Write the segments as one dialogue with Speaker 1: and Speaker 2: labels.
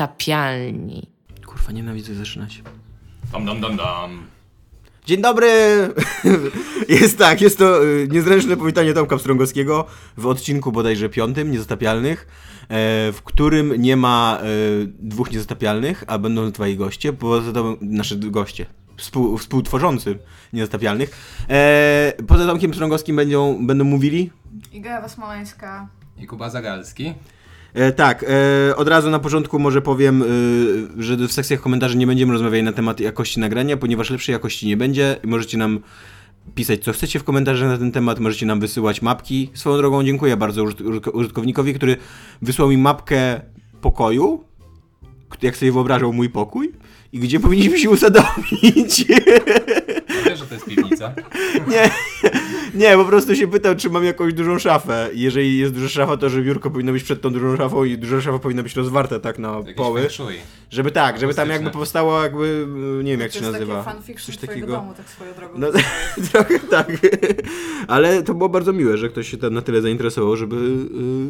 Speaker 1: niezatapialni.
Speaker 2: Kurwa, nienawidzę zaczynać.
Speaker 3: Dam, dam, dam, dam.
Speaker 2: Dzień dobry! jest tak, jest to y, niezręczne powitanie Tomka Pstrągowskiego w odcinku bodajże piątym, Niezatapialnych, e, w którym nie ma e, dwóch niezatapialnych, a będą dwaj goście, poza to nasze goście, współ, współtworzący Niezatapialnych. E, poza Tomkiem Pstrągowskim będą, będą mówili
Speaker 4: Iga Wasmolańska.
Speaker 3: I Kuba Zagalski.
Speaker 2: E, tak, e, od razu na początku może powiem, e, że w sekcjach komentarzy nie będziemy rozmawiali na temat jakości nagrania, ponieważ lepszej jakości nie będzie. Możecie nam pisać co chcecie w komentarzach na ten temat, możecie nam wysyłać mapki. Swoją drogą dziękuję bardzo użyt- użytko- użytkownikowi, który wysłał mi mapkę pokoju, k- jak sobie wyobrażał mój pokój i gdzie powinniśmy się usadowić.
Speaker 3: No wiesz, że to jest piwnica.
Speaker 2: Nie, nie, po prostu się pytał, czy mam jakąś dużą szafę. Jeżeli jest duża szafa, to że biurko powinno być przed tą dużą szafą i duża szafa powinna być rozwarta tak na
Speaker 3: Jakieś
Speaker 2: poły.
Speaker 3: feng shui.
Speaker 2: Żeby tak, żeby tam jakby
Speaker 3: Akustyczne.
Speaker 2: powstało jakby, mm, nie wiem jak
Speaker 4: to
Speaker 2: się
Speaker 4: jest
Speaker 2: nazywa.
Speaker 4: takie fanfiction
Speaker 2: Coś
Speaker 4: twojego
Speaker 2: takiego.
Speaker 4: domu, tak swoją drogą.
Speaker 2: No trochę tak. Ale to było bardzo miłe, że ktoś się tam na tyle zainteresował, żeby yy,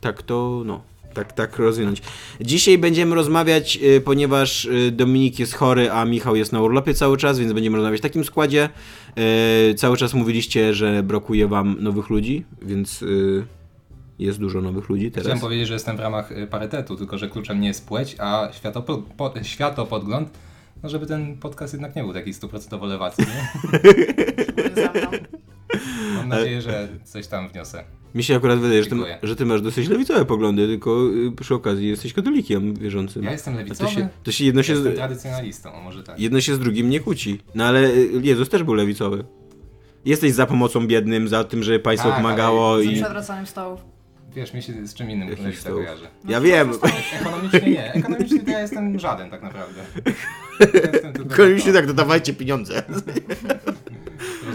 Speaker 2: tak to, no, tak, tak rozwinąć. Dzisiaj będziemy rozmawiać, yy, ponieważ yy, Dominik jest chory, a Michał jest na urlopie cały czas, więc będziemy rozmawiać w takim składzie. Yy, cały czas mówiliście, że brakuje wam nowych ludzi, więc yy, jest dużo nowych ludzi
Speaker 3: Chciałem
Speaker 2: teraz.
Speaker 3: powiedzieć, że jestem w ramach y, parytetu, tylko że kluczem nie jest płeć, a światopo, po, światopodgląd, no żeby ten podcast jednak nie był taki stuprocentowo lewacki, nie?
Speaker 4: za mną.
Speaker 3: Mam nadzieję, że coś tam wniosę.
Speaker 2: Mi się akurat wydaje, że ty,
Speaker 3: Dziękuję.
Speaker 2: że ty masz dosyć lewicowe poglądy, tylko y, przy okazji jesteś katolikiem wierzącym.
Speaker 3: Ja jestem
Speaker 2: No. A to
Speaker 3: lewicowy,
Speaker 2: się, to się jedno się,
Speaker 3: jestem
Speaker 2: z,
Speaker 3: tradycjonalistą, o może tak.
Speaker 2: jedno się z drugim nie kłóci. No ale y, Jezus też był lewicowy. Jesteś za pomocą biednym, za tym, żeby państwo
Speaker 3: Tak, ale
Speaker 2: pomagało
Speaker 3: za
Speaker 4: Z
Speaker 2: i...
Speaker 4: przewracaniem stołów.
Speaker 3: Wiesz, mi się z czym innym
Speaker 2: Jakich
Speaker 3: lewica
Speaker 2: stołów?
Speaker 3: kojarzy.
Speaker 2: Ja wiem,
Speaker 3: Ekonomicznie nie. Ekonomicznie to ja jestem żaden tak naprawdę. Ja jestem tylko
Speaker 2: koniecznie
Speaker 3: za
Speaker 2: tak,
Speaker 3: to.
Speaker 2: to dawajcie pieniądze. tak-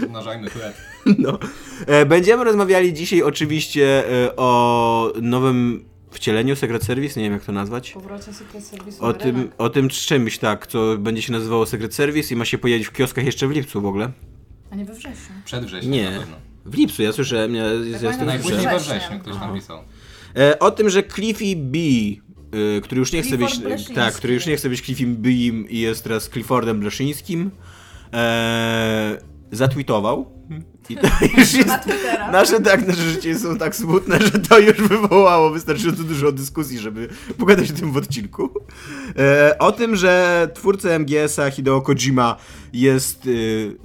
Speaker 3: Rozmnażajmy chleb.
Speaker 2: No. E, Będziemy rozmawiali dzisiaj oczywiście e, o nowym wcieleniu Secret Service, nie wiem jak to nazwać.
Speaker 4: Powrocie Secret Service
Speaker 2: O tym, o tym czymś, tak, co będzie się nazywało Secret Service i ma się pojawić w kioskach jeszcze w lipcu w ogóle.
Speaker 4: A nie we wrześniu.
Speaker 3: Przed wrześniem
Speaker 2: Nie.
Speaker 3: na pewno.
Speaker 2: W lipcu, ja słyszałem, ja, ja
Speaker 4: Tak
Speaker 2: ja
Speaker 4: pamiętam,
Speaker 2: to
Speaker 3: Najpóźniej
Speaker 2: słyszałem.
Speaker 3: we
Speaker 4: Września.
Speaker 3: wrześniu ktoś
Speaker 2: Aha.
Speaker 3: napisał.
Speaker 2: E, o tym, że Cliffy B, y, który już nie chce być,
Speaker 4: Clifford Bleszyński.
Speaker 2: tak, który już nie chce być Cliffym B i jest teraz Cliffordem Bleszyńskim, e, zatweetował. I to już jest,
Speaker 4: Na Twittera.
Speaker 2: nasze, tak, nasze życie są tak smutne, że to już wywołało wystarczająco dużo dyskusji, żeby pogadać o tym w odcinku. E, o tym, że twórca MGS-a Hideo Kojima jest y,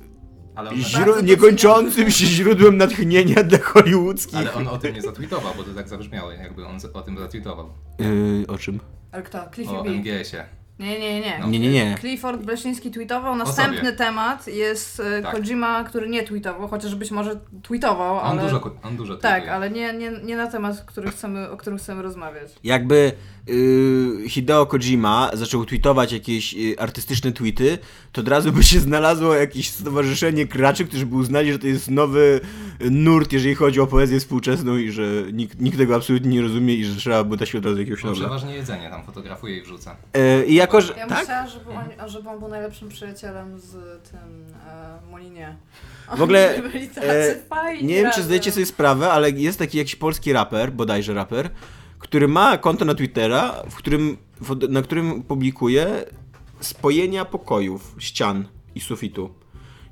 Speaker 3: Ale on,
Speaker 2: źró- niekończącym się źródłem natchnienia dla hollywoodzkich.
Speaker 3: ale on o tym nie zatweetował, bo to tak zabrzmiało, jakby on z- o tym zatweetował.
Speaker 2: Y, o czym?
Speaker 4: Ale kto? Cliffy
Speaker 3: O
Speaker 4: B.
Speaker 3: MGS-ie.
Speaker 4: Nie, nie, nie.
Speaker 3: No.
Speaker 2: Nie, nie, nie.
Speaker 4: Clifford Bleszyński tweetował.
Speaker 3: sobie.
Speaker 4: Następny temat jest e,
Speaker 3: Tak.
Speaker 4: Kojima, który nie tweetował, chociaż być może tweetował,
Speaker 3: On
Speaker 4: ale...
Speaker 3: dużo, ku- on dużo
Speaker 4: Tak,
Speaker 3: tweetuje.
Speaker 4: ale nie, nie, nie na temat, który chcemy, o którym chcemy rozmawiać.
Speaker 2: jakby y, Hideo Kojima zaczął tweetować jakieś y, artystyczne tweety, to od razu by się znalazło jakieś stowarzyszenie kraczy, którzy by uznali, że to jest nowy y, nurt, jeżeli chodzi o poezję współczesną i że nikt, nikt tego absolutnie nie rozumie i że trzeba by dać od razu jakiegoś
Speaker 3: On
Speaker 2: nowego.
Speaker 3: przeważnie jedzenie tam fotografuje i wrzuca.
Speaker 2: Y, I jako, że...
Speaker 4: Ja
Speaker 2: Tak?
Speaker 4: myślałam, żeby on, żeby on był najlepszym przyjacielem z tym e, Molinie.
Speaker 2: W ogóle,
Speaker 4: Oni byli tacy
Speaker 2: e,
Speaker 4: fajni
Speaker 2: Nie wiem, czy
Speaker 4: razem.
Speaker 2: zdajecie sobie sprawę, ale jest taki jakiś polski raper, bodajże raper, który ma konto na Twittera, w którym, w, na którym publikuje spojenia pokojów, ścian i sufitu.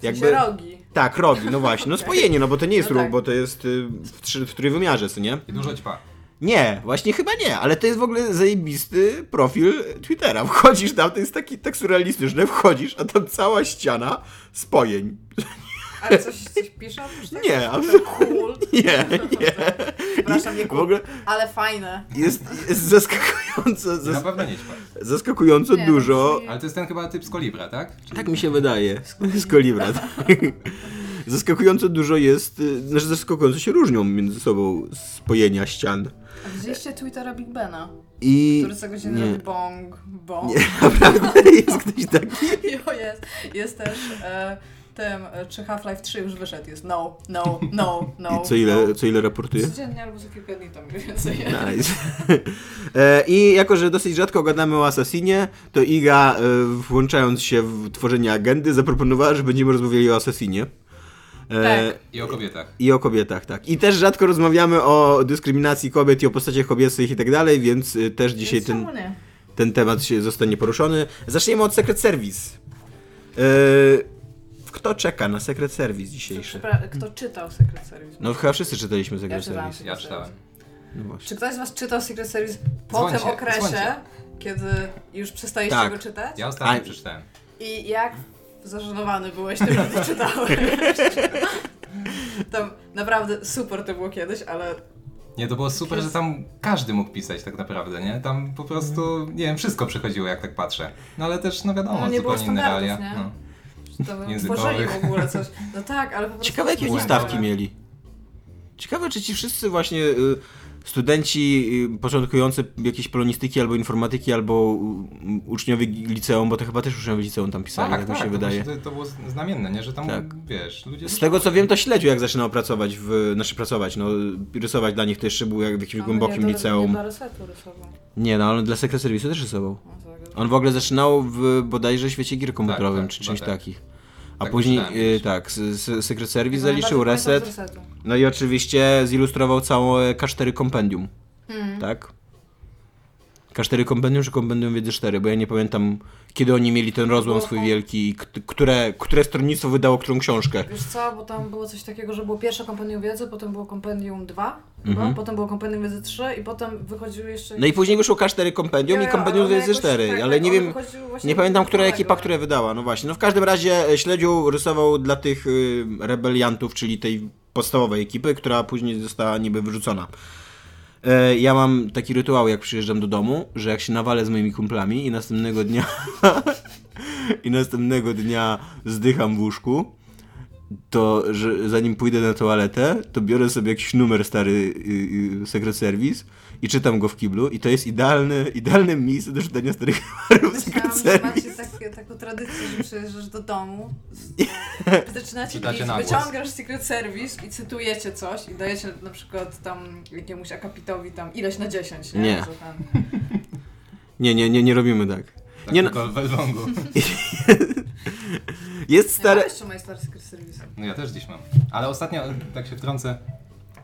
Speaker 4: Jakby... rogi.
Speaker 2: Tak, rogi, no właśnie. No spojenie, no bo to nie jest
Speaker 4: No
Speaker 2: róg,
Speaker 4: tak.
Speaker 2: bo to jest y, w, trzy, w trójwymiarze, co nie?
Speaker 3: I
Speaker 4: Mm.
Speaker 3: dużo ćpa.
Speaker 2: Nie, właśnie chyba nie, ale to jest w ogóle zajebisty profil Twittera. Wchodzisz tam, to jest taki tak surrealistyczny, wchodzisz, a tam cała ściana spojeń.
Speaker 4: Ale coś, coś piszą? Już tak?
Speaker 2: Nie,
Speaker 4: To Cool.
Speaker 2: Nie, nie.
Speaker 4: Przepraszam, nie
Speaker 2: w
Speaker 4: cool,
Speaker 2: ogóle
Speaker 4: ale fajne.
Speaker 2: jest, jest zaskakująco,
Speaker 3: I Na
Speaker 2: zas,
Speaker 3: pewno nie ćpa.
Speaker 2: zaskakująco
Speaker 4: Nie,
Speaker 2: dużo.
Speaker 3: Ale to jest ten chyba typ z Kolibra, tak? Czy-
Speaker 2: Tak mi się wydaje. Z kolibra. tak. Zaskakująco dużo jest, y, znaczy zaskakująco się różnią między sobą spojenia ścian.
Speaker 4: A Widzieliście Twittera Big Bena,
Speaker 2: I...
Speaker 4: który co godzinę
Speaker 2: nie.
Speaker 4: robi bong, bong.
Speaker 2: Nie, naprawdę jest ktoś taki.
Speaker 4: Jo, jest. Jest też e, tym, e, czy Half-Life 3 już wyszedł, jest no, no, no, no.
Speaker 2: I co ile, co ile raportuje?
Speaker 4: Codziennie albo za kilka dni to mniej więcej jest.
Speaker 2: Nice. E, I jako, że dosyć rzadko gadamy o Assassinie, to Iga, e, włączając się w tworzenie agendy, zaproponowała, że będziemy rozmawiali o Assassinie.
Speaker 4: Tak.
Speaker 3: I o kobietach.
Speaker 2: I o kobietach, tak. I też rzadko rozmawiamy o dyskryminacji kobiet i o postaciach kobiecych i tak dalej, więc y, też dzisiaj
Speaker 4: Więc
Speaker 2: ten,
Speaker 4: czemu nie?
Speaker 2: ten temat się zostanie poruszony. Zaczniemy od Secret Service. Yy, kto czeka na Secret Service
Speaker 4: Kto,
Speaker 2: dzisiejszy?
Speaker 4: przypra- kto czytał Secret Service?
Speaker 2: No chyba wszyscy czytaliśmy Secret
Speaker 4: Ja czytałam.
Speaker 2: Service.
Speaker 3: Ja czytałem.
Speaker 2: No właśnie.
Speaker 4: Czy ktoś z was czytał Secret Service po
Speaker 3: Dzwońcie,
Speaker 4: tym okresie,
Speaker 3: dzwońcie.
Speaker 4: kiedy już przestaliście
Speaker 2: Tak.
Speaker 4: go czytać?
Speaker 3: Ja ostatnio
Speaker 2: A-
Speaker 3: przeczytałem.
Speaker 4: I jak zażenowany byłeś tym, że to czytałeś? Tam naprawdę super to było kiedyś, ale
Speaker 3: Nie, to było super, że tam każdy mógł pisać tak naprawdę, nie? Tam po prostu, nie wiem, wszystko przychodziło jak tak patrzę. No ale też, no wiadomo,
Speaker 4: No, nie było
Speaker 3: zupełnie inne
Speaker 4: standardów,
Speaker 3: realia.
Speaker 4: nie?
Speaker 3: No.
Speaker 4: tam
Speaker 3: Językowych.
Speaker 4: tworzyli w ogóle coś. No tak, ale po prostu...
Speaker 2: Ciekawe jakie oni
Speaker 3: Błędy.
Speaker 2: stawki mieli. Ciekawe czy ci wszyscy właśnie y, studenci y, początkujący jakiejś polonistyki albo informatyki albo y, uczniowie gi- liceum, bo to chyba też uczniowie liceum tam pisali, tak, mi się
Speaker 3: to
Speaker 2: wydaje.
Speaker 3: właśnie To, to było znamienne, nie? Że tam,
Speaker 2: Tak.
Speaker 3: wiesz, ludzie...
Speaker 2: Z tego co wiem, to śledził jak zaczynał pracować, w, znaczy pracować, no rysować dla nich to jeszcze był jak w jakimś
Speaker 4: Ale
Speaker 2: głębokim
Speaker 4: nie do-
Speaker 2: liceum.
Speaker 4: No, Nie do resetu rysował.
Speaker 2: Nie, no ale dla Secret Service też rysował.
Speaker 4: No tak.
Speaker 2: On w ogóle zaczynał w bodajże świecie gier komputerowym
Speaker 3: tak,
Speaker 2: czy
Speaker 3: chyba
Speaker 2: czymś
Speaker 3: tak.
Speaker 2: takich. A
Speaker 3: Tak
Speaker 2: później,
Speaker 3: myślałem
Speaker 2: y,
Speaker 3: kiedyś.
Speaker 2: tak, s- s- Secret Service
Speaker 4: Chyba
Speaker 2: zaliczył
Speaker 4: najbardziej pamiętam
Speaker 2: reset.
Speaker 4: z resetu.
Speaker 2: No i oczywiście zilustrował całe K4 kompendium,
Speaker 4: Mm.
Speaker 2: tak? K4 kompendium czy kompendium wiedzy 4, bo ja nie pamiętam kiedy oni mieli ten rozłam swój wielki i kt- które, które stronnictwo wydało którą książkę.
Speaker 4: Wiesz co, bo tam było coś takiego, że było pierwsze kompendium wiedzy, potem było kompendium 2,
Speaker 2: Mhm.
Speaker 4: no, potem było kompendium wiedzy 3 i potem wychodziły jeszcze...
Speaker 2: No i później wyszło K4 kompendium i
Speaker 4: Ja,
Speaker 2: kompendium
Speaker 4: ale
Speaker 2: wiedzy
Speaker 4: jakoś
Speaker 2: 4,
Speaker 4: tak,
Speaker 2: ale
Speaker 4: tak,
Speaker 2: nie
Speaker 4: one
Speaker 2: wiem,
Speaker 4: wychodziły właśnie
Speaker 2: nie pamiętam która
Speaker 4: nowego.
Speaker 2: ekipa, która wydała, no właśnie. No w każdym razie e, śledził, rysował dla tych y, rebeliantów, czyli tej podstawowej ekipy, która później została niby wyrzucona. E, Ja mam taki rytuał, jak przyjeżdżam do domu, że jak się nawalę z moimi kumplami i następnego dnia i następnego dnia zdycham w łóżku, to że zanim pójdę na toaletę, to biorę sobie jakiś numer stary y, y, Secret Service i czytam go w kiblu i to jest idealne, idealne miejsce do czytania starych numerów Secret
Speaker 4: Myślałam, że
Speaker 2: Service.
Speaker 4: macie takie, taką tradycję, że przyjeżdżasz do domu, z- zaczynacie
Speaker 3: Czytacie
Speaker 4: list,
Speaker 3: na głos.
Speaker 4: wyciągasz Secret Service i cytujecie coś i dajecie na przykład tam jakiemuś akapitowi tam ileś na 10, nie?
Speaker 2: Nie.
Speaker 4: Że Tam,
Speaker 2: Nie, nie, nie, nie robimy tak.
Speaker 3: Tak,
Speaker 2: nie
Speaker 3: nie
Speaker 2: no-
Speaker 3: tylko w Elblągu.
Speaker 2: Jest
Speaker 4: stary...
Speaker 2: stare...
Speaker 4: Ja jeszcze moje stare Secret Service.
Speaker 3: No ja też dziś mam. Ale ostatnio, tak się wtrącę,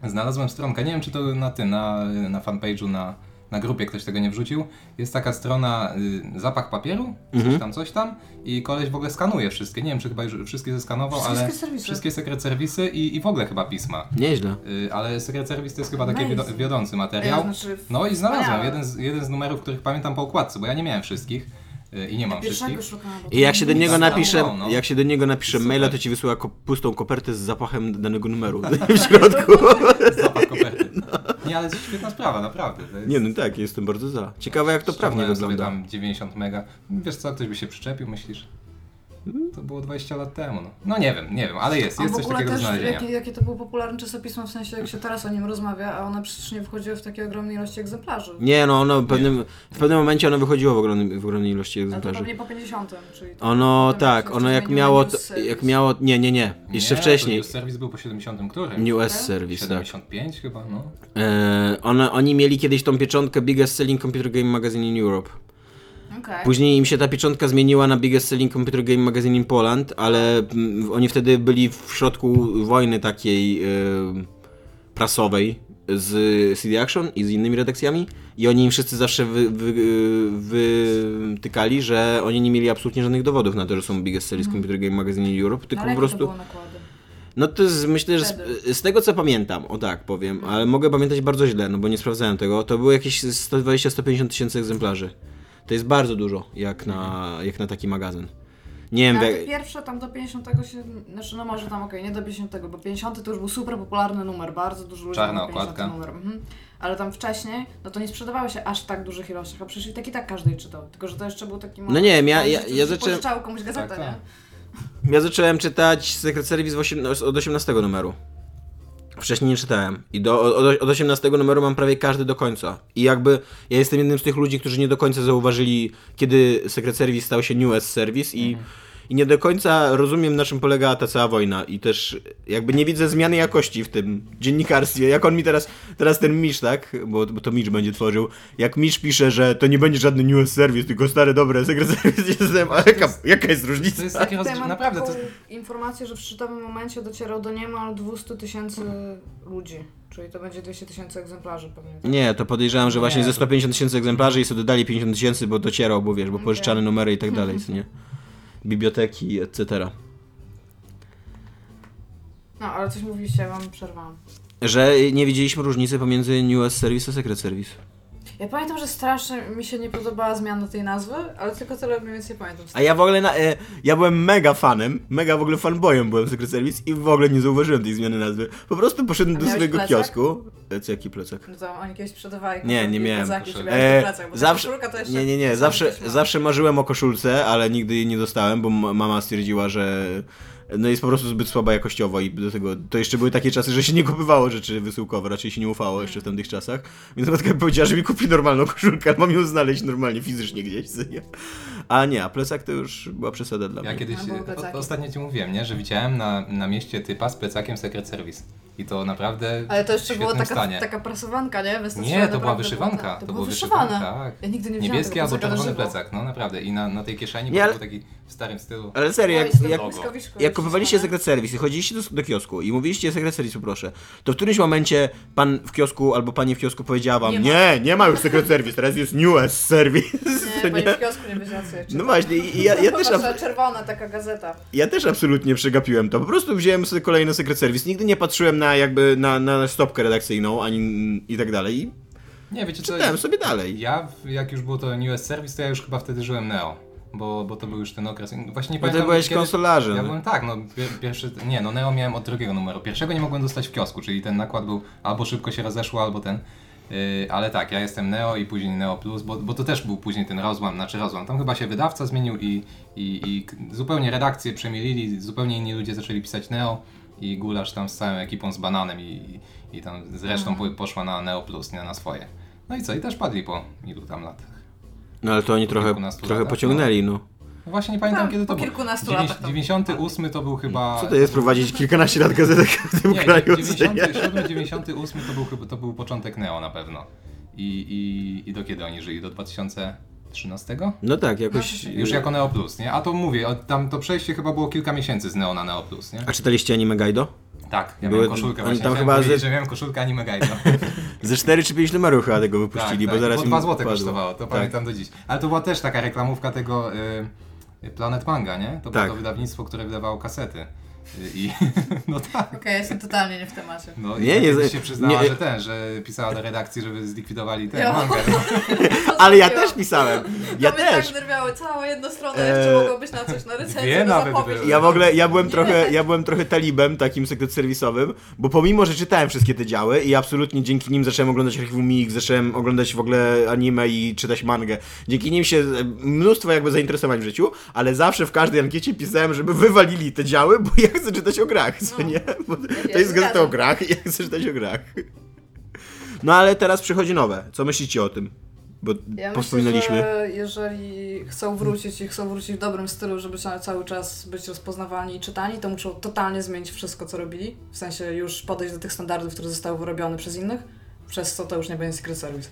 Speaker 3: znalazłem stronkę, nie wiem czy to na tym, na, na fanpage'u, na, na grupie ktoś tego nie wrzucił. Jest taka strona y, Zapach papieru, coś tam, coś tam i koleś w ogóle skanuje wszystkie. Nie wiem czy chyba już wszystkie zeskanował,
Speaker 4: Wszystkie
Speaker 3: ale
Speaker 4: secret serwisy.
Speaker 3: wszystkie sekret serwisy i, i w ogóle chyba pisma.
Speaker 2: Nieźle.
Speaker 3: Y, ale Secret Service to jest chyba taki
Speaker 4: Amazing.
Speaker 3: wiodo- wiodący materiał.
Speaker 4: Ej, znaczy,
Speaker 3: No i znalazłem
Speaker 4: wspaniałe.
Speaker 3: jeden z, jeden z numerów, których pamiętam po okładce, bo ja nie miałem wszystkich y, i nie mam
Speaker 4: Pierwszego
Speaker 3: wszystkich.
Speaker 4: szukałam. bo
Speaker 2: I jak się do
Speaker 4: to-
Speaker 2: niego
Speaker 3: Zastawał,
Speaker 2: napisze,
Speaker 3: no.
Speaker 2: jak się do niego napisze
Speaker 3: Super.
Speaker 2: maila, to ci wysyła ko- pustą kopertę z zapachem danego numeru w środku.
Speaker 3: Zapach koperty. Nie, ale to jest świetna sprawa, naprawdę. To jest...
Speaker 2: Nie no tak, jestem bardzo za. Ciekawe jak to prawnie
Speaker 3: Ściągnąłem sobie
Speaker 2: wygląda.
Speaker 3: tam 90 mega. Wiesz co, ktoś by się przyczepił, myślisz? To było 20 lat temu. No, no nie wiem, nie wiem, ale jest,
Speaker 4: A
Speaker 3: jest
Speaker 4: w
Speaker 3: coś
Speaker 4: ogóle
Speaker 3: takiego do
Speaker 4: też,
Speaker 3: znalezienia.
Speaker 4: jakie, jakie to było popularne czasopismo, w sensie jak się teraz o nim rozmawia, a one przecież nie wychodziły w takiej ogromnej ilości egzemplarzy.
Speaker 2: Nie no, ono w pewnym, w pewnym momencie ono wychodziło w ogromnej, w ogromnej ilości
Speaker 4: A to
Speaker 2: egzemplarzy.
Speaker 4: pewnie po 50, czyli... to-
Speaker 2: Ono
Speaker 4: Tam
Speaker 2: tak,
Speaker 4: jeszcze
Speaker 2: ono jak
Speaker 4: zmienił
Speaker 2: miało,
Speaker 4: menu
Speaker 2: to,
Speaker 4: z-
Speaker 2: jak miało, nie, nie, nie, jeszcze
Speaker 3: nie,
Speaker 2: wcześniej.
Speaker 3: To serwis był po 70 którym?
Speaker 2: New S Service, tak.
Speaker 3: 75 chyba, no.
Speaker 2: E, one, oni mieli kiedyś tą pieczątkę Biggest Selling Computer Game Magazine in Europe.
Speaker 4: Okej.
Speaker 2: Później im się ta pieczątka zmieniła na Biggest Selling Computer Game Magazine in Poland, ale mm, oni wtedy byli w środku wojny takiej y, prasowej z CD Action i z innymi redakcjami i oni im wszyscy zawsze wy, wy, wytykali, że oni nie mieli absolutnie żadnych dowodów na to, że są Biggest Selling Computer Game Magazine in Europe, tylko
Speaker 4: Mhm. No, Ale
Speaker 2: po
Speaker 4: jakie
Speaker 2: prostu...
Speaker 4: To było nakłady?
Speaker 2: No to jest, myślę, że z, y,
Speaker 4: Wtedy.
Speaker 2: z tego co pamiętam, o tak powiem, ale mogę pamiętać bardzo źle, no bo nie sprawdzałem tego, to było jakieś 120-150 tysięcy egzemplarzy. To jest bardzo dużo, jak na, jak na taki magazyn. Nie wiem,
Speaker 4: Mhm. No, Ale
Speaker 2: jak,
Speaker 4: te pierwsze tam do 50 się, znaczy no może tam okej, nie do 50, bo 50 to już był super popularny numer, bardzo dużo ludzi
Speaker 3: Czarna
Speaker 4: miało 50
Speaker 3: okładka.
Speaker 4: numer. Mhm. Ale tam wcześniej, no to nie sprzedawały się aż tak dużych ilościach, a przecież i tak i tak każdy je czytał, tylko że to jeszcze był taki moment,
Speaker 2: No nie wiem, ja- ja-
Speaker 4: że
Speaker 2: ja
Speaker 4: się
Speaker 2: zaczę-
Speaker 4: pożyczało komuś gazetę,
Speaker 3: Tak,
Speaker 4: nie?
Speaker 3: tak.
Speaker 2: ja zacząłem czytać Secret Service w osiem, od 18 numeru. Wcześniej nie czytałem. I do, od, od 18 numeru mam prawie każdy do końca. I jakby ja jestem jednym z tych ludzi, którzy nie do końca zauważyli, kiedy Secret Service stał się New S Service i i nie do końca rozumiem, na czym polega ta cała wojna i też jakby nie widzę zmiany jakości w tym dziennikarstwie. Jak on mi teraz, teraz ten Misz, tak, bo, bo to Misz będzie tworzył, jak Misz pisze, że to nie będzie żadny news service, tylko stare, dobre sekretariat system, a jaka, jaka jest
Speaker 3: To
Speaker 2: różnica?
Speaker 3: jest takie rozdzielenie,
Speaker 4: mam
Speaker 3: naprawdę, to
Speaker 4: taką informację, że w szczytowym momencie docierał do niemal 200 tysięcy ludzi. Czyli to będzie 200 tysięcy egzemplarzy pewnie.
Speaker 2: Nie, to podejrzewam, że właśnie
Speaker 3: Nie.
Speaker 2: ze 150 tysięcy egzemplarzy i sobie dodali 50 tysięcy, bo docierał, bo wiesz, bo pożyczane numery i tak dalej, co nie? Biblioteki, etc.
Speaker 4: No, ale coś mówiliście, ja wam przerwałam.
Speaker 2: Że nie widzieliśmy różnicy pomiędzy News Service a Secret Service.
Speaker 4: Ja pamiętam, że strasznie mi się nie podobała zmiana tej nazwy, ale tylko tyle mniej więcej pamiętam.
Speaker 2: A ja w ogóle, na, e, ja byłem mega fanem, mega w ogóle fanboyem byłem Secret Service i w ogóle nie zauważyłem tej zmiany nazwy. Po prostu poszedłem
Speaker 4: A
Speaker 2: do
Speaker 4: miałeś
Speaker 2: swojego
Speaker 4: plecak?
Speaker 2: kiosku. E, co, jaki plecak?
Speaker 4: No to oni kiedyś sprzedawali
Speaker 2: Nie, nie
Speaker 4: koszulki,
Speaker 2: miałem
Speaker 4: kozaki, żeby
Speaker 2: koszulek.
Speaker 4: mieć
Speaker 2: E,
Speaker 4: do pracy, bo ta
Speaker 2: zawsze-
Speaker 4: koszulka to jeszcze-
Speaker 2: Nie, nie, nie. Zawsze, zawsze marzyłem o koszulce, ale nigdy jej nie dostałem, bo m- mama stwierdziła, że no jest po prostu zbyt słaba jakościowo i do tego, to jeszcze były takie czasy, że się nie kupywało rzeczy wysyłkowe, raczej się nie ufało jeszcze w tamtych czasach, więc matka mi powiedziała, że mi kupi normalną koszulkę, mam ją znaleźć normalnie, fizycznie gdzieś, co nie? a nie, a plecak to już była przesada dla
Speaker 3: Ja
Speaker 2: mnie.
Speaker 3: kiedyś,
Speaker 4: Albo
Speaker 3: o-
Speaker 4: plecaki.
Speaker 3: ostatnio ci mówiłem, nie? że widziałem na, na mieście typa z plecakiem Secret Service. I to naprawdę
Speaker 4: Ale to
Speaker 3: w
Speaker 4: jeszcze była
Speaker 3: świetnym
Speaker 4: taka,
Speaker 3: stanie.
Speaker 4: taka prasowanka, nie? Wystarczyła
Speaker 3: Nie, to była
Speaker 4: naprawdę
Speaker 3: wyszywanka.
Speaker 4: błota.
Speaker 3: To,
Speaker 4: To,
Speaker 3: była
Speaker 4: było wyszywane.
Speaker 3: wyszywanka, tak.
Speaker 4: Ja nigdy nie widziałam
Speaker 3: Niebieski
Speaker 4: tego
Speaker 3: albo
Speaker 4: plecaka na
Speaker 3: czerwony
Speaker 4: żywo.
Speaker 3: plecak, no naprawdę. I na, na tej kieszeni
Speaker 2: Nie,
Speaker 3: był
Speaker 2: ale-
Speaker 3: taki w starym stylu.
Speaker 2: Ale serio,
Speaker 4: Ja
Speaker 2: jak,
Speaker 4: jestem
Speaker 2: jak,
Speaker 4: w
Speaker 3: logo.
Speaker 4: błyskowiczku,
Speaker 2: Jak
Speaker 4: jest
Speaker 2: kupowaliście
Speaker 4: wyszywane.
Speaker 2: Secret Service i chodziliście do, do kiosku i mówiliście Secret Service, proszę, to w którymś momencie pan w kiosku albo pani w kiosku powiedziała wam, nie,
Speaker 4: Nie ma.
Speaker 2: nie, ma już Secret Service, teraz jest US Service.
Speaker 4: Nie,
Speaker 2: co
Speaker 4: pani w kiosku nie wiedziała co ja
Speaker 2: No
Speaker 4: czytam.
Speaker 2: właśnie, i i ja, ja, też,
Speaker 4: Popatrz,
Speaker 2: ab-
Speaker 4: czerwona taka gazeta.
Speaker 2: ja też absolutnie przegapiłem to. Po prostu wziąłem sobie kolejny Secret Service. Nigdy nie patrzyłem na jakby na, na stopkę redakcyjną ani i tak dalej. I
Speaker 3: Nie, wiecie co?
Speaker 2: czytałem sobie dalej.
Speaker 3: Ja, w- jak już było to US Service, to ja już chyba wtedy żyłem Neo. Bo, bo to był już ten okres. Właśnie nie
Speaker 2: Bo ty
Speaker 3: pamiętam,
Speaker 2: byłeś
Speaker 3: kiedy-
Speaker 2: konsolarzem.
Speaker 3: Ja byłem tak, no pier- pierwszy, nie no Neo miałem od drugiego numeru. Pierwszego nie mogłem dostać w kiosku, czyli ten nakład był albo szybko się rozeszło, albo ten. Yy, ale tak, ja jestem Neo i później Neo Plus, bo, bo to też był później ten rozłam, znaczy rozłam. Tam chyba się wydawca zmienił i, i, i k- zupełnie redakcję przemielili, zupełnie inni ludzie zaczęli pisać Neo i Gulasz tam z całą ekipą z Bananem i, i, i tam zresztą
Speaker 4: Mhm.
Speaker 3: po- poszła na Neo Plus, nie na swoje. No i co, i też padli po ilu tam latach.
Speaker 2: No ale to oni trochę,
Speaker 3: kilkunastu
Speaker 2: trochę
Speaker 3: latach,
Speaker 2: pociągnęli, no.
Speaker 3: No Właśnie nie pamiętam
Speaker 4: Tam,
Speaker 3: kiedy to
Speaker 4: tak, po
Speaker 3: było.
Speaker 4: kilkunastu
Speaker 3: Dziewięć-
Speaker 4: latach to-
Speaker 3: 98 to był chyba...
Speaker 2: no. Co to jest prowadzić kilkanaście lat gazetek w tym
Speaker 3: Nie,
Speaker 2: kraju? co nie?
Speaker 3: 97, 98 to był, chyba- to był początek Neo na pewno. I, i, I do kiedy oni żyli? Do 2013?
Speaker 2: No tak, jakoś...
Speaker 3: Już jako Neo Plus, nie? A to mówię, o- tam to przejście chyba było kilka miesięcy z Neo na Neo Plus, nie?
Speaker 2: A czytaliście anime Gaido?
Speaker 3: Tak, ja
Speaker 2: Były-
Speaker 3: miałem koszulkę
Speaker 2: oni
Speaker 3: właśnie.
Speaker 2: tam
Speaker 3: Tam
Speaker 2: chyba
Speaker 3: chyba powiedzieć,
Speaker 2: ze-
Speaker 3: że miałem koszulkę anime Gaido.
Speaker 2: Ze 4 czy 5 numerów chyba tego
Speaker 3: Tak,
Speaker 2: wypuścili, bo zaraz
Speaker 3: po
Speaker 2: im
Speaker 3: 2 złote
Speaker 2: padło.
Speaker 3: kosztowało, to
Speaker 2: Tak.
Speaker 3: pamiętam do dziś. Ale to była też taka reklamówka tego y, Planet Manga, nie? To
Speaker 2: Tak.
Speaker 3: było to wydawnictwo, które wydawało kasety. Y, I no tak.
Speaker 4: Okej, jestem totalnie nie w temacie.
Speaker 3: No
Speaker 2: Nie,
Speaker 3: nie,
Speaker 2: nie,
Speaker 3: nie,
Speaker 2: za-
Speaker 3: się przyznała,
Speaker 2: nie.
Speaker 3: że ten, że pisała do redakcji, żeby zlikwidowali ten
Speaker 4: Ja.
Speaker 3: mangę.
Speaker 2: Ale ja też pisałem, ja
Speaker 4: to mnie
Speaker 2: też.
Speaker 4: tak nerwiały całą jedną stronę,
Speaker 2: Eee,
Speaker 4: jeszcze mogło być na coś, na recenzję,
Speaker 3: dwie
Speaker 4: na
Speaker 3: nawet
Speaker 4: zapowiedź.
Speaker 3: były.
Speaker 2: Ja w ogóle, ja byłem trochę, ja byłem trochę talibem, takim sekret serwisowym, bo pomimo, że czytałem wszystkie te działy i absolutnie dzięki nim zacząłem oglądać Archiwum Mix, zacząłem oglądać w ogóle anime i czytać mangę. Dzięki nim się e, mnóstwo jakby zainteresowań w życiu, ale zawsze w każdej ankiecie pisałem, żeby wywalili te działy, bo ja chcę czytać o grach, co
Speaker 4: No.
Speaker 2: nie? Bo to
Speaker 4: się
Speaker 2: jest gazeta
Speaker 4: zgadzam.
Speaker 2: o grach i ja chcę czytać o grach. No ale teraz przychodzi nowe. Co myślicie o tym? Bo
Speaker 4: Ja
Speaker 2: wspominaliśmy.
Speaker 4: myślę, że jeżeli chcą wrócić i chcą wrócić w dobrym stylu, żeby ca- cały czas być rozpoznawani i czytani, to muszą totalnie zmienić wszystko, co robili. W sensie już podejść do tych standardów, które zostały wyrobione przez innych, przez co to już nie będzie Secret Service.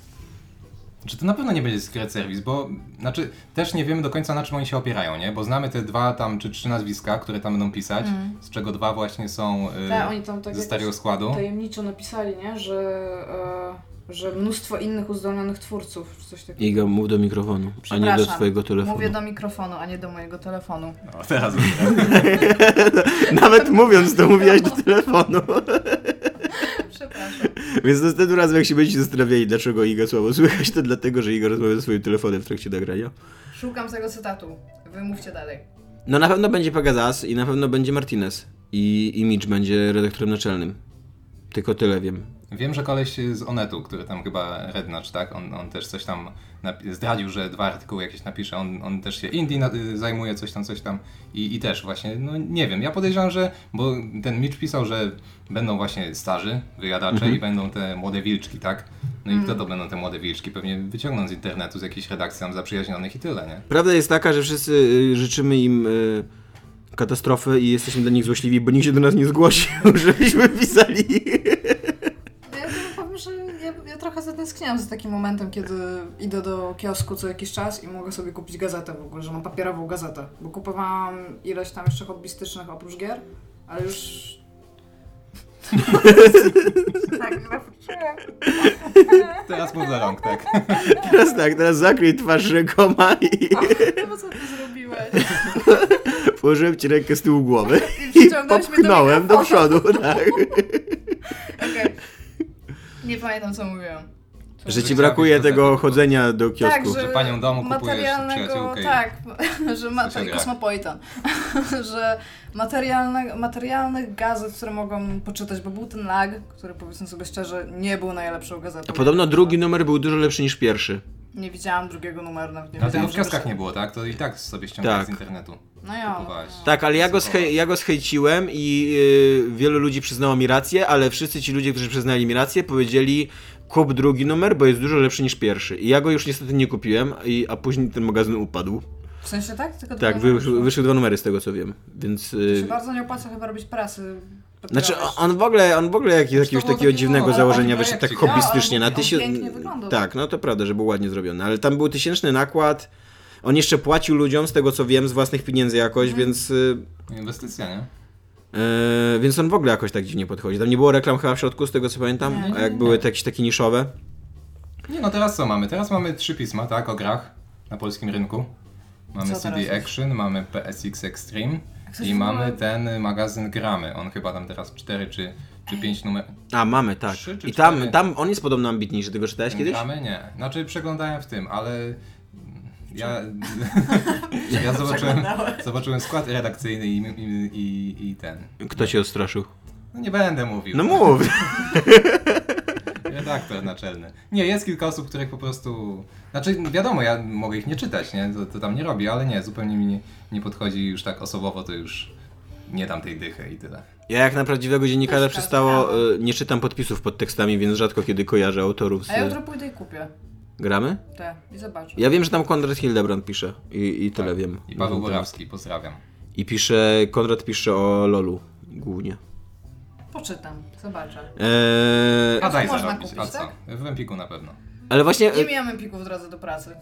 Speaker 3: Czy to na pewno nie będzie Secret Service, bo znaczy też nie wiemy do końca na czym oni się opierają, nie? Bo znamy te dwa tam czy trzy nazwiska, które tam będą pisać, z czego dwa właśnie są y,
Speaker 4: Mm. Tak, oni tam tak
Speaker 3: ze
Speaker 4: jakoś
Speaker 3: starego składu.
Speaker 4: Tajemniczo napisali, nie? Że, e, że mnóstwo innych uzdolnionych twórców, czy coś takiego.
Speaker 2: Iga, mów do mikrofonu, a nie
Speaker 4: Przepraszam,
Speaker 2: do swojego telefonu.
Speaker 4: Mówię do mikrofonu, a nie do mojego telefonu.
Speaker 3: O, teraz
Speaker 2: Nawet mówiąc to mówiłaś do telefonu.
Speaker 4: Przepraszam.
Speaker 2: Więc następnym razem jak się będziecie zastanawiali, dlaczego Iga słabo słychać, to dlatego, że Iga rozmawia ze swoim telefonem w trakcie nagrania.
Speaker 4: Szukam tego cytatu. Wy mówcie dalej.
Speaker 2: No na pewno będzie Pagazas i na pewno będzie Martinez. I, i Mitch będzie redaktorem naczelnym. Tylko tyle wiem.
Speaker 3: Wiem, że koleś z Onetu, który tam chyba Rednacz, tak? On, on też coś tam napi- zdradził, że dwa artykuły jakieś napisze. On, on też się Indie na- y, zajmuje, coś tam, coś tam. I, I też właśnie, no nie wiem. Ja podejrzewam, że. Bo ten Mitch pisał, że będą właśnie starzy wyjadacze i będą te młode wilczki, tak? No i kto to będą te młode wilczki? Pewnie wyciągną z internetu, z jakiejś redakcji tam zaprzyjaźnionych i tyle, nie?
Speaker 2: Prawda jest taka, że wszyscy y, życzymy im y,
Speaker 5: katastrofy i jesteśmy dla nich złośliwi, bo nikt się do nas nie zgłosił, żebyśmy pisali.
Speaker 4: No Ja tylko powiem, że ja, ja trochę zatęskniłam za takim momentem, kiedy idę do kiosku co jakiś czas i mogę sobie kupić gazetę w ogóle, że mam papierową gazetę. Bo kupowałam ileś tam jeszcze hobbystycznych oprócz gier, ale już... tak, zawróciłam.
Speaker 3: Teraz mów za rąk, tak.
Speaker 5: Teraz tak, teraz zakryj twarz rękoma i
Speaker 4: No co ty zrobiłeś?
Speaker 5: położyłem ci rękę z tyłu głowy
Speaker 4: I
Speaker 5: i
Speaker 4: przyciągnąłeś mnie do
Speaker 5: popchnąłem do
Speaker 4: mikrofonu.
Speaker 5: przodu, tak.
Speaker 4: Okej. Nie pamiętam, co mówiłam.
Speaker 5: Że ci brakuje tego chodzenia do
Speaker 4: Tak,
Speaker 5: kiosku.
Speaker 4: że
Speaker 3: Że panią domu kupujesz
Speaker 4: materialnego,
Speaker 3: przyjaciółkę i-
Speaker 4: tak, że ma, tak,
Speaker 3: Słyszę, jak.
Speaker 4: kosmopolitan, że materialne, materialnych gazet, które mogą poczytać, bo był ten lag, który powiedzmy sobie szczerze, nie był najlepszą gazetą.
Speaker 5: A podobno drugi numer był dużo lepszy niż pierwszy.
Speaker 4: Nie widziałam drugiego numeru, nawet nie
Speaker 3: Ale tego
Speaker 4: wiedziałam,
Speaker 3: w
Speaker 4: że
Speaker 3: kioskach
Speaker 4: wyszło.
Speaker 3: nie było, tak? To i tak sobie ściągałeś
Speaker 5: Tak.
Speaker 3: z internetu.
Speaker 4: No ja,
Speaker 3: Kupowałeś.
Speaker 5: Tak, ale ja go,
Speaker 3: Spoko.
Speaker 5: zhej, ja go zhejciłem i yy, wielu ludzi przyznało mi rację, ale wszyscy ci ludzie, którzy przyznali mi rację, powiedzieli kup drugi numer, bo jest dużo lepszy niż pierwszy. I ja go już niestety nie kupiłem, i, a później ten magazyn upadł.
Speaker 4: w sensie tak? Tylko
Speaker 5: Tak,
Speaker 4: dwa
Speaker 5: wy,
Speaker 4: numery.
Speaker 5: wyszły dwa numery z tego co wiem, więc...
Speaker 4: To
Speaker 5: Yy,
Speaker 4: się bardzo nie opłaca chyba robić prasy.
Speaker 5: znaczy
Speaker 4: papierowej.
Speaker 5: on w ogóle, on w ogóle jak, z jakiegoś
Speaker 4: było
Speaker 5: takiego
Speaker 4: takie-
Speaker 5: dziwnego
Speaker 4: ale
Speaker 5: założenia
Speaker 3: taki
Speaker 5: wyszedł tak
Speaker 3: projekcik.
Speaker 5: hobbystycznie
Speaker 4: No,
Speaker 5: na
Speaker 4: ale on
Speaker 5: tysiąc...
Speaker 4: pięknie wyglądał.
Speaker 5: Tak, no to prawda, że był ładnie zrobiony, ale tam był tysięczny nakład, on jeszcze płacił ludziom z tego co wiem z własnych pieniędzy jakoś,
Speaker 4: Mhm.
Speaker 5: więc... Yy,
Speaker 3: No, Inwestycja, nie?
Speaker 5: Yy, więc on w ogóle jakoś tak dziwnie podchodzi. Tam nie było reklam chyba w środku, z tego co pamiętam,
Speaker 4: Nie,
Speaker 5: a jak były te jakieś takie niszowe.
Speaker 3: Nie, no teraz co mamy? Teraz mamy trzy pisma, tak, o grach na polskim rynku. Mamy
Speaker 4: Co teraz
Speaker 3: CD
Speaker 4: jest?
Speaker 3: Action, mamy PSX Extreme
Speaker 4: ktoś
Speaker 3: i
Speaker 4: w ogóle-
Speaker 3: mamy ten y, magazyn Gramy. On chyba tam teraz 4 czy, czy 5 numer.
Speaker 5: A, mamy, tak.
Speaker 3: Trzy czy
Speaker 5: I tam,
Speaker 3: cztery?
Speaker 5: tam on jest podobno ambitniejszy, tego czytałeś kiedyś?
Speaker 3: Gramy nie. Znaczy przeglądałem w tym, ale ja, ja zobaczyłem,
Speaker 4: Przeglądałeś?
Speaker 3: zobaczyłem skład redakcyjny i, i, i, i ten.
Speaker 5: Kto cię odstraszył?
Speaker 3: No nie będę mówił.
Speaker 5: No mów!
Speaker 3: Redaktor naczelny. Nie, jest kilka osób, których po prostu. Znaczy, wiadomo, ja mogę ich nie czytać, nie? To, to tam nie robi, ale nie, zupełnie mi nie, nie podchodzi już tak osobowo, to już nie dam tej dychy i tyle.
Speaker 5: Ja jak na prawdziwego dziennikarza
Speaker 4: Też tak,
Speaker 5: przystało,
Speaker 4: brawo.
Speaker 5: y, nie czytam podpisów pod tekstami, więc rzadko kiedy kojarzę autorów z...
Speaker 4: A ja jutro pójdę i kupię
Speaker 5: Gramy?
Speaker 4: te i zobaczę.
Speaker 5: Ja wiem, że tam Konrad Hildebrand pisze i, i tyle wiem.
Speaker 3: Tak.
Speaker 5: No,
Speaker 3: I Paweł
Speaker 5: Na ten temat.
Speaker 3: Borowski, pozdrawiam.
Speaker 5: I pisze, Konrad pisze o Lolu głównie.
Speaker 4: Poczytam, zobaczę.
Speaker 5: Eee,
Speaker 3: A daj
Speaker 4: można
Speaker 3: zarobić, a
Speaker 4: kupić,
Speaker 3: co?
Speaker 4: tak?
Speaker 3: W Empiku na pewno.
Speaker 5: ale właśnie
Speaker 4: Nie
Speaker 5: y,
Speaker 4: miałem empików w drodze do pracy.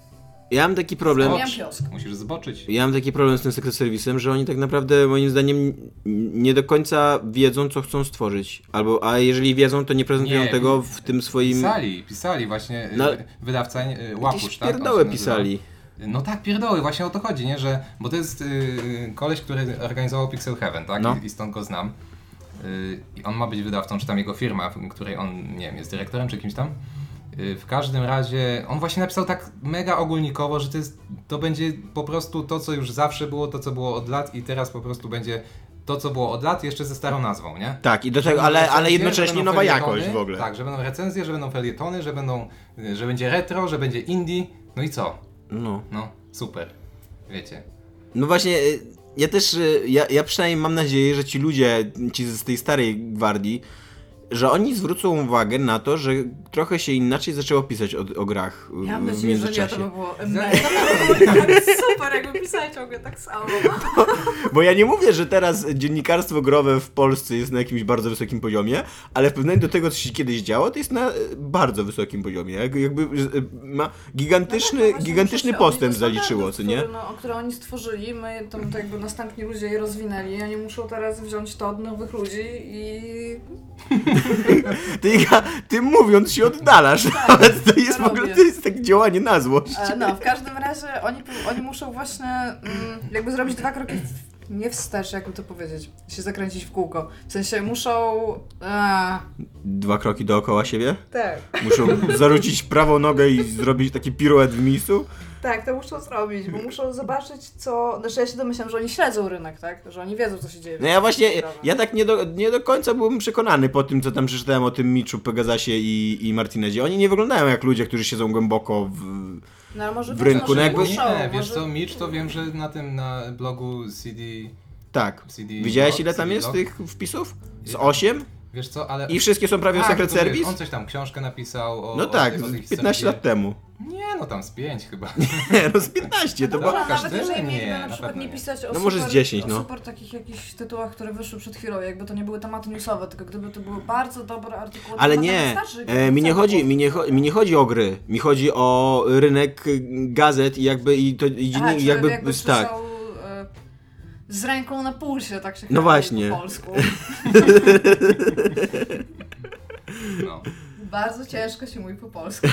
Speaker 5: ja mam taki problem...
Speaker 4: Miałam kiosk.
Speaker 3: Musisz zboczyć.
Speaker 5: Ja mam taki problem z tym Secret Service'em, że oni tak naprawdę moim zdaniem n- nie do końca wiedzą, co chcą stworzyć. Albo, a jeżeli wiedzą, to nie prezentują
Speaker 3: Nie.
Speaker 5: tego w tym swoim...
Speaker 3: Pisali, pisali właśnie y,
Speaker 5: No-
Speaker 3: wydawca y,
Speaker 5: Jakieś
Speaker 3: Łapusz, tak? On się
Speaker 5: pierdoły
Speaker 3: nazywa.
Speaker 5: pisali.
Speaker 3: No tak, pierdoły, właśnie o to chodzi, nie? Że, bo to jest yy, koleś, który organizował Pixel Heaven, tak?
Speaker 5: No.
Speaker 3: I, I stąd go znam. Yy, I on ma być wydawcą, czy tam jego firma, w której on, nie wiem, jest dyrektorem czy kimś tam. Yy, w każdym razie, on właśnie napisał tak mega ogólnikowo, że to, jest, to będzie po prostu to, co już zawsze było, to, co było od lat i teraz po prostu będzie to, co było od lat, jeszcze ze starą nazwą, nie?
Speaker 5: Tak, i do tego, ale, ale jednocześnie nowa jakość w ogóle.
Speaker 3: Tak, że będą recenzje, że będą felietony, że będą, yy, że będzie retro, że będzie indie, no i co?
Speaker 5: No.
Speaker 3: No, super. Wiecie.
Speaker 5: No właśnie, y, ja też, y, ja, ja przynajmniej mam nadzieję, że ci ludzie, ci z tej starej gwardii, że oni zwrócą uwagę na to, że trochę się inaczej zaczęło pisać o, o grach y,
Speaker 4: Ja
Speaker 5: w
Speaker 4: myślę, że nie, to
Speaker 5: międzyczasie.
Speaker 4: by było mega. To by było tak super, jakby pisali ciągle tak samo.
Speaker 5: Bo ja nie mówię, że teraz dziennikarstwo growe w Polsce jest na jakimś bardzo wysokim poziomie, ale w porównaniu do tego, co się kiedyś działo, to jest na e, bardzo wysokim poziomie. Jak- Jakby e, ma
Speaker 4: No tak,
Speaker 5: gigantyczny, gigantyczny postęp zaliczyło, co nie?
Speaker 4: Które, no, które oni stworzyli, my to, to jakby następni ludzie je rozwinęli, oni muszą teraz wziąć to od nowych ludzi i...
Speaker 5: Ty, ja, ty mówiąc się oddalasz,
Speaker 4: Tak,
Speaker 5: nawet to jest w
Speaker 4: robię.
Speaker 5: ogóle to jest tak działanie na złość.
Speaker 4: E, No, w każdym razie oni, oni muszą właśnie mm, jakby zrobić dwa kroki w, nie wstecz, jakby to powiedzieć, się zakręcić w kółko. W sensie muszą... e, A,
Speaker 5: Dwa kroki dookoła siebie?
Speaker 4: tak.
Speaker 5: Muszą zarzucić prawą nogę i zrobić taki piruet w miejscu?
Speaker 4: Tak, to muszą zrobić, bo muszą zobaczyć, co. Znaczy, ja się domyślam, że oni śledzą rynek, tak? Że oni wiedzą, co się dzieje.
Speaker 5: No ja właśnie, ja tak nie do, nie do końca byłem przekonany po tym, co tam przeczytałem o tym Miczu, Pegazasie i, i Martinezie. Oni nie wyglądają jak ludzie, którzy siedzą głęboko w...
Speaker 4: No, ale może
Speaker 5: W
Speaker 4: wiesz,
Speaker 5: rynku,
Speaker 4: może
Speaker 5: no jakby-
Speaker 4: muszą,
Speaker 3: nie, wiesz
Speaker 4: może...
Speaker 3: co, Mitch to wiem, że na tym, na blogu CD...
Speaker 5: Tak.
Speaker 3: CD
Speaker 5: Widziałeś
Speaker 3: blog,
Speaker 5: ile tam
Speaker 3: CD
Speaker 5: jest
Speaker 3: blog?
Speaker 5: tych wpisów? Z 8?
Speaker 3: Wiesz co, ale... Tak,
Speaker 5: I wszystkie są prawie o Secret
Speaker 3: to wiesz,
Speaker 5: Service?
Speaker 3: On coś tam, książkę napisał o...
Speaker 5: No
Speaker 3: o
Speaker 5: tak,
Speaker 3: tej- o tej
Speaker 5: z 15 lat
Speaker 3: historii.
Speaker 5: temu.
Speaker 3: Nie, no tam z 5 chyba.
Speaker 5: Nie, no z 15 to było...
Speaker 4: Dobra, nawet
Speaker 3: każdy?
Speaker 4: jeżeli mieliby
Speaker 3: Nie,
Speaker 4: na
Speaker 3: na
Speaker 4: przykład
Speaker 3: pewno
Speaker 4: nie
Speaker 3: nie.
Speaker 4: pisać o,
Speaker 5: No może
Speaker 4: super,
Speaker 5: z 10, no.
Speaker 4: o super takich jakichś tytułach, które wyszły przed chwilą, jakby to nie były tematy newsowe, tylko gdyby to były bardzo dobre artykuły
Speaker 5: Ale
Speaker 4: na temat
Speaker 5: nie,
Speaker 4: starszych
Speaker 5: e, mi nie
Speaker 4: celów.
Speaker 5: chodzi, mi nie, cho- mi nie chodzi o gry, mi chodzi o rynek y, gazet i jakby i to i
Speaker 4: Aha,
Speaker 5: dziennik,
Speaker 4: czyli
Speaker 5: jakby,
Speaker 4: jakby
Speaker 5: tak.
Speaker 4: słyszał, e, z ręką na pulsie, tak się
Speaker 5: No
Speaker 4: mówi
Speaker 5: właśnie.
Speaker 4: po polsku.
Speaker 3: No.
Speaker 4: Bardzo ciężko się mówi po polsku.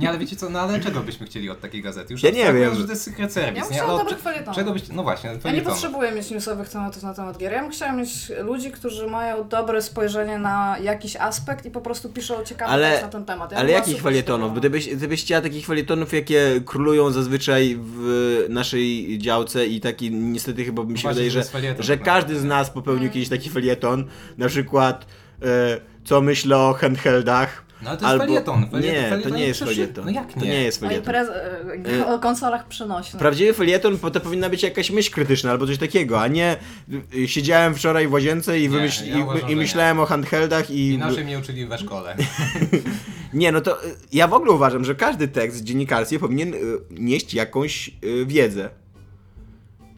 Speaker 3: Nie, ale wiecie co, no ale czego byśmy chcieli od takiej gazety? Już
Speaker 5: Ja nie
Speaker 3: abstrahując,
Speaker 5: wiem.
Speaker 3: że to jest Secret Service,
Speaker 4: Ja bym
Speaker 3: nie?
Speaker 4: chciała
Speaker 3: Ale
Speaker 4: dobrych felietonów.
Speaker 3: Czego byś... No właśnie,
Speaker 4: Ja nie
Speaker 3: felieton.
Speaker 4: potrzebuję mieć newsowych tematów na temat gier. Ja bym chciała mieć ludzi, którzy mają dobre spojrzenie na jakiś aspekt i po prostu piszą ciekawe
Speaker 5: Ale-
Speaker 4: rzeczy na ten temat. Ja bym
Speaker 5: Ale
Speaker 4: była
Speaker 5: jakich
Speaker 4: super
Speaker 5: felietonów?
Speaker 4: zadowolona.
Speaker 5: Gdybyś, gdybyś chciała takich felietonów, jakie królują zazwyczaj w naszej działce i taki niestety chyba mi się
Speaker 3: Właśnie,
Speaker 5: wydaje,
Speaker 3: że
Speaker 5: że,
Speaker 3: jest felieton,
Speaker 5: że
Speaker 3: tak
Speaker 5: każdy z nas popełnił kiedyś taki felieton, na przykład e, co myślę o handheldach.
Speaker 3: No ale to jest felieton, felieton-
Speaker 5: nie, to
Speaker 3: felieton
Speaker 5: nie
Speaker 3: nie
Speaker 5: jest
Speaker 3: przeszy-
Speaker 5: felieton.
Speaker 3: No jak
Speaker 5: To
Speaker 3: nie?
Speaker 5: nie jest
Speaker 4: O,
Speaker 5: felieton. Y-
Speaker 4: imprez, e, o konsolach przenośnych.
Speaker 5: Prawdziwy felieton po- to powinna być jakaś myśl krytyczna albo coś takiego, a nie y, y, siedziałem wczoraj w łazience i,
Speaker 3: Nie,
Speaker 5: wymyśl,
Speaker 3: ja
Speaker 5: i,
Speaker 3: uważam,
Speaker 5: i
Speaker 3: że
Speaker 5: myślałem o handheldach i...
Speaker 3: Inaczej mnie uczyli we szkole.
Speaker 5: Nie, no to y, ja w ogóle uważam, że każdy tekst dziennikarski powinien y, nieść jakąś y, wiedzę.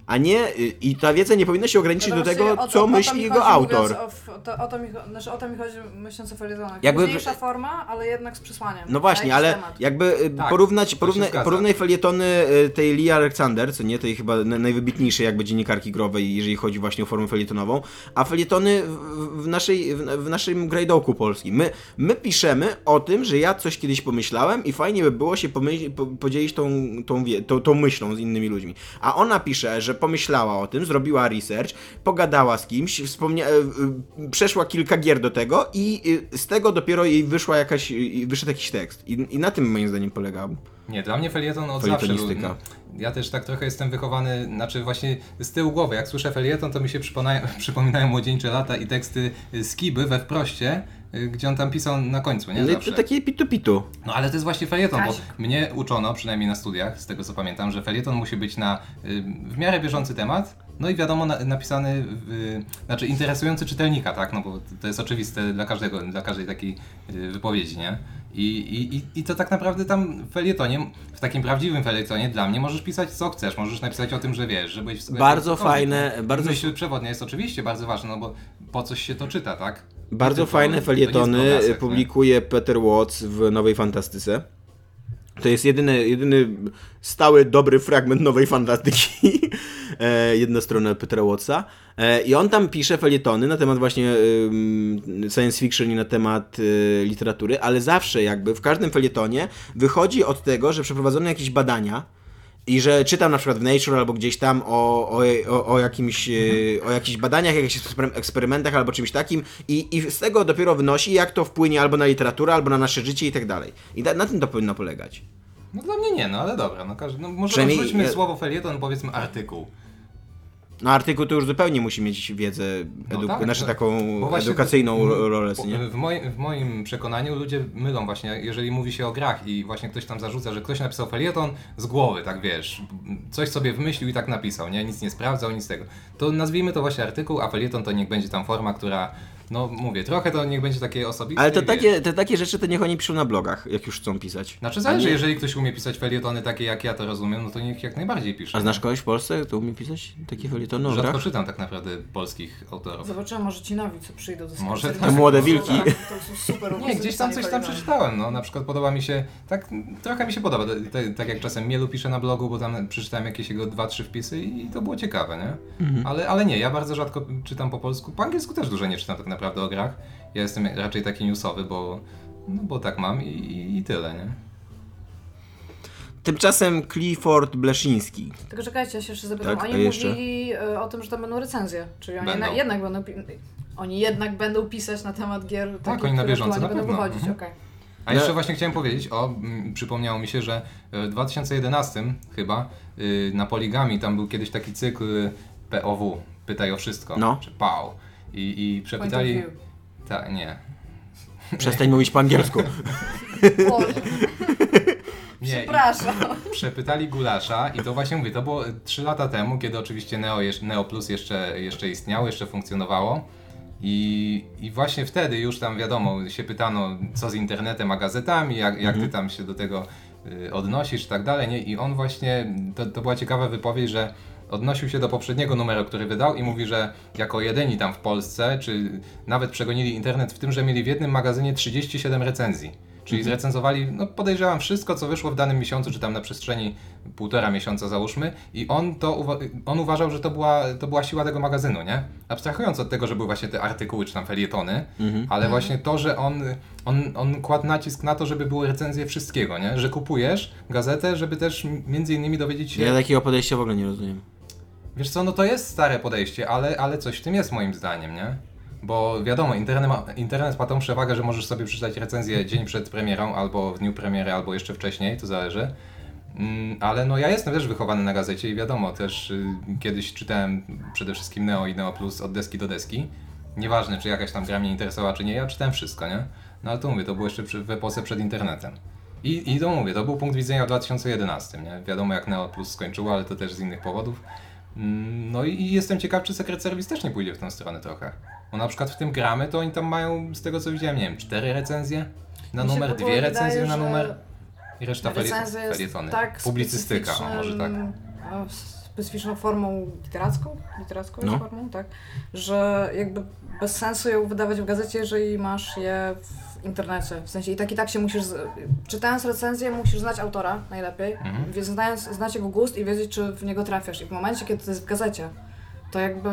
Speaker 5: A nie, y, i ta wiedza nie powinna się ograniczyć do
Speaker 4: Natomiast
Speaker 5: tego,
Speaker 4: No o to-
Speaker 5: co
Speaker 4: o to
Speaker 5: myśli
Speaker 4: mi
Speaker 5: jego
Speaker 4: chodzi,
Speaker 5: autor.
Speaker 4: mówiąc O, f- to, o, to mi, cho- znaczy, o to mi chodzi myśląc o felietonach.
Speaker 5: Jakby-
Speaker 4: Jakby... Mniejsza forma, ale jednak z przesłaniem.
Speaker 5: No właśnie,
Speaker 4: Na jakiś
Speaker 5: ale
Speaker 4: temat.
Speaker 5: jakby y,
Speaker 3: Tak,
Speaker 5: porównać,
Speaker 3: to się
Speaker 5: porównaj,
Speaker 3: zgadza.
Speaker 5: porównaj felietony y, tej Lee Alexander, co nie, tej chyba na- najwybitniejszej jakby dziennikarki growej, jeżeli chodzi właśnie o formę felietonową, a felietony w, w, naszej, w, w naszym grajdołku polskim. My, my piszemy o tym, że ja coś kiedyś pomyślałem i fajnie by było się pomyśl, po, podzielić tą, tą, wie, tą, tą myślą z innymi ludźmi. A ona pisze, że pomyślała o tym, zrobiła research, pogadała z kimś, wspomnia- y, y, przeszła kilka gier do tego i y, z tego dopiero jej wyszła jakaś, y, wyszedł jakiś tekst. I, i na tym moim zdaniem polegał.
Speaker 3: Nie, dla mnie felieton od zawsze był.
Speaker 5: Felietonistyka.
Speaker 3: Ja też tak trochę jestem wychowany, znaczy właśnie z tyłu głowy. Jak słyszę felieton, to mi się przypominają, przypominają młodzieńcze lata i teksty Skiby we wproście, y, gdzie on tam pisał na końcu, nie?
Speaker 5: No i
Speaker 3: Zawsze.
Speaker 5: to takie pitu-pitu.
Speaker 3: No ale to jest właśnie felieton, bo
Speaker 4: Kazik.
Speaker 3: mnie uczono, przynajmniej na studiach, z tego co pamiętam, że felieton musi być na y, w miarę bieżący temat, no i wiadomo na, napisany, y, znaczy interesujący czytelnika, tak? No bo to jest oczywiste dla każdego, dla każdej takiej y, wypowiedzi, nie? I, i, i- I to tak naprawdę tam w felietonie, w takim prawdziwym felietonie dla mnie możesz pisać co chcesz, możesz napisać o tym, że wiesz, że byłeś... w-
Speaker 5: Bardzo fajne, bardzo-
Speaker 3: Myśl przewodnia jest oczywiście bardzo ważna, no bo po coś się to czyta, tak?
Speaker 5: Bardzo
Speaker 3: Tylko- to
Speaker 5: fajne
Speaker 3: nie jest tak.
Speaker 5: felietony y,
Speaker 3: proglasek, nie?
Speaker 5: publikuje Peter Watts w Nowej Fantastyce. To jest jedyny, jedyny stały, dobry fragment Nowej Fantastyki. E, Jedna strona Petera Wattsa. E, I on tam pisze felietony na temat właśnie ym, science fiction i na temat y, literatury, ale zawsze jakby w każdym felietonie wychodzi od tego, że przeprowadzono jakieś badania, i że czytam na przykład w Nature albo gdzieś tam o, o, o, o, jakimś, e, o jakichś badaniach, jakichś ekspery- eksperymentach albo czymś takim i, i z tego dopiero wynosi, jak to wpłynie albo na literaturę, albo na nasze życie i tak dalej. I na, na tym to powinno polegać.
Speaker 3: No dla mnie nie, no ale dobra, no każdy, no może
Speaker 5: Przynajmniej- e,
Speaker 3: odrzućmy
Speaker 5: ja-
Speaker 3: słowo felieton, powiedzmy artykuł.
Speaker 5: No artykuł to już zupełnie musi mieć wiedzę, edu-
Speaker 3: tak,
Speaker 5: znaczy
Speaker 3: no,
Speaker 5: taką
Speaker 3: bo właśnie- Mm,
Speaker 5: edukacyjną ro- rolę,
Speaker 3: Po-
Speaker 5: nie?
Speaker 3: W, moim, w moim przekonaniu ludzie mylą właśnie, jeżeli mówi się o grach i właśnie ktoś tam zarzuca, że ktoś napisał felieton z głowy, tak wiesz, coś sobie wymyślił i tak napisał, nie, nic nie sprawdzał, nic tego. To nazwijmy to właśnie artykuł, a felieton to niech będzie tam forma, która, no mówię, trochę to niech będzie takie osobiste.
Speaker 5: Ale to
Speaker 3: wiesz.
Speaker 5: takie, te takie rzeczy to niech oni piszą na blogach, jak już chcą pisać.
Speaker 3: Znaczy zależy, jeżeli ktoś umie pisać felietony takie jak ja to rozumiem, no to niech jak najbardziej pisze.
Speaker 5: A znasz kogoś w Polsce, kto umie pisać takie felietony o
Speaker 3: Rzadko
Speaker 5: grach?
Speaker 3: czytam tak naprawdę polskich autorów.
Speaker 4: Zobaczymy, może ci nowi, co przyjdą do
Speaker 3: Może
Speaker 4: sklepu.
Speaker 3: tak.
Speaker 5: Młode wilki.
Speaker 4: To są super
Speaker 3: Nie, gdzieś tam coś tam przeczytałem, no na przykład podoba mi się, tak trochę mi się podoba, te- te- tak jak czasem Mielu pisze na blogu, bo tam przeczytałem jakieś jego dwa, trzy wpisy i to było ciekawe, nie? Ale, ale nie, ja bardzo rzadko czytam po polsku, po angielsku też dużo nie czytam tak naprawdę o grach, ja jestem raczej taki newsowy, bo, no, bo tak mam i, i, i tyle, nie?
Speaker 5: Tymczasem Clifford Bleszyński.
Speaker 4: Tylko czekajcie, ja się jeszcze zapytam.
Speaker 5: Tak, a
Speaker 4: oni
Speaker 5: jeszcze?
Speaker 4: mówili e, o tym, że tam będą recenzje. Czyli oni
Speaker 3: Będą.
Speaker 4: Na, jednak będą. Pi- oni jednak będą pisać na temat gier. Tak,
Speaker 3: oni na bieżąco, na
Speaker 4: będą
Speaker 3: pewno.
Speaker 4: wychodzić,
Speaker 3: Mhm.
Speaker 4: okej.
Speaker 3: A jeszcze właśnie chciałem powiedzieć, o, mm, przypomniało mi się, że e, w 2011 chyba y, na Poligami tam był kiedyś taki cykl y, POW, Pytaj o Wszystko,
Speaker 5: No.
Speaker 3: czy PAO. I, i
Speaker 4: Point of
Speaker 3: przepytali...
Speaker 4: view.
Speaker 3: Tak, nie.
Speaker 5: Przestań mówić po angielsku.
Speaker 4: Boże,
Speaker 3: Nie, i
Speaker 4: przepraszam.
Speaker 3: przepytali Gulasza i to właśnie mówię, to było e, 3 lata temu, kiedy oczywiście Neo, jeż- Neo Plus jeszcze, jeszcze istniało, jeszcze funkcjonowało. I, I właśnie wtedy już tam wiadomo, się pytano, co z internetem a gazetami, jak, jak ty tam się do tego y, odnosisz i tak dalej. Nie? I on właśnie, to, to była ciekawa wypowiedź, że odnosił się do poprzedniego numeru, który wydał i mówi, że jako jedyni tam w Polsce, czy nawet przegonili internet w tym, że mieli w jednym magazynie 37 recenzji. Czyli zrecenzowali, no podejrzewam, wszystko, co wyszło w danym miesiącu, czy tam na przestrzeni półtora miesiąca, załóżmy. I on to uwa- on uważał, że to była, to była siła tego magazynu, nie? Abstrahując od tego, że były właśnie te artykuły, czy tam felietony, ale właśnie to, że on, on, on kładł nacisk na to, żeby były recenzje wszystkiego, nie? Że kupujesz gazetę, żeby też m- między innymi dowiedzieć się...
Speaker 5: Ja takiego podejścia w ogóle nie rozumiem.
Speaker 3: Wiesz co, no to jest stare podejście, ale, ale coś w tym jest moim zdaniem, nie? Bo wiadomo, internet ma, internet ma tą przewagę, że możesz sobie przeczytać recenzję dzień przed premierą, albo w dniu premiery, albo jeszcze wcześniej, to zależy. Mm, ale no ja jestem też wychowany na gazecie i wiadomo, też y, kiedyś czytałem przede wszystkim Neo i Neo Plus od deski do deski. Nieważne, czy jakaś tam gra mnie interesowała, czy nie, ja czytałem wszystko, nie? No ale to mówię, to było jeszcze przy, w epoce przed internetem. I, I to mówię, to był punkt widzenia w 2011, nie? Wiadomo jak Neo Plus skończyło, ale to też z innych powodów. Mm, No i- i jestem ciekaw, czy Secret Service też nie pójdzie w tę stronę trochę. Bo na przykład w tym gramy, to oni tam mają, z tego co widziałem, nie wiem, cztery recenzje na
Speaker 4: Mi się w
Speaker 3: numer,
Speaker 4: ogóle
Speaker 3: dwie
Speaker 4: wydaje,
Speaker 3: recenzje na
Speaker 4: że
Speaker 3: numer. I reszta
Speaker 4: Recenzja
Speaker 3: feliet-
Speaker 4: jest
Speaker 3: felietony.
Speaker 4: tak
Speaker 3: Publicystyka, o, może tak.
Speaker 4: specyficznym, e, Specyficzną formą literacką, literacką
Speaker 5: No.
Speaker 4: jest formą, tak, że jakby bez sensu ją wydawać w gazecie, jeżeli masz je w internecie. W sensie i tak i tak się musisz, z- czytając recenzję musisz znać autora najlepiej,
Speaker 3: Mhm.
Speaker 4: więc znając, znać jego gust i wiedzieć, czy w niego trafiasz. I w momencie, kiedy to jest w gazecie, to jakby...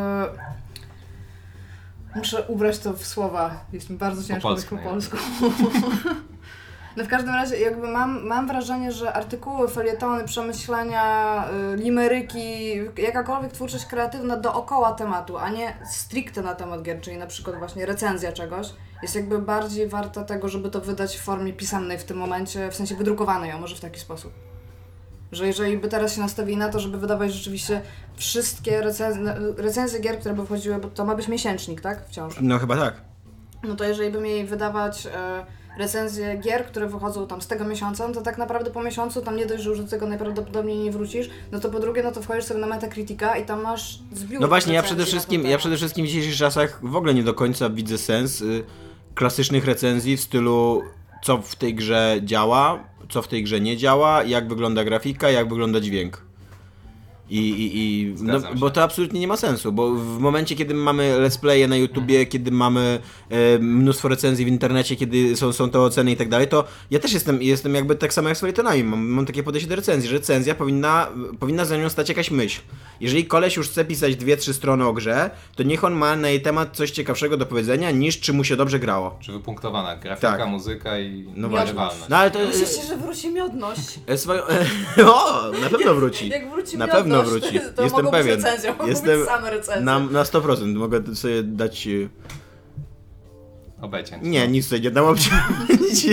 Speaker 4: Muszę ubrać to w słowa, jest mi bardzo ciężko po
Speaker 3: polsku
Speaker 4: polsku. Po
Speaker 3: najlepiej.
Speaker 4: polsku. No w każdym razie jakby mam, mam wrażenie, że artykuły, felietony, przemyślenia, y, limeryki, jakakolwiek twórczość kreatywna dookoła tematu, a nie stricte na temat gier, czyli na przykład właśnie recenzja czegoś, jest jakby bardziej warta tego, żeby to wydać w formie pisemnej w tym momencie, w sensie wydrukowanej, o może w taki sposób. Że jeżeli by teraz się nastawili na to, żeby wydawać rzeczywiście wszystkie recenzje, recenzje gier, które by wchodziły, bo to ma być miesięcznik, tak? Wciąż.
Speaker 5: No chyba tak.
Speaker 4: No to jeżeli by mieli wydawać e, recenzje gier, które wychodzą tam z tego miesiąca, no to tak naprawdę po miesiącu tam nie dość, że już do tego najprawdopodobniej nie wrócisz, no to po drugie, no to wchodzisz sobie na Metacritica i tam masz zbiór
Speaker 5: No właśnie,
Speaker 4: recenzji na
Speaker 5: ja
Speaker 4: tak?
Speaker 5: przede
Speaker 4: ten
Speaker 5: wszystkim, ja
Speaker 4: temat.
Speaker 5: przede wszystkim w dzisiejszych czasach w ogóle nie do końca widzę sens y, klasycznych recenzji w stylu co w tej grze działa, co w tej grze nie działa, jak wygląda grafika, jak wygląda dźwięk. I, i, i no,
Speaker 3: Zgadzam się.
Speaker 5: bo to absolutnie nie ma sensu, bo w momencie, kiedy mamy let's playe na YouTubie,
Speaker 3: Mhm.
Speaker 5: kiedy mamy e, mnóstwo recenzji w internecie, kiedy są, są to oceny i tak dalej, to ja też jestem, jestem jakby tak samo jak z felietonami, mam, mam takie podejście do recenzji, że recenzja powinna, powinna za nią stać jakaś myśl. Jeżeli koleś już chce pisać dwie, trzy strony o grze, to niech on ma na jej temat coś ciekawszego do powiedzenia, niż czy mu się dobrze grało.
Speaker 3: Czy wypunktowana grafika,
Speaker 5: Tak.
Speaker 3: muzyka i
Speaker 5: No
Speaker 4: właśnie.
Speaker 3: grywalność.
Speaker 5: No ale to...
Speaker 4: Myślę, się, że wróci miodność.
Speaker 5: E, swoją... o, na pewno wróci.
Speaker 4: Jak wróci
Speaker 5: na
Speaker 4: miodność,
Speaker 5: pewno wróci.
Speaker 4: to
Speaker 5: Jestem
Speaker 4: mogą
Speaker 5: pewien.
Speaker 4: Być recenzje, mogą
Speaker 5: Jestem
Speaker 4: być same recenzje.
Speaker 5: na, na 100% mogę sobie dać. e,
Speaker 3: Obecięć.
Speaker 5: Nie, nic sobie nie dam obciąć.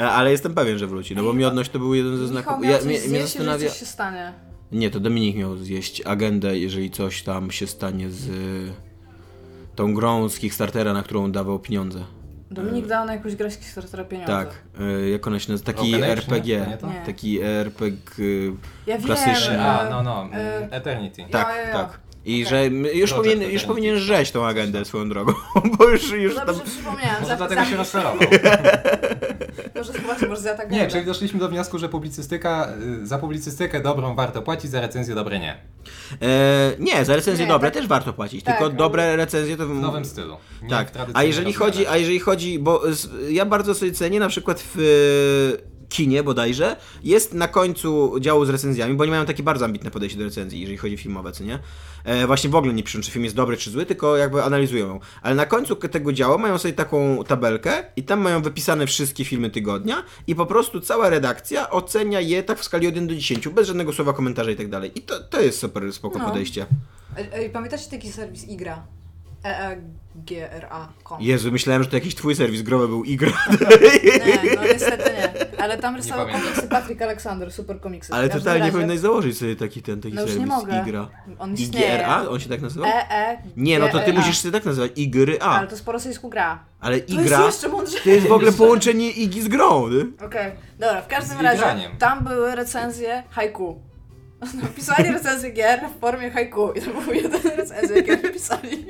Speaker 5: E, Ale jestem pewien, że wróci, no bo miodność to był jeden ze
Speaker 4: Michał
Speaker 5: znaków.
Speaker 4: miał
Speaker 5: Ja,
Speaker 4: coś
Speaker 5: mnie,
Speaker 4: zjeść,
Speaker 5: mnie
Speaker 4: jeżeli
Speaker 5: zastanawia.
Speaker 4: coś się stanie.
Speaker 5: Nie, to Dominik miał zjeść agendę, jeżeli coś tam się stanie z y, tą grą z Kickstartera, na którą dawał pieniądze.
Speaker 4: Dominik dał na jakąś grę z Kickstartera pieniądze.
Speaker 5: Mm. Tak, y, jak ona się nazywa? Taki
Speaker 3: Broken Age, nie?
Speaker 5: RPG.
Speaker 3: To nie to?
Speaker 4: Nie.
Speaker 5: Taki RPG. y,
Speaker 4: Ja wiem,
Speaker 5: Klasyczny.
Speaker 4: e,
Speaker 3: A, no, no,
Speaker 4: e,
Speaker 3: Eternity.
Speaker 5: Tak,
Speaker 4: ja, ja.
Speaker 5: tak. I że m- już,
Speaker 2: No,
Speaker 3: Project
Speaker 5: powinien, już
Speaker 3: Eternity.
Speaker 5: powinien żreć tą agendę swoją drogą, bo już, już
Speaker 4: Dobrze
Speaker 5: tam...
Speaker 4: przypomniałem.
Speaker 3: Może dlatego
Speaker 4: zapisałam.
Speaker 3: się rozczarował.
Speaker 4: Może zobaczę, może tak zaatakuję.
Speaker 3: Nie, czyli doszliśmy do wniosku, że publicystyka, y, za publicystykę dobrą warto płacić, za recenzję dobre nie.
Speaker 5: E, nie, za recenzje
Speaker 4: Nie,
Speaker 5: dobre
Speaker 4: tak-
Speaker 5: też warto płacić,
Speaker 4: tak,
Speaker 5: tylko
Speaker 4: ale-
Speaker 5: dobre recenzje to...
Speaker 3: W nowym stylu. Nie w
Speaker 5: Tak, a
Speaker 3: tradycyjnym
Speaker 5: jeżeli
Speaker 3: rozumieniu.
Speaker 5: chodzi, a jeżeli chodzi, bo s- ja bardzo sobie cenię na przykład w e, kinie bodajże, jest na końcu działu z recenzjami, bo oni mają takie bardzo ambitne podejście do recenzji, jeżeli chodzi o filmowe, co nie? E, właśnie w ogóle nie piszą, czy film jest dobry, czy zły, tylko jakby analizują ją. Ale na końcu k- tego działu mają sobie taką tabelkę i tam mają wypisane wszystkie filmy tygodnia i po prostu cała redakcja ocenia je tak w skali od 1 do 10, bez żadnego słowa komentarza i tak dalej. I to, to jest super spoko
Speaker 4: No.
Speaker 5: podejście.
Speaker 4: Ej, ej, Pamiętacie E, taki serwis IGRA? E E-E-G-R-A.com.
Speaker 5: Jezu, myślałem, że to jakiś twój serwis growy był igra.
Speaker 4: Nie, no niestety nie. Ale tam rysował
Speaker 3: pamiętam.
Speaker 4: komiksy Patrick Aleksander, super komiksy.
Speaker 5: Ale
Speaker 4: W każdym
Speaker 5: totalnie
Speaker 4: razie
Speaker 5: powinnaś założyć sobie taki ten, taki
Speaker 4: No już nie
Speaker 5: serwis
Speaker 4: mogę.
Speaker 5: Igra.
Speaker 4: On istnieje. E
Speaker 5: IGRA? On się tak nazywa?
Speaker 4: E-E.
Speaker 5: nie, no to ty
Speaker 4: G-R-A.
Speaker 5: musisz sobie tak nazywać. Igry A.
Speaker 4: Ale to jest po rosyjsku gra.
Speaker 5: Ale
Speaker 4: To jest
Speaker 5: Igra
Speaker 4: jeszcze mądrze.
Speaker 5: to jest w ogóle połączenie Igi z grą. Nie?
Speaker 4: Okej, dobra, w każdym
Speaker 3: Z
Speaker 4: razie
Speaker 3: igraniem.
Speaker 4: tam były recenzje haiku. No, pisali recenzję gier w formie haiku i to był jeden recenzję gier pisali.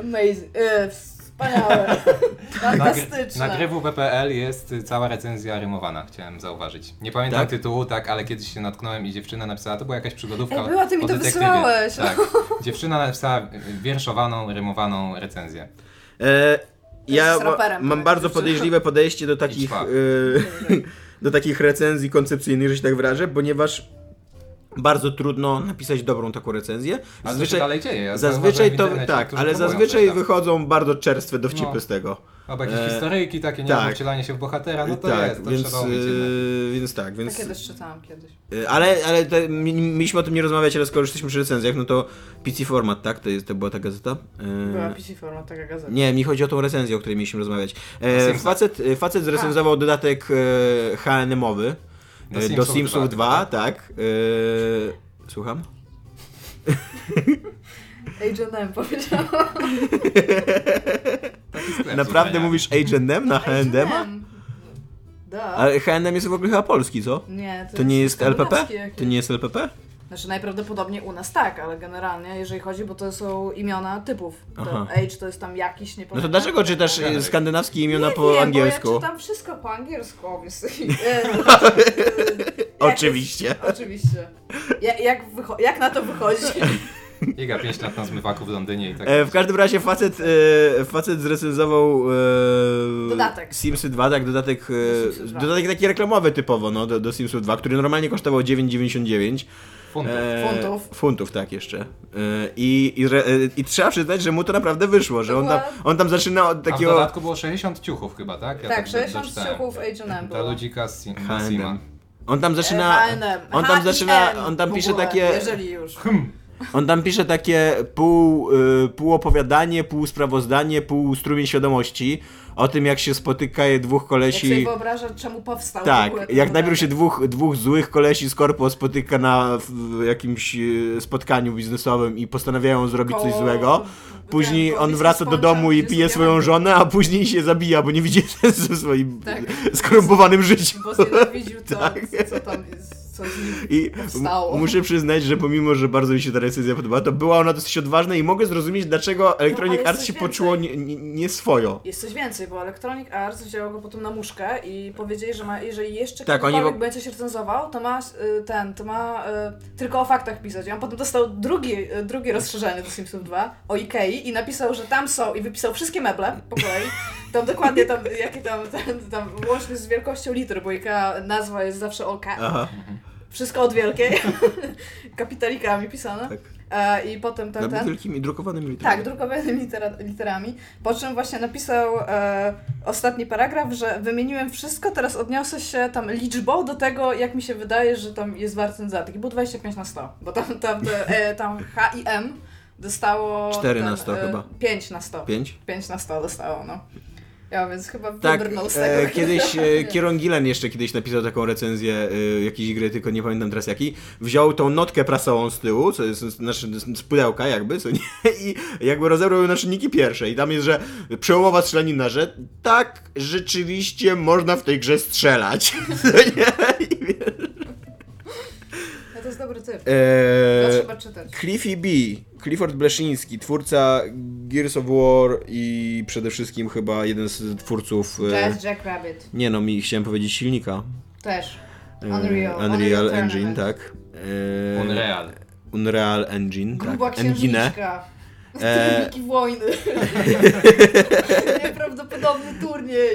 Speaker 4: Amazing. E, wspaniałe. Fantastyczne.
Speaker 3: Na GryWU.pl jest y, cała recenzja rymowana, chciałem zauważyć. Nie pamiętam
Speaker 2: Tak?
Speaker 3: tytułu, tak, ale kiedyś się natknąłem i dziewczyna napisała, to była jakaś przygodówka
Speaker 4: Ej, była, ty mi
Speaker 3: o
Speaker 4: to
Speaker 3: detektywie.
Speaker 4: wysyłałeś.
Speaker 3: Tak. Dziewczyna napisała y, wierszowaną, rymowaną recenzję.
Speaker 2: E, ja
Speaker 4: z raperem
Speaker 2: ma- mam
Speaker 4: to
Speaker 2: bardzo
Speaker 4: jest już.
Speaker 2: podejrzliwe podejście do takich,
Speaker 3: Idź, pa.
Speaker 2: e, do takich recenzji koncepcyjnych, że się tak wyrażę, ponieważ bardzo trudno napisać dobrą taką recenzję.
Speaker 3: Ale to się dalej dzieje. Ja
Speaker 2: zazwyczaj
Speaker 3: zauważyłem w
Speaker 2: to
Speaker 3: internecie,
Speaker 2: tak,
Speaker 3: niektórzy
Speaker 2: ale
Speaker 3: próbują
Speaker 2: zazwyczaj
Speaker 3: coś tam.
Speaker 2: wychodzą bardzo czerstwe dowcipy
Speaker 3: No.
Speaker 2: z tego.
Speaker 3: Albo jakieś
Speaker 2: E,
Speaker 3: historyjki takie, nie
Speaker 2: tak.
Speaker 3: wiem, wcielanie się w bohatera, no to
Speaker 2: tak,
Speaker 3: jest, to
Speaker 2: więc,
Speaker 3: trzeba umieć jednak.
Speaker 2: e, więc tak,
Speaker 4: Ja
Speaker 2: więc
Speaker 4: kiedyś czytałam kiedyś.
Speaker 2: Y, Ale, ale te, mi- mieliśmy o tym nie rozmawiać, ale skoro jesteśmy przy recenzjach, no to PC Format, tak? To, jest, to była ta gazeta? Y,
Speaker 4: Była PC Format, taka gazeta.
Speaker 2: Nie, mi chodzi o tą recenzję, o której mieliśmy rozmawiać. E,
Speaker 3: Simsach.
Speaker 2: facet, y, facet zrecenzował
Speaker 4: Tak.
Speaker 2: dodatek e, HNM-owy
Speaker 3: Do
Speaker 2: e, do
Speaker 3: Simsów
Speaker 2: Simsów 2,
Speaker 3: 2,
Speaker 2: tak? E, słucham?
Speaker 4: H&M powiedziałam.
Speaker 3: Taki sklep
Speaker 2: Naprawdę
Speaker 3: zupełnie.
Speaker 2: mówisz H&M na H&M?
Speaker 4: Da.
Speaker 2: Ale H&M jest w ogóle chyba polski, co?
Speaker 4: Nie, to,
Speaker 2: To nie jest LPP?
Speaker 4: skandynawski jakiś.
Speaker 2: To nie jest LPP?
Speaker 4: Znaczy najprawdopodobniej u nas tak, ale generalnie jeżeli chodzi, bo to są imiona typów.
Speaker 2: Aha.
Speaker 4: To Age to jest tam jakiś, nie
Speaker 2: No to
Speaker 4: pamiętam.
Speaker 2: dlaczego czytasz e, skandynawskie imiona
Speaker 4: Tak,
Speaker 2: po
Speaker 4: nie, nie, Bo ja
Speaker 2: angielsku?
Speaker 4: czytam wszystko po angielsku, więc... E,
Speaker 2: Oczywiście.
Speaker 4: Jak, oczywiście. Ja, jak, wycho- jak na to wychodzi?
Speaker 3: Iga 5 lat na zmywaku w Londynie i tak.
Speaker 2: E, w każdym razie facet, e, facet zrecenzował e,
Speaker 4: Dodatek.
Speaker 2: Simsy 2, tak, dodatek,
Speaker 4: Do
Speaker 2: e,
Speaker 4: Simsów 2.
Speaker 2: dodatek taki reklamowy typowo no, do, do Simsów 2, który normalnie kosztował 9,99
Speaker 3: Funtów.
Speaker 2: e,
Speaker 4: Funtów.
Speaker 2: Funtów, tak jeszcze. E, I, i, re- e, I trzeba przyznać, że mu to naprawdę wyszło, że on tam,
Speaker 4: Dokładnie.
Speaker 2: on tam zaczyna od
Speaker 3: A w
Speaker 2: takiego...
Speaker 3: dodatku było 60 ciuchów chyba, tak? Ja
Speaker 4: tak,
Speaker 3: do-
Speaker 4: 60
Speaker 3: doczytałem.
Speaker 4: strzechów H&M
Speaker 3: Dla
Speaker 4: było.
Speaker 3: ludzika z Sim-
Speaker 2: H&M.
Speaker 3: Sima.
Speaker 2: On tam zaczyna...
Speaker 4: H&M.
Speaker 2: On tam
Speaker 4: H&M
Speaker 2: zaczyna... On
Speaker 4: w
Speaker 2: tam pisze
Speaker 4: ogóle,
Speaker 2: takie... Hmm.
Speaker 4: Jeżeli już.
Speaker 2: On tam pisze takie pół, y, pół opowiadanie, pół sprawozdanie, pół strumień świadomości o tym, jak się spotyka je dwóch
Speaker 4: Jak sobie
Speaker 2: kolesi.
Speaker 4: wyobraża, czemu powstał w
Speaker 2: Tak,
Speaker 4: ogóle ten
Speaker 2: jak najpierw się
Speaker 4: dodatek.
Speaker 2: dwóch, dwóch złych kolesi z korpo spotyka na w jakimś y, spotkaniu biznesowym i postanawiają zrobić coś
Speaker 4: Koło-
Speaker 2: złego.
Speaker 4: ten,
Speaker 2: Później
Speaker 4: koło
Speaker 2: on
Speaker 4: disco
Speaker 2: wraca do
Speaker 4: sponge,
Speaker 2: domu i
Speaker 4: gdzie
Speaker 2: pije
Speaker 4: sobie
Speaker 2: swoją
Speaker 4: robi-
Speaker 2: żonę, a później się zabija, bo nie widzi sensu w swoim
Speaker 4: Tak.
Speaker 2: skorumpowanym życiu.
Speaker 4: Bo znienawidził to,
Speaker 2: Tak.
Speaker 4: co tam jest, co z nim
Speaker 2: I
Speaker 4: Powstało.
Speaker 2: m- muszę przyznać, że pomimo, że bardzo mi się ta recenzja podobała, to była ona dosyć odważna i mogę zrozumieć, dlaczego Electronic
Speaker 4: No, ale
Speaker 2: Arts
Speaker 4: coś
Speaker 2: się
Speaker 4: więcej.
Speaker 2: poczuło nie, nie, nie swojo.
Speaker 4: Jest coś więcej, bo Electronic Arts wzięło go potem na muszkę i powiedzieli, że ma, jeżeli jeszcze
Speaker 2: Tak,
Speaker 4: tak,
Speaker 2: oni
Speaker 4: kiedykolwiek
Speaker 2: w-
Speaker 4: będzie się recenzował, to ma y, ten, to ma y, tylko o faktach pisać. I on potem dostał drugi, y, drugie rozszerzenie do Simpsons 2 o Ikei i napisał, że tam są i wypisał wszystkie meble po kolei. Tam dokładnie tam, jakie tam, ten, tam łącznie z wielkością liter, bo Ikea nazwa jest zawsze OK.
Speaker 2: Aha,
Speaker 4: Wszystko od wielkiej. Kapitalikami pisane.
Speaker 2: tak. No,
Speaker 4: E, I potem ten,
Speaker 2: Na
Speaker 4: ten.
Speaker 2: wielkimi drukowanymi literami.
Speaker 4: Tak, drukowanymi litera literami. Po czym właśnie napisał e, ostatni paragraf, że wymieniłem wszystko, teraz odniosę się tam liczbą do tego, jak mi się wydaje, że tam jest wart ten dodatek. I było 25 na 100, bo tam, tam, te, e, tam H i M dostało...
Speaker 2: Cztery
Speaker 4: ten,
Speaker 2: na 100 chyba.
Speaker 4: 5 na 100.
Speaker 2: Pięć?
Speaker 4: 5 na 100 dostało, no. Ja więc chyba
Speaker 2: Tak,
Speaker 4: wybrnął z tego.
Speaker 2: e, kiedyś e, Kieron Gillen jeszcze kiedyś napisał taką recenzję e, jakiejś gry, tylko nie pamiętam teraz jakiej. Wziął tą notkę prasową z tyłu, co jest, znaczy z pudełka jakby, co nie, i jakby rozebrał ją na czynniki pierwsze. I tam jest, że przełomowa strzelanina, że tak rzeczywiście można w tej grze strzelać. Co nie? I wie-
Speaker 4: No to jest dobry typ. To
Speaker 3: Znaczy-
Speaker 2: E,
Speaker 4: trzeba czytać.
Speaker 2: Cliffy B, Clifford Bleszyński, twórca Gears of War i przede wszystkim chyba jeden z twórców...
Speaker 4: To
Speaker 2: E,
Speaker 4: jest Jack Rabbit.
Speaker 2: nie no, mi chciałem powiedzieć silnika.
Speaker 4: Też.
Speaker 2: E,
Speaker 4: Unreal.
Speaker 2: Unreal,
Speaker 4: Unreal
Speaker 2: Engine,
Speaker 4: Tournament.
Speaker 2: tak. E,
Speaker 3: Unreal.
Speaker 2: Unreal Engine,
Speaker 4: Gruba
Speaker 2: tak. Engine.
Speaker 4: księżniczka.
Speaker 2: E.
Speaker 4: Króliki wojny. Nieprawdopodobny turniej.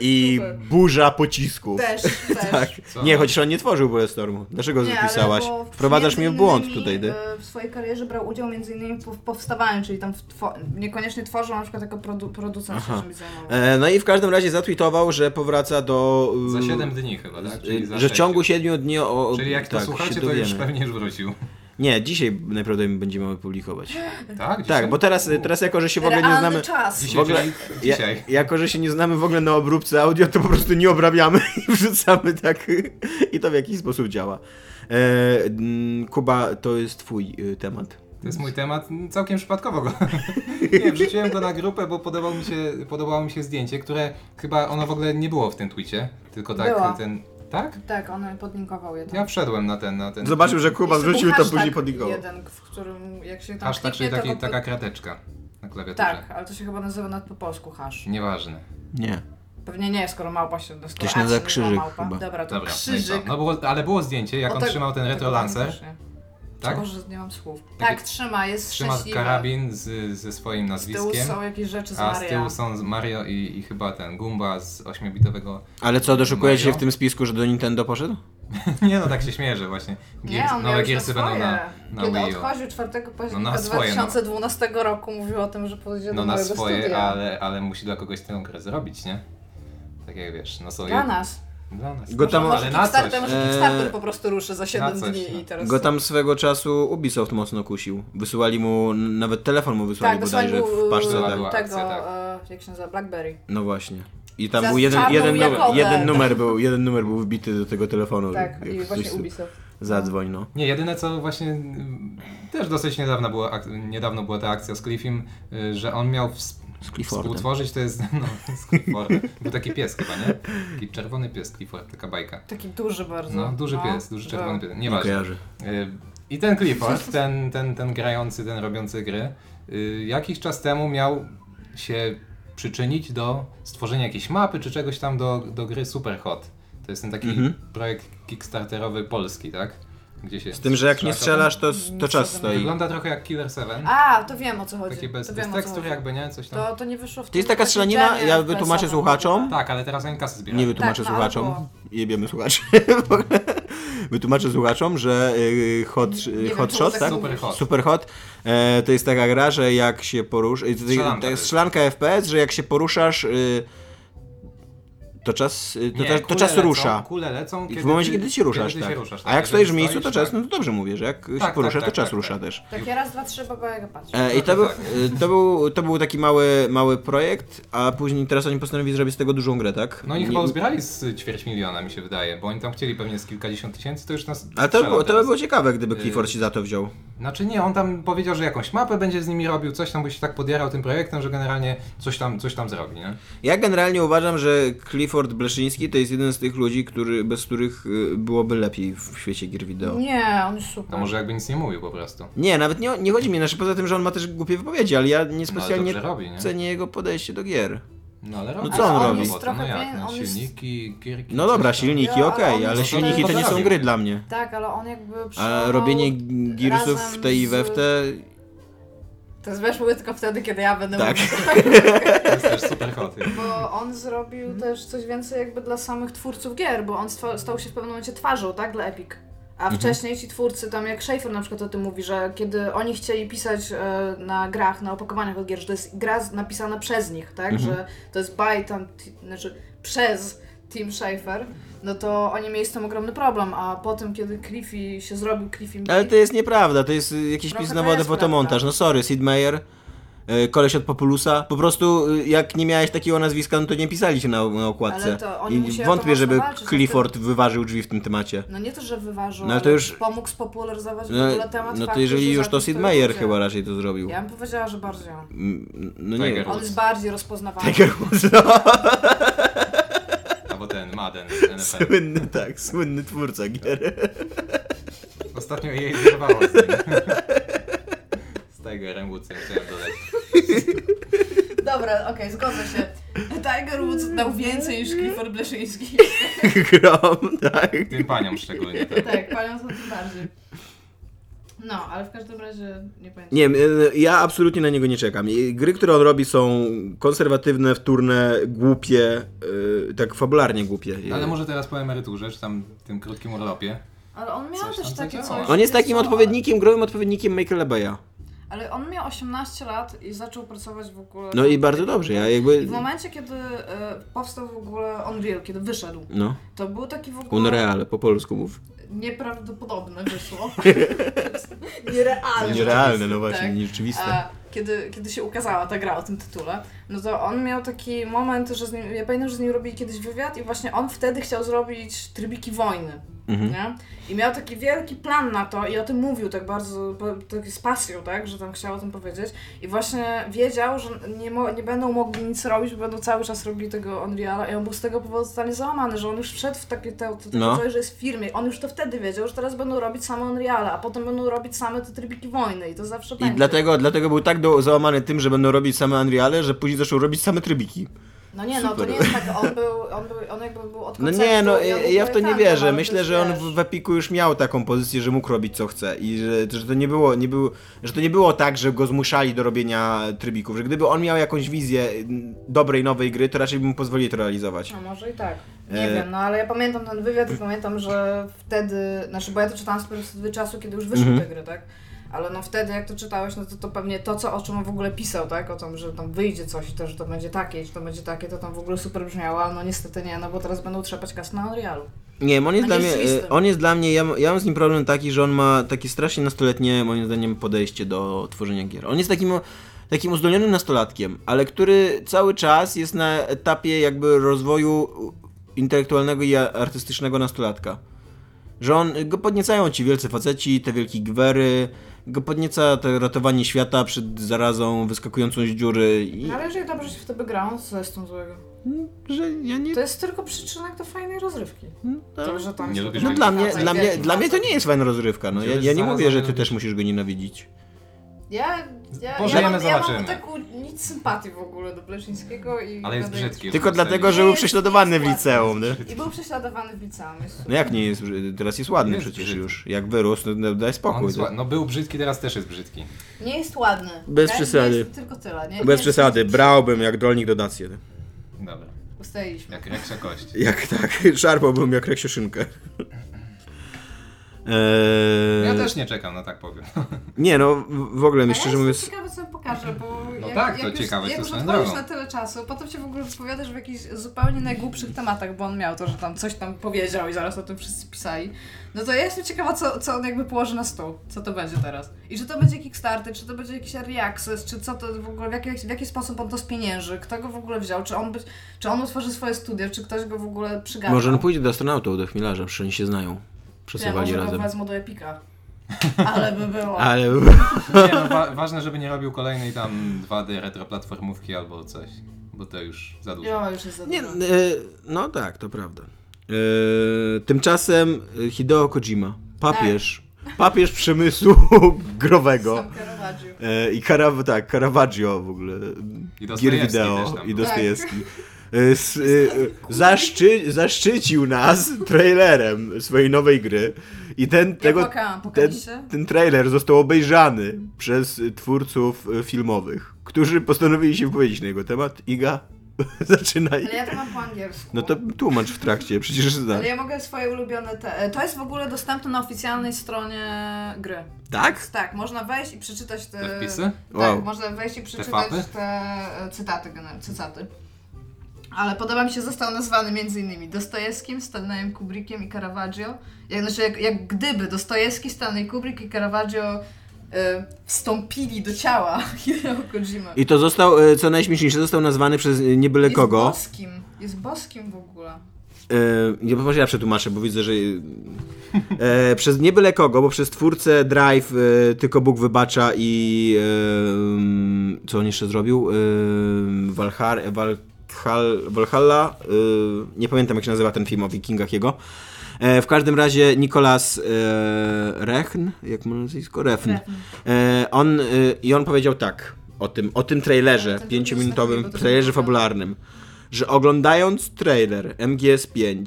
Speaker 2: I
Speaker 4: Super.
Speaker 2: burza pocisków.
Speaker 4: Też, też.
Speaker 2: Tak.
Speaker 3: Co?
Speaker 2: Nie, chociaż on nie tworzył Bulletstormu. Dlaczego
Speaker 4: Nie, ale
Speaker 2: zapisałaś?
Speaker 4: bo
Speaker 2: Wprowadzasz mnie w
Speaker 4: między
Speaker 2: błąd
Speaker 4: innymi,
Speaker 2: tutaj, ty.
Speaker 4: e, W swojej karierze brał udział między innymi w powstawaniu, czyli tam w two- niekoniecznie tworzył, na przykład jako produ producent
Speaker 2: Aha.
Speaker 4: się czymś zajmował.
Speaker 2: E, no i w każdym razie zatweetował, że powraca do... y,
Speaker 3: Za 7 dni chyba, tak? Czyli
Speaker 2: y,
Speaker 3: za
Speaker 2: że w
Speaker 3: sześć.
Speaker 2: ciągu 7 dni o... o-
Speaker 3: Czyli jak to
Speaker 2: tak,
Speaker 3: słuchacie,
Speaker 2: się
Speaker 3: to już
Speaker 2: dowiemy.
Speaker 3: pewnie już wrócił.
Speaker 2: Nie, dzisiaj najprawdopodobniej będziemy opublikować.
Speaker 3: Tak? Dzisiaj?
Speaker 2: Tak, bo teraz, teraz jako, że się w ogóle nie
Speaker 4: Realny
Speaker 2: znamy...
Speaker 4: czas.
Speaker 3: Dzisiaj,
Speaker 2: w ogóle-
Speaker 3: czyli
Speaker 2: Ja,
Speaker 3: dzisiaj.
Speaker 2: jako, że się nie znamy w ogóle na obróbce audio, to po prostu nie obrabiamy i wrzucamy tak. I to w jakiś sposób działa. E, mm, Kuba, to jest twój y, temat.
Speaker 3: To jest mój temat, m, całkiem przypadkowo go. nie, wrzuciłem go na grupę, bo podobał mi się, podobało mi się zdjęcie, które chyba ono w ogóle nie było w tym tweetie, tylko tak
Speaker 4: Było.
Speaker 3: ten. Tak?
Speaker 4: Tak, on podlinkował je tam.
Speaker 3: Ja wszedłem na ten, na ten.
Speaker 5: Zobaczył, że Kuba
Speaker 4: Jest
Speaker 5: wrzucił i
Speaker 4: taki
Speaker 5: to
Speaker 4: hashtag Tak.
Speaker 5: później podlinkował.
Speaker 4: jeden, w którym jak się tam
Speaker 3: Aż tak, czyli
Speaker 4: kliknie, to
Speaker 3: taki,
Speaker 4: go-
Speaker 3: taka krateczka na klawiaturze.
Speaker 4: Tak, ale to się chyba nazywa nawet po polsku hash.
Speaker 3: Nieważne.
Speaker 5: Nie.
Speaker 4: Pewnie nie, skoro małpa się dostała.
Speaker 5: To się nazywa krzyżyk chyba.
Speaker 4: Dobra, to
Speaker 3: Dobra, no i co?
Speaker 4: krzyżyk.
Speaker 3: No było, ale było zdjęcie, jak
Speaker 4: O,
Speaker 3: on
Speaker 4: tak-
Speaker 3: trzymał ten
Speaker 4: tego
Speaker 3: retro lancer,
Speaker 4: też nie.
Speaker 3: tak?
Speaker 4: Boże, nie mam słów.
Speaker 3: Takie-
Speaker 4: Tak, trzyma, jest
Speaker 3: Trzyma
Speaker 4: szczęśliwy.
Speaker 3: karabin z, ze swoim
Speaker 4: Z tyłu
Speaker 3: nazwiskiem.
Speaker 4: są jakieś rzeczy z
Speaker 3: A z
Speaker 4: Maria.
Speaker 3: tyłu są z Mario i, i chyba ten Goomba z 8-bitowego.
Speaker 5: Ale co, doszukujesz się
Speaker 3: Mario?
Speaker 5: w tym spisku, że do Nintendo poszedł?
Speaker 3: nie no, tak się śmieję, że właśnie
Speaker 4: Nie, on miał
Speaker 3: nowe
Speaker 4: już na
Speaker 3: Gearsy
Speaker 4: swoje.
Speaker 3: będą na, na
Speaker 4: Kiedy
Speaker 3: Wii U.
Speaker 4: odchodził 4 października
Speaker 3: No na swoje, no.
Speaker 4: 2012 roku, mówił o tym, że pójdzie
Speaker 3: No
Speaker 4: do
Speaker 3: na
Speaker 4: mojego
Speaker 3: swoje,
Speaker 4: studia.
Speaker 3: ale, ale musi dla kogoś tę grę zrobić, nie? Tak jak wiesz, no są
Speaker 4: Dla nas.
Speaker 3: Dla nas.
Speaker 5: Go tam-
Speaker 3: Może-
Speaker 4: Może
Speaker 3: ale na coś. E,
Speaker 4: Kickstarter, może
Speaker 5: Eee,
Speaker 4: Kickstarter po prostu ruszy za 7
Speaker 3: coś,
Speaker 4: dni
Speaker 3: no.
Speaker 4: i teraz...
Speaker 5: Go tam swego czasu Ubisoft mocno kusił. Wysyłali mu, n- nawet telefon mu wysłali
Speaker 4: tak,
Speaker 5: bodajże
Speaker 4: dosłownie
Speaker 5: w paczce.
Speaker 3: Była,
Speaker 5: Tak.
Speaker 3: była.
Speaker 4: tego,
Speaker 3: akcja, tak.
Speaker 4: e, jak się nazywa, Blackberry.
Speaker 5: No właśnie. I tam
Speaker 4: Za
Speaker 5: był jeden,
Speaker 4: czarną
Speaker 5: jeden, numer,
Speaker 4: Jakobę.
Speaker 5: jeden, numer był, jeden numer był wbity do tego telefonu.
Speaker 4: Tak, i
Speaker 5: jak
Speaker 4: właśnie
Speaker 5: coś-
Speaker 4: Ubisoft.
Speaker 5: Zadzwoń, no.
Speaker 3: Nie, jedyne co właśnie mm, też dosyć niedawno była, ak- niedawno była ta akcja z Cliffim, y, że on miał ws-
Speaker 5: Z Cliffordem.
Speaker 3: współtworzyć, to jest no, z Cliffordem. Był taki pies chyba, nie? Taki czerwony pies Clifford, taka bajka.
Speaker 4: Taki duży bardzo.
Speaker 3: No, duży pies, duży czerwony pies,
Speaker 5: Nie
Speaker 3: nieważne.
Speaker 5: kojarzy.
Speaker 3: Y, I ten Clifford, ten, ten, ten grający, ten robiący gry, y, jakiś czas temu miał się przyczynić do stworzenia jakiejś mapy czy czegoś tam do, do gry Superhot. To jest ten taki
Speaker 5: Mhm.
Speaker 3: projekt kickstarterowy polski, tak? Gdzie się
Speaker 5: Z tym, że jak nie
Speaker 3: strzela
Speaker 5: strzelasz, to, to czas
Speaker 3: to-
Speaker 5: stoi.
Speaker 3: Wygląda trochę jak Killer 7.
Speaker 4: A, to wiem o co chodzi.
Speaker 3: Taki bez,
Speaker 4: to
Speaker 3: bez
Speaker 4: wiem, o co
Speaker 3: tekstur
Speaker 4: chodzi.
Speaker 3: jakby, nie? Coś tam.
Speaker 4: To, to nie wyszło w
Speaker 5: To jest taka strzelanina, ja wytłumaczę słuchaczom.
Speaker 3: Tak, ale teraz oni kasy
Speaker 5: Nie
Speaker 3: zbierają.
Speaker 5: wytłumaczę
Speaker 4: Tak, no,
Speaker 5: słuchaczom.
Speaker 4: albo-
Speaker 5: Jebiemy słuchaczy. W ogóle. wytłumaczę słuchaczom, że yy, hot,
Speaker 4: Nie wiem,
Speaker 5: hot
Speaker 4: czemu
Speaker 5: shot,
Speaker 4: tak
Speaker 5: tak?
Speaker 3: Super hot.
Speaker 5: Super hot. E, to jest taka gra, że jak się y, poruszasz.
Speaker 3: Strzelanka to
Speaker 5: Strzelanka,
Speaker 3: jest.
Speaker 5: strzelanka FPS, że jak się poruszasz. y, to czas, y, to,
Speaker 3: Nie,
Speaker 5: czas- to
Speaker 3: kule
Speaker 5: czas
Speaker 3: lecą,
Speaker 5: rusza.
Speaker 3: Kule lecą,
Speaker 5: I w momencie,
Speaker 3: ty-
Speaker 5: kiedy się ruszasz,
Speaker 3: kiedy
Speaker 5: tak.
Speaker 3: Się ruszasz
Speaker 5: A jak
Speaker 3: Jeżeli
Speaker 5: stoisz w miejscu, to
Speaker 3: stoisz,
Speaker 5: czas, no to dobrze mówię, że jak się
Speaker 3: tak,
Speaker 5: poruszasz, to
Speaker 3: tak,
Speaker 5: czas
Speaker 3: tak,
Speaker 5: rusza
Speaker 3: tak.
Speaker 5: też.
Speaker 4: Takie raz, dwa, trzy, baba Jaga patrzy.
Speaker 5: E, I to
Speaker 3: Tak,
Speaker 5: był,
Speaker 3: tak.
Speaker 5: y, to, był, to był taki mały, mały projekt, a później teraz oni postanowili zrobić z tego dużą grę, tak?
Speaker 3: No oni
Speaker 5: Nie-
Speaker 3: chyba uzbierali z ćwierć miliona, mi się wydaje, bo oni tam chcieli pewnie z kilkadziesiąt tysięcy, to już nas
Speaker 5: Ale to, by
Speaker 3: strzelał
Speaker 5: było- to by
Speaker 3: teraz.
Speaker 5: było ciekawe, gdyby Clifford się za to wziął.
Speaker 3: Znaczy nie, on tam powiedział, że jakąś mapę będzie z nimi robił, coś tam, bo się tak podjarał tym projektem, że generalnie coś tam, coś tam zrobi, nie?
Speaker 5: Ja generalnie uważam, że Clifford Bleszyński to jest jeden z tych ludzi, który, bez których y, byłoby lepiej w świecie gier wideo. Nie.
Speaker 4: Nie, on jest super.
Speaker 3: No może jakby nic nie mówił po prostu. No,
Speaker 5: nawet nie, nie chodzi mi, znaczy poza tym, że on ma też głupie wypowiedzi, ale ja niespecjalnie
Speaker 3: No, dobrze robi, nie?
Speaker 5: cenię jego podejście do gier.
Speaker 3: No ale robi.
Speaker 5: co on
Speaker 3: Ale
Speaker 5: robi?
Speaker 3: robotę,
Speaker 4: jest trochę
Speaker 3: No jak,
Speaker 4: pien-
Speaker 3: no,
Speaker 4: on jest-
Speaker 3: silniki, gierki.
Speaker 5: No
Speaker 3: coś
Speaker 5: dobra,
Speaker 3: tam.
Speaker 5: silniki,
Speaker 4: Ja, ale
Speaker 5: okej,
Speaker 4: on jest-
Speaker 5: ale
Speaker 4: No to
Speaker 5: silniki to nie są
Speaker 3: poprawił.
Speaker 5: gry dla mnie.
Speaker 4: Tak, ale on jakby
Speaker 5: A
Speaker 4: przyjmował
Speaker 5: E, robienie girsów w tej i
Speaker 4: razem
Speaker 5: we w
Speaker 4: z-
Speaker 5: te...
Speaker 4: To jest wiesz, mówię tylko wtedy, kiedy ja będę
Speaker 5: Tak.
Speaker 4: mówił.
Speaker 3: To jest też super hot.
Speaker 4: Bo on zrobił
Speaker 5: Mhm.
Speaker 4: też coś więcej jakby dla samych twórców gier, bo on stwa- stał się w pewnym momencie twarzą, tak, dla Epic. A
Speaker 5: Mhm.
Speaker 4: wcześniej ci twórcy, tam jak Schaefer na przykład o tym mówi, że kiedy oni chcieli pisać e, na grach, na opakowaniach od gier, że to jest gra z- napisana przez nich, tak,
Speaker 5: Mhm.
Speaker 4: że to jest by tam, t- znaczy przez Team Schaefer, no to oni mieli z tym ogromny problem, a potem kiedy Cliffy się zrobił Cliffy Bee-
Speaker 5: Ale to jest nieprawda, to jest y, jakiś
Speaker 4: Trochę
Speaker 5: pis
Speaker 4: to
Speaker 5: na wodę
Speaker 4: jest
Speaker 5: fotomontaż.
Speaker 4: prawda.
Speaker 5: No sorry, Sid Meier, y, koleś od Populusa. Po prostu y, jak nie miałeś takiego nazwiska, no to nie pisali się na, na okładce.
Speaker 4: Ale to oni
Speaker 5: I
Speaker 4: musieli
Speaker 5: wątpię,
Speaker 4: to
Speaker 5: żeby
Speaker 4: mocno walczyć,
Speaker 5: Clifford wyważył drzwi w tym temacie.
Speaker 4: No nie to, że wyważył,
Speaker 5: No ale
Speaker 4: ale
Speaker 5: to już-
Speaker 4: pomógł spopularyzować w
Speaker 5: No,
Speaker 4: ogóle temat
Speaker 5: no to
Speaker 4: faktu,
Speaker 5: jeżeli
Speaker 4: że
Speaker 5: już
Speaker 4: za
Speaker 5: to
Speaker 4: tym
Speaker 5: Sid
Speaker 4: stoi
Speaker 5: Meier
Speaker 4: ludzie.
Speaker 5: chyba raczej to zrobił.
Speaker 4: Ja bym powiedziała, że bardziej on.
Speaker 5: Mm, No nie
Speaker 3: Tiger
Speaker 5: wiem.
Speaker 4: On jest bardziej rozpoznawalny.
Speaker 5: Tiger Woods, no,
Speaker 3: Albo ten Madden z NFL.
Speaker 5: słynny, tak, słynny twórca gier.
Speaker 3: Ostatnio jej zerwało z nim. Z Tigerem Woodsem chciałem dodać.
Speaker 4: Dobra, okej, zgodzę się. Tiger Woods dał więcej niż Clifford Bleszyński.
Speaker 5: Grom, tak.
Speaker 3: Tym paniom szczególnie. Tak.
Speaker 4: tak, panią są tym bardziej. No, ale w każdym razie nie pamiętam.
Speaker 5: Nie wiem, y, ja absolutnie na niego nie czekam. I Gry, które on robi są konserwatywne, wtórne, głupie, y, tak fabularnie głupie. Y,
Speaker 3: Ale może teraz po emeryturze, czy tam tym krótkim urlopie.
Speaker 4: Ale on miał
Speaker 3: Coś tam
Speaker 4: też takie
Speaker 3: zadziałało.
Speaker 4: coś.
Speaker 5: On jest takim
Speaker 4: co-
Speaker 5: odpowiednikiem, growym odpowiednikiem Michaela Bay'a.
Speaker 4: Ale on miał 18 lat i zaczął pracować w ogóle.
Speaker 5: No i bardzo dobrze, ja jakby...
Speaker 4: I w momencie, kiedy e, powstał w ogóle Unreal, kiedy wyszedł,
Speaker 5: No,
Speaker 4: to był taki w ogóle
Speaker 5: Unreal, po polsku mów.
Speaker 4: nieprawdopodobne wyszło. Nierealne.
Speaker 5: Nierealne, no
Speaker 4: Tak.
Speaker 5: właśnie, nierzeczywiste.
Speaker 4: A kiedy, kiedy się ukazała ta gra o tym tytule, no to on miał taki moment, że z nim, ja pamiętam, że z nim robili kiedyś wywiad i właśnie on wtedy chciał zrobić trybiki wojny.
Speaker 5: Mhm.
Speaker 4: nie? I miał taki wielki plan na to i o tym mówił tak bardzo, po- tak z pasją, tak, że tam chciał o tym powiedzieć i właśnie wiedział, że nie, mo- nie będą mogli nic robić, bo będą cały czas robili tego Unreala i on był z tego powodu totalnie załamany, że on już wszedł w takie te, to, to,
Speaker 5: No.
Speaker 4: coś, że jest w firmie, on już to wtedy wiedział, że teraz będą robić same Unreala, a potem będą robić same te trybiki wojny i to zawsze
Speaker 5: I
Speaker 4: będzie.
Speaker 5: dlatego, dlatego był tak do, załamany tym, że będą robić same Unreale, że później zaczął robić same trybiki.
Speaker 4: No nie, no to
Speaker 5: Super.
Speaker 4: nie jest tak, on był, on, był, on jakby był od
Speaker 5: No
Speaker 4: konceptu
Speaker 5: nie, no
Speaker 4: i on
Speaker 5: ja,
Speaker 4: był
Speaker 5: ja w to nie
Speaker 4: projektantem,
Speaker 5: wierzę.
Speaker 4: ale
Speaker 5: Myślę,
Speaker 4: też
Speaker 5: że on
Speaker 4: tak wiesz.
Speaker 5: w, w Epiku już miał taką pozycję, że mógł robić co chce i że, że to nie było, nie było, że to nie było tak, że go zmuszali do robienia trybików, że gdyby on miał jakąś wizję mm, dobrej, nowej gry, to raczej by mu pozwolili to realizować.
Speaker 4: No może i tak. Nie
Speaker 5: E,
Speaker 4: wiem, no ale ja pamiętam ten wywiad i pamiętam, że wtedy, znaczy bo ja to czytałam z perspektywy czasu, kiedy już wyszły
Speaker 5: Mhm.
Speaker 4: te gry, tak? Ale no wtedy jak to czytałeś, no to, to pewnie to, co, o czym on w ogóle pisał, tak? O tym, że tam wyjdzie coś i to, że to będzie takie, i że to będzie takie, to tam w ogóle super brzmiało, ale no niestety nie, no bo teraz będą trzepać kas na Unrealu.
Speaker 5: Nie wiem, on jest,
Speaker 4: A
Speaker 5: dla
Speaker 4: nie
Speaker 5: mnie,
Speaker 4: rzeczywistym.
Speaker 5: e, on jest dla mnie, ja, m- ja mam z nim problem taki, że on ma takie strasznie nastoletnie, moim zdaniem, podejście do tworzenia gier. On jest takim, takim uzdolnionym nastolatkiem, ale który cały czas jest na etapie jakby rozwoju intelektualnego i a- artystycznego nastolatka. Że on, go podniecają ci wielcy faceci, te wielkie gwery, go podnieca to ratowanie świata przed zarazą wyskakującą z dziury i Mm,
Speaker 4: No ale jeżeli dobrze się w to by grało, co jest tym złego?
Speaker 5: że ja nie... Mm,
Speaker 4: To jest tylko przyczynek do fajnej rozgrywki. To, że tam
Speaker 3: Nie
Speaker 4: się
Speaker 3: lubisz
Speaker 5: No
Speaker 4: potrafi
Speaker 5: dla mnie,
Speaker 4: wracać,
Speaker 5: dla, mnie,
Speaker 4: wiesz,
Speaker 5: dla mnie to nie jest fajna rozrywka. No. Ja, ja nie mówię, że ty też musisz go nienawidzić.
Speaker 4: Ja, ja, ja,
Speaker 3: Pożyjemy,
Speaker 4: mam, ja mam
Speaker 3: zobaczymy.
Speaker 4: taką nic sympatii w ogóle do Bleszyńskiego i...
Speaker 3: Ale jest
Speaker 4: gadaję-
Speaker 3: brzydki.
Speaker 5: Tylko dlatego, że
Speaker 4: Nie
Speaker 5: był
Speaker 4: jest
Speaker 5: prześladowany w
Speaker 4: ładny.
Speaker 5: liceum. Nie?
Speaker 4: I był prześladowany w liceum. jest-
Speaker 5: No jak nie jest? Teraz jest ładny
Speaker 3: Jest
Speaker 5: przecież
Speaker 3: brzydki.
Speaker 5: już. Jak wyrósł, no, no, daj
Speaker 3: On
Speaker 5: spokój.
Speaker 3: jest,
Speaker 5: tak?
Speaker 3: ła- no był brzydki, teraz też jest brzydki.
Speaker 4: Nie jest ładny.
Speaker 5: Bez
Speaker 4: tak?
Speaker 5: przesady.
Speaker 4: Jest tylko tyle, nie?
Speaker 5: Bez
Speaker 4: Jest-
Speaker 5: przesady, brałbym jak dolnik dotację.
Speaker 3: Dobra,
Speaker 4: Ustaliliśmy.
Speaker 3: jak reksza kość.
Speaker 5: Jak tak, szarpałbym jak reksioszynkę. Eee,
Speaker 3: Ja też nie czekam, no tak powiem.
Speaker 5: Nie no, w- w ogóle
Speaker 4: A
Speaker 5: mi
Speaker 4: ja
Speaker 5: szczerze
Speaker 4: jestem
Speaker 5: mówiąc...
Speaker 4: ciekawa, co pokażę, bo
Speaker 3: No
Speaker 4: jak,
Speaker 3: tak, to
Speaker 4: jak
Speaker 3: ciekawe,
Speaker 4: już,
Speaker 3: co
Speaker 4: jak już
Speaker 3: swoją
Speaker 4: odchodzisz
Speaker 3: drogą.
Speaker 4: na tyle czasu, potem się w ogóle wypowiadasz w jakichś zupełnie najgłupszych tematach, bo on miał to, że tam coś tam powiedział i zaraz o tym wszyscy pisali. No to ja jestem ciekawa, co, co on jakby położy na stół, co to będzie teraz. I czy to będzie Kickstarter, czy to będzie jakiś Early Access, czy co to w ogóle, w jaki, w jaki sposób on to spienięży, kto go w ogóle wziął, czy on, być, czy on utworzy swoje studia, czy ktoś go w ogóle przygarnął.
Speaker 5: Może on pójdzie do astronautów, do chmilarza, przecież oni się znają.
Speaker 4: Ja
Speaker 5: Przesuwali
Speaker 4: może go
Speaker 5: razem.
Speaker 4: wezmą do Epika. Ale by było.
Speaker 5: Ale...
Speaker 3: Nie, no, wa- ważne, żeby nie robił kolejnej tam 2D retroplatformówki albo coś, bo to już za dużo.
Speaker 4: Ja już jest za
Speaker 5: Nie,
Speaker 4: dużo.
Speaker 5: e, no tak, to prawda. E, tymczasem e, Hideo Kojima, papież,
Speaker 4: Tak.
Speaker 5: papież przemysłu growego
Speaker 4: Sam Caravaggio.
Speaker 5: e, i Karaw, tak, Caravaggio w ogóle,
Speaker 3: I Dostojewski
Speaker 5: gier
Speaker 3: też
Speaker 5: wideo
Speaker 3: tam
Speaker 5: i
Speaker 3: był.
Speaker 5: Dostojewski.
Speaker 4: Tak.
Speaker 5: E, s- e, zaszczy, zaszczycił nas trailerem swojej nowej gry i ten,
Speaker 4: Ja
Speaker 5: tego,
Speaker 4: płakałam,
Speaker 5: ten,
Speaker 4: pokaliście?
Speaker 5: ten trailer został obejrzany przez twórców e, filmowych, którzy postanowili się wypowiedzieć na jego temat. Iga, zaczynaj.
Speaker 4: Ale ja to mam po angielsku.
Speaker 5: No to tłumacz w trakcie, przecież znam.
Speaker 4: Ale ja mogę swoje ulubione te... e, To jest w ogóle dostępne na oficjalnej stronie gry.
Speaker 5: Tak?
Speaker 4: Tak, można wejść i przeczytać te...
Speaker 3: Te wpisy?
Speaker 4: Tak,
Speaker 5: Wow.
Speaker 4: można wejść i przeczytać
Speaker 3: fapy?
Speaker 4: te, e, cytaty, gener- cytaty. Ale podoba mi się, został nazwany między innymi Dostojewskim, Stanleyem Kubrickiem i Caravaggio. Jak, znaczy, jak, jak gdyby Dostojewski, Stanley Kubrick i Caravaggio e, wstąpili do ciała Hideo Kojima.
Speaker 5: I to został, e, co najśmieszniejsze, został nazwany przez e, nie byle
Speaker 4: Jest
Speaker 5: kogo.
Speaker 4: boskim. Jest boskim w ogóle.
Speaker 5: E, Nie, może ja przetłumaczę, bo widzę, że... E, przez nie byle kogo, bo przez twórcę Drive e, tylko Bóg wybacza i... E, co on jeszcze zrobił? E, Valhar, Valhal, Valhalla? E, nie pamiętam jak się nazywa ten film o wikingach jego. E, w każdym razie Nikolas e, Rechn, jak ma nazwisko? Refn.
Speaker 4: Refn.
Speaker 5: E, on, e, I on powiedział tak o tym, o tym trailerze,
Speaker 4: Tak, ten
Speaker 5: pięciominutowym
Speaker 4: trailer jest taki, bo to
Speaker 5: trailerze
Speaker 4: wygląda.
Speaker 5: fabularnym, że oglądając trailer MGS5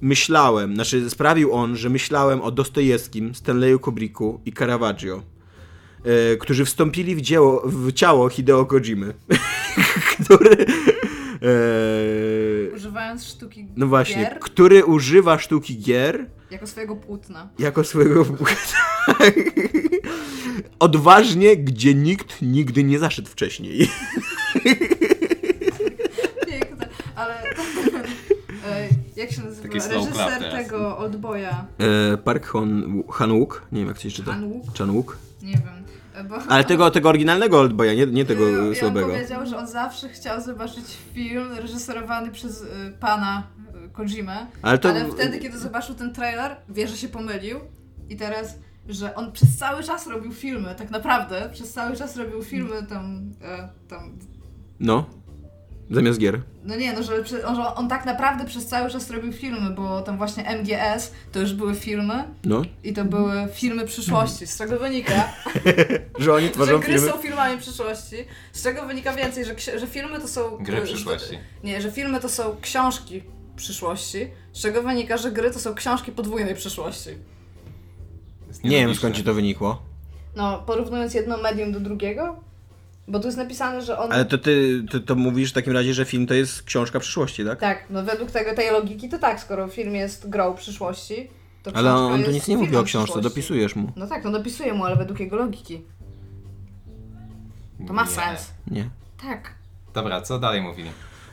Speaker 5: myślałem, znaczy sprawił on, że myślałem o Dostojewskim, Stanleyu Kubricku i Caravaggio, e, którzy wstąpili w, dzieło, w ciało Hideo Kojimy, który... E,
Speaker 4: Używając sztuki
Speaker 5: no właśnie,
Speaker 4: gier
Speaker 5: który używa sztuki gier
Speaker 4: jako swojego płótna.
Speaker 5: jako swojego odważnie, gdzie nikt nigdy nie zaszedł wcześniej.
Speaker 4: Piękne, ale e, jak się nazywa?
Speaker 3: Taki slow clap
Speaker 4: Reżyser
Speaker 3: teraz.
Speaker 4: tego Oldboya,
Speaker 5: E, Park Hon, Hanuk, nie wiem jak się czyta.
Speaker 4: Han Wook?
Speaker 5: Chanuk.
Speaker 4: nie wiem. e, Bo,
Speaker 5: Ale tego, tego oryginalnego Oldboya, nie, nie tego
Speaker 4: I
Speaker 5: e,
Speaker 4: on
Speaker 5: słabego.
Speaker 4: powiedział, że on zawsze chciał zobaczyć film reżyserowany przez e, pana e, Kojimę,
Speaker 5: Ale
Speaker 4: ale,
Speaker 5: to-
Speaker 4: wtedy, kiedy zobaczył ten trailer, wie, że się pomylił i teraz, że on przez cały czas robił filmy, tak naprawdę, przez cały czas robił filmy tam, e, tam
Speaker 5: No. Zamiast gier.
Speaker 4: no nie, no że, prze- on- że on tak naprawdę przez cały czas robił filmy, bo tam właśnie MGS to już były filmy
Speaker 5: No.
Speaker 4: i to były filmy przyszłości, z czego wynika,
Speaker 5: Że oni
Speaker 4: że
Speaker 5: tworzą
Speaker 4: gry
Speaker 5: filmy.
Speaker 4: są filmami przyszłości, z czego wynika więcej, że, ksi- że filmy to są... e,
Speaker 3: Gry
Speaker 4: że-
Speaker 3: przyszłości.
Speaker 4: Nie, że filmy to są książki przyszłości, z czego wynika, że gry to są książki podwójnej przyszłości.
Speaker 3: Jest
Speaker 5: Nie wiem
Speaker 3: nielogiczne.
Speaker 5: skąd ci to wynikło.
Speaker 4: No, porównując jedno medium do drugiego, bo tu jest napisane, że on...
Speaker 5: Ale to ty to, to mówisz w takim razie, że film to jest książka przyszłości, tak?
Speaker 4: Tak, no według tego, tej logiki to tak, skoro film jest grą przyszłości, to
Speaker 5: Ale
Speaker 4: książka
Speaker 5: on tu
Speaker 4: jest
Speaker 5: nic nie mówi
Speaker 4: filmem
Speaker 5: o książce,
Speaker 4: przyszłości.
Speaker 5: dopisujesz mu.
Speaker 4: No tak, no dopisuję mu, ale według jego logiki. To ma
Speaker 3: Nie.
Speaker 4: sens.
Speaker 5: Nie.
Speaker 4: Tak.
Speaker 3: Dobra, co dalej mówili?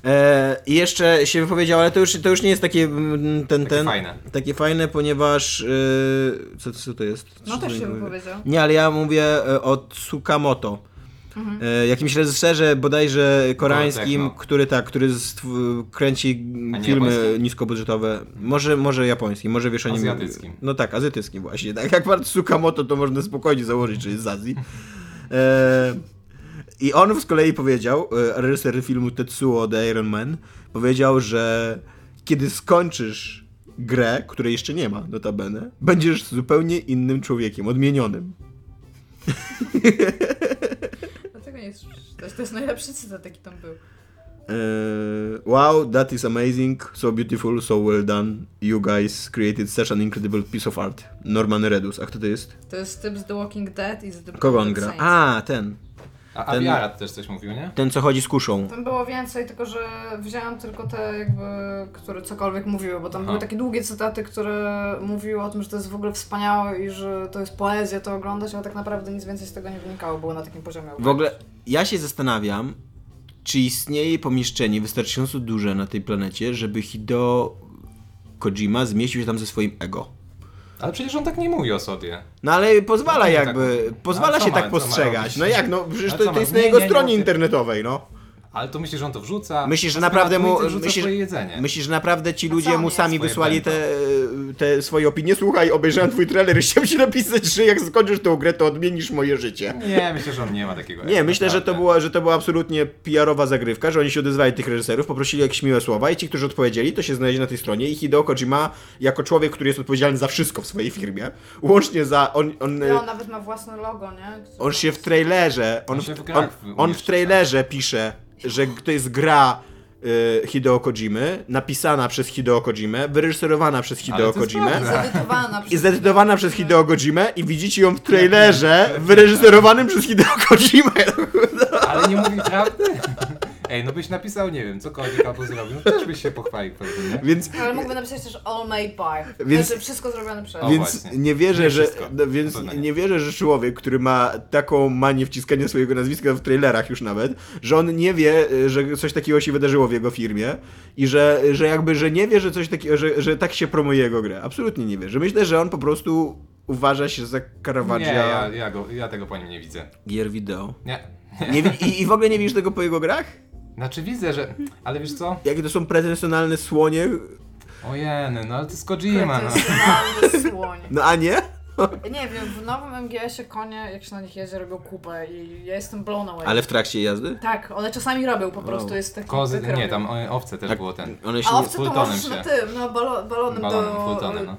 Speaker 5: E, I jeszcze się wypowiedział, ale to już, to już nie jest takie mm, ten,
Speaker 3: Takie
Speaker 5: ten.
Speaker 3: fajne.
Speaker 5: Takie fajne, ponieważ. e, co, co to jest?
Speaker 4: No
Speaker 5: Co
Speaker 4: też
Speaker 5: to
Speaker 4: się
Speaker 5: nie mówię?
Speaker 4: wypowiedział.
Speaker 5: Nie, ale ja mówię e, o Tsukamoto. E, Jakimś reżyserze bodajże koreańskim,
Speaker 3: Techno.
Speaker 5: który tak, który stw- kręci
Speaker 3: No, A nie
Speaker 5: filmy
Speaker 3: japońskim?
Speaker 5: niskobudżetowe. Może, może japońskim, może wiesz o nim.
Speaker 3: Azjatyckim.
Speaker 5: No tak, azjatyckim właśnie. Tak jak pan Tsukamoto, to można spokojnie założyć, że jest z Azji. E, I on z kolei powiedział, e, reżyser filmu Tetsuo The Iron Man, powiedział, że kiedy skończysz grę, której jeszcze nie ma, notabene, będziesz zupełnie innym człowiekiem, odmienionym.
Speaker 4: Dlatego nie chcesz przeczytać. To jest najlepszy cytat, jaki tam był.
Speaker 5: Uh, wow, that is amazing, so beautiful, so well done. You guys created such an incredible piece of art. Norman Redus, a kto to jest?
Speaker 4: To jest typ z The Walking Dead i z The
Speaker 5: Kogo on
Speaker 4: Book of
Speaker 5: gra?
Speaker 4: Saints.
Speaker 5: A, ten.
Speaker 3: A
Speaker 5: Ten-
Speaker 3: Abiarat też coś mówił, nie?
Speaker 5: Ten, co chodzi z kuszą.
Speaker 4: Tam było więcej, tylko że wzięłam tylko te jakby, które cokolwiek mówiły, bo tam
Speaker 3: Aha.
Speaker 4: były takie długie cytaty, które mówiły o tym, że to jest w ogóle wspaniałe i że to jest poezja, to oglądać, ale tak naprawdę nic więcej z tego nie wynikało, było na takim poziomie.
Speaker 5: W ogóle, ja się zastanawiam, czy istnieje pomieszczenie wystarczająco duże na tej planecie, żeby Hideo Kojima zmieścił się tam ze swoim ego.
Speaker 3: Ale przecież on tak nie mówi o sobie.
Speaker 5: No ale pozwala
Speaker 3: No to nie
Speaker 5: jakby,
Speaker 3: tak.
Speaker 5: pozwala
Speaker 3: A co
Speaker 5: się
Speaker 3: ma-
Speaker 5: tak
Speaker 3: co ma
Speaker 5: postrzegać.
Speaker 3: robić?
Speaker 5: No jak, no przecież
Speaker 3: A
Speaker 5: to,
Speaker 3: co
Speaker 5: to
Speaker 3: ma-
Speaker 5: jest na
Speaker 3: nie,
Speaker 5: jego
Speaker 3: nie, nie
Speaker 5: stronie
Speaker 3: o tym.
Speaker 5: internetowej, no.
Speaker 3: Ale to myślisz, że on to wrzuca?
Speaker 5: Myślisz, że
Speaker 3: Na
Speaker 5: naprawdę mu,
Speaker 3: Twitter Wrzuca
Speaker 5: myślisz,
Speaker 3: swoje jedzenie.
Speaker 5: myślisz, że naprawdę ci
Speaker 4: co
Speaker 5: ludzie
Speaker 4: on
Speaker 5: mu
Speaker 4: jest?
Speaker 5: sami
Speaker 3: Swoje
Speaker 5: wysłali
Speaker 3: pęto.
Speaker 5: te, e, te swoje opinie? Słuchaj, obejrzałem twój trailer i chciałem ci napisać, że jak skończysz tą grę, to odmienisz moje życie.
Speaker 3: Nie, myślę, że on nie ma takiego.
Speaker 5: Nie, myślę, że to, była, że to była absolutnie PR-owa zagrywka, że oni się odezwali tych reżyserów, poprosili jakieś miłe słowa i ci, którzy odpowiedzieli, to się znaleźli na tej stronie i Hideo Kojima, jako człowiek, który jest odpowiedzialny za wszystko w swojej firmie, łącznie za... On, on,
Speaker 4: No, on nawet ma własne logo, nie? Które
Speaker 5: on się w
Speaker 4: jest-
Speaker 5: trailerze, on,
Speaker 3: On
Speaker 5: w,
Speaker 3: się w
Speaker 5: on,
Speaker 3: grach
Speaker 5: on w
Speaker 3: umieszcza.
Speaker 5: trailerze pisze, że to jest gra y, Hideo Kojimy, napisana przez Hideo Kojimę, wyreżyserowana przez Hideo
Speaker 3: Ale to jest
Speaker 5: Kojimę
Speaker 3: prawda.
Speaker 4: Zedytowana
Speaker 5: i
Speaker 4: przez-
Speaker 5: zedytowana przez Hideo Kojimę i widzicie ją w trailerze wyreżyserowanym przez Hideo Kojimę.
Speaker 3: Ale nie mówi prawdy? Ej, no byś napisał, nie wiem, cokolwiek albo zrobił, no też byś się pochwalił pewnie, nie?
Speaker 5: Więc,
Speaker 4: Ale mógłby napisać też All Made By.
Speaker 5: Więc-
Speaker 4: Więc... Znaczy wszystko zrobione przez.
Speaker 3: O,
Speaker 5: więc
Speaker 3: właśnie.
Speaker 5: nie wierzę,
Speaker 3: Nie
Speaker 5: że
Speaker 3: wszystko.
Speaker 5: no, więc
Speaker 3: Na pewno nie.
Speaker 5: nie wierzę, że człowiek, który ma taką manię wciskania swojego nazwiska w trailerach już nawet, że on nie wie, y, że coś takiego się wydarzyło w jego firmie i że, że jakby, że nie wie, że coś takiego, że, że tak się promuje jego grę. Absolutnie nie wierzę. Myślę, że on po prostu uważa się za
Speaker 3: Nie,
Speaker 5: Caravaggia
Speaker 3: ja, ja, go, ja tego po nim nie widzę.
Speaker 5: gier wideo.
Speaker 3: Nie.
Speaker 5: Nie, wi- i, I w ogóle nie widzisz tego po jego grach?
Speaker 3: Znaczy widzę, że... Ale wiesz co?
Speaker 5: Jakie to są pretensjonalne słonie?
Speaker 3: Ojeny, no ale to jest Kojima,
Speaker 4: To
Speaker 3: no.
Speaker 4: jest totalny słoń.
Speaker 5: No a nie?
Speaker 4: Nie wiem, w nowym MGS-ie konie, jak się na nich jedzie, robią kupę i ja jestem blown away.
Speaker 5: Ale w trakcie jazdy?
Speaker 4: Tak, one czasami robią po prostu,
Speaker 5: Wow.
Speaker 4: jest taki
Speaker 3: Kozy,
Speaker 4: wykrowiec.
Speaker 3: nie, tam o- owce
Speaker 5: Tak.
Speaker 3: też było ten.
Speaker 5: One się
Speaker 4: A
Speaker 5: nie-
Speaker 4: owce to
Speaker 3: fultonem
Speaker 4: możesz na
Speaker 3: się.
Speaker 4: tym, no balo, balonem,
Speaker 3: Balonem,
Speaker 4: do
Speaker 3: fultonem, no.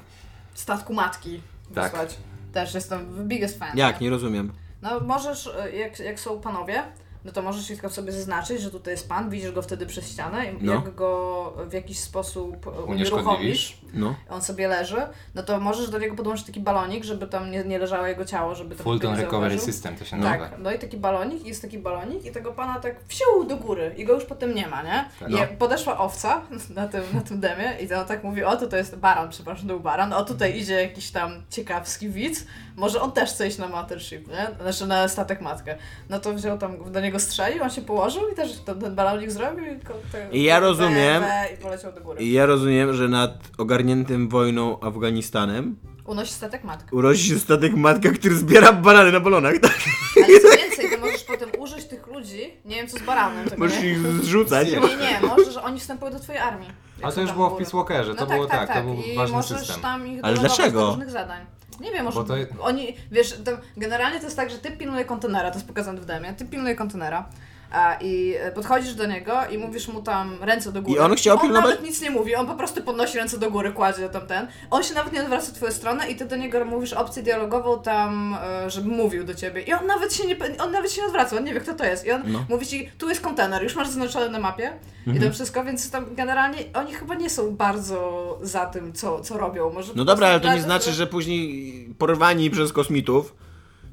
Speaker 4: statku matki
Speaker 3: Tak.
Speaker 4: wysłać. Też jestem biggest fan.
Speaker 5: Jak? Nie rozumiem.
Speaker 4: No możesz, e, jak, jak są panowie, no to możesz ich tylko sobie zaznaczyć, że tutaj jest pan, widzisz go wtedy przez ścianę i
Speaker 5: No.
Speaker 4: jak go w jakiś sposób e,
Speaker 3: Unieszkodliwisz?
Speaker 4: unieruchomisz,
Speaker 5: No.
Speaker 4: on sobie leży, no to możesz do niego podłączyć taki balonik, żeby tam nie, nie leżało jego ciało, żeby to
Speaker 3: Fulton
Speaker 4: nikt nie
Speaker 3: Recovery
Speaker 4: zauważył.
Speaker 3: System to się nazywa.
Speaker 4: Tak, no i taki balonik, jest taki balonik i tego pana tak wsił do góry i go już potem nie ma, nie?
Speaker 3: Tak.
Speaker 4: I jak podeszła owca na tym, na tym demie i on tak mówi, o tu to jest baran, przepraszam, to był baran, o tutaj idzie jakiś tam ciekawski widz, może on też chce iść na mothership, nie? Znaczy na statek matkę. No to wziął tam, do niego strzelił, on się położył i też ten, ten balonik zrobił i... ko- te-
Speaker 5: I ja rozumiem.
Speaker 4: we- we- I poleciał do góry.
Speaker 5: I Ja rozumiem, że nad ogarniętym wojną Afganistanem
Speaker 4: Unosi statek matka.
Speaker 5: Urodzi się statek matka, który zbiera banany na balonach, tak?
Speaker 4: Ale co więcej, ty możesz potem użyć tych ludzi, nie wiem co z baranem, tego
Speaker 5: Możesz
Speaker 4: nie?
Speaker 5: ich zrzucać.
Speaker 4: Nie, nie, możesz, oni wstępują do twojej armii. Jak
Speaker 3: Ale
Speaker 4: są
Speaker 3: to już
Speaker 4: tam
Speaker 3: było
Speaker 4: góry.
Speaker 3: w Peace Walkerze,
Speaker 4: No
Speaker 3: to było tak, to był
Speaker 4: I
Speaker 3: ważny
Speaker 4: możesz
Speaker 3: system.
Speaker 4: tam ich
Speaker 5: Ale
Speaker 4: doładować
Speaker 5: dlaczego?
Speaker 4: do różnych zadań. Nie wiem, może
Speaker 3: Bo to-
Speaker 4: oni, wiesz, to generalnie to jest tak, że ty pilnuje kontenera, to jest pokazane w demie, ty pilnuje kontenera. A, I e, podchodzisz do niego i mówisz mu tam ręce do góry.
Speaker 5: I on chciał pilnować-
Speaker 4: nawet nic nie mówi, on po prostu podnosi ręce do góry, kładzie tam ten. On się nawet nie odwraca w twoją stronę i ty do niego mówisz opcję dialogową tam, e, żeby mówił do ciebie. I on nawet się nie, on nawet się nie odwraca, on nie wie kto to jest. I on
Speaker 5: No. Mhm.
Speaker 4: mówi ci, tu jest kontener, już masz zaznaczone na mapie i to wszystko, więc tam generalnie oni chyba nie są bardzo za tym, co, co robią. Może
Speaker 5: No
Speaker 4: po
Speaker 5: dobra,
Speaker 4: prostu
Speaker 5: ale to nie
Speaker 4: dla nich-
Speaker 5: znaczy, że później porwani przez kosmitów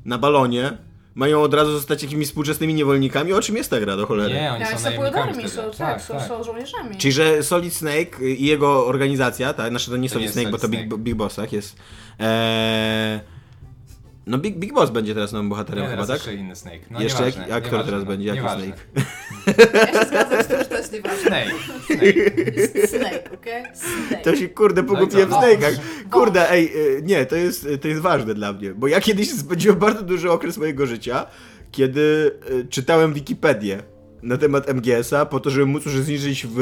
Speaker 5: na balonie mają od razu zostać jakimiś współczesnymi niewolnikami, o czym jest ta gra do cholery.
Speaker 3: Nie, oni
Speaker 4: Ja,
Speaker 3: są
Speaker 4: są
Speaker 3: najemnikami
Speaker 4: pojodami,
Speaker 3: wtedy.
Speaker 4: są, tak, są, są żołnierzami.
Speaker 5: Czyli, że Solid Snake i jego organizacja, tak, znaczy to nie
Speaker 3: To
Speaker 5: Solid
Speaker 3: nie jest
Speaker 5: Snake, bo
Speaker 3: Solid
Speaker 5: to Big,
Speaker 3: Snake.
Speaker 5: Big Boss, tak, jest. Eee, no Big, Big Boss będzie teraz nowym bohaterem
Speaker 3: Nie,
Speaker 5: chyba,
Speaker 3: teraz
Speaker 5: tak?
Speaker 3: jeszcze inny Snake. No,
Speaker 5: Jeszcze
Speaker 3: nieważne,
Speaker 5: jaki- a kto
Speaker 3: nieważne,
Speaker 5: teraz będzie, jaki
Speaker 3: nieważne.
Speaker 5: Snake?
Speaker 4: Ja się zgadzam z tym, że to jest nieważne.
Speaker 3: Snake, Snake.
Speaker 4: Snake, okej? Snake.
Speaker 5: To się kurde pogubiłem
Speaker 3: co?
Speaker 5: w Snake'ach. Kurde, ej, e, nie, to jest, to jest ważne dla mnie, bo ja kiedyś spędziłem bardzo duży okres mojego życia, kiedy e, czytałem Wikipedię na temat MGS-a, po to, żeby móc uczestniczyć w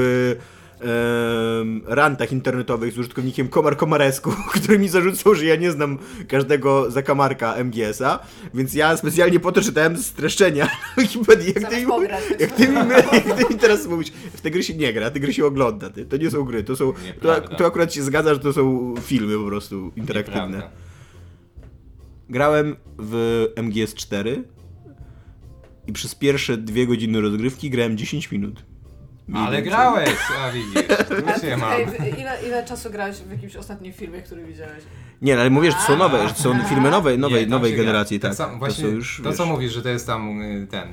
Speaker 5: em, rantach internetowych z użytkownikiem Komar Komaresku, który mi zarzucał, że ja nie znam każdego zakamarka MGS-a, więc ja specjalnie po to czytałem streszczenia na Wikipedii. Jak ty,
Speaker 4: Zamiast
Speaker 5: mi-
Speaker 4: pograć.
Speaker 5: jak ty, mi, jak ty mi teraz mówisz, w te gry się nie gra, te gry się ogląda, ty. to nie są gry, to są, to,
Speaker 3: Nieprawda.
Speaker 5: to akurat się zgadza, że to są filmy po prostu interaktywne.
Speaker 3: Nieprawda.
Speaker 5: Grałem w MGS 4 i przez pierwsze dwie godziny rozgrywki grałem 10 minut. Mniej
Speaker 3: Ale
Speaker 5: więcej.
Speaker 3: grałeś, a widzisz,
Speaker 4: A
Speaker 3: tu się mam.
Speaker 4: Ej, w- ile, ile czasu grałeś w jakimś ostatnim filmie, który widziałeś?
Speaker 5: Nie, no, ale mówię, że to są nowe, że to są filmy nowej, nowej,
Speaker 3: Nie, tam
Speaker 5: nowej
Speaker 3: się gra.
Speaker 5: generacji, tak.
Speaker 3: samo-
Speaker 5: to
Speaker 3: właśnie
Speaker 5: są już,
Speaker 3: to
Speaker 5: wiesz,
Speaker 3: co mówisz, że to jest tam y, ten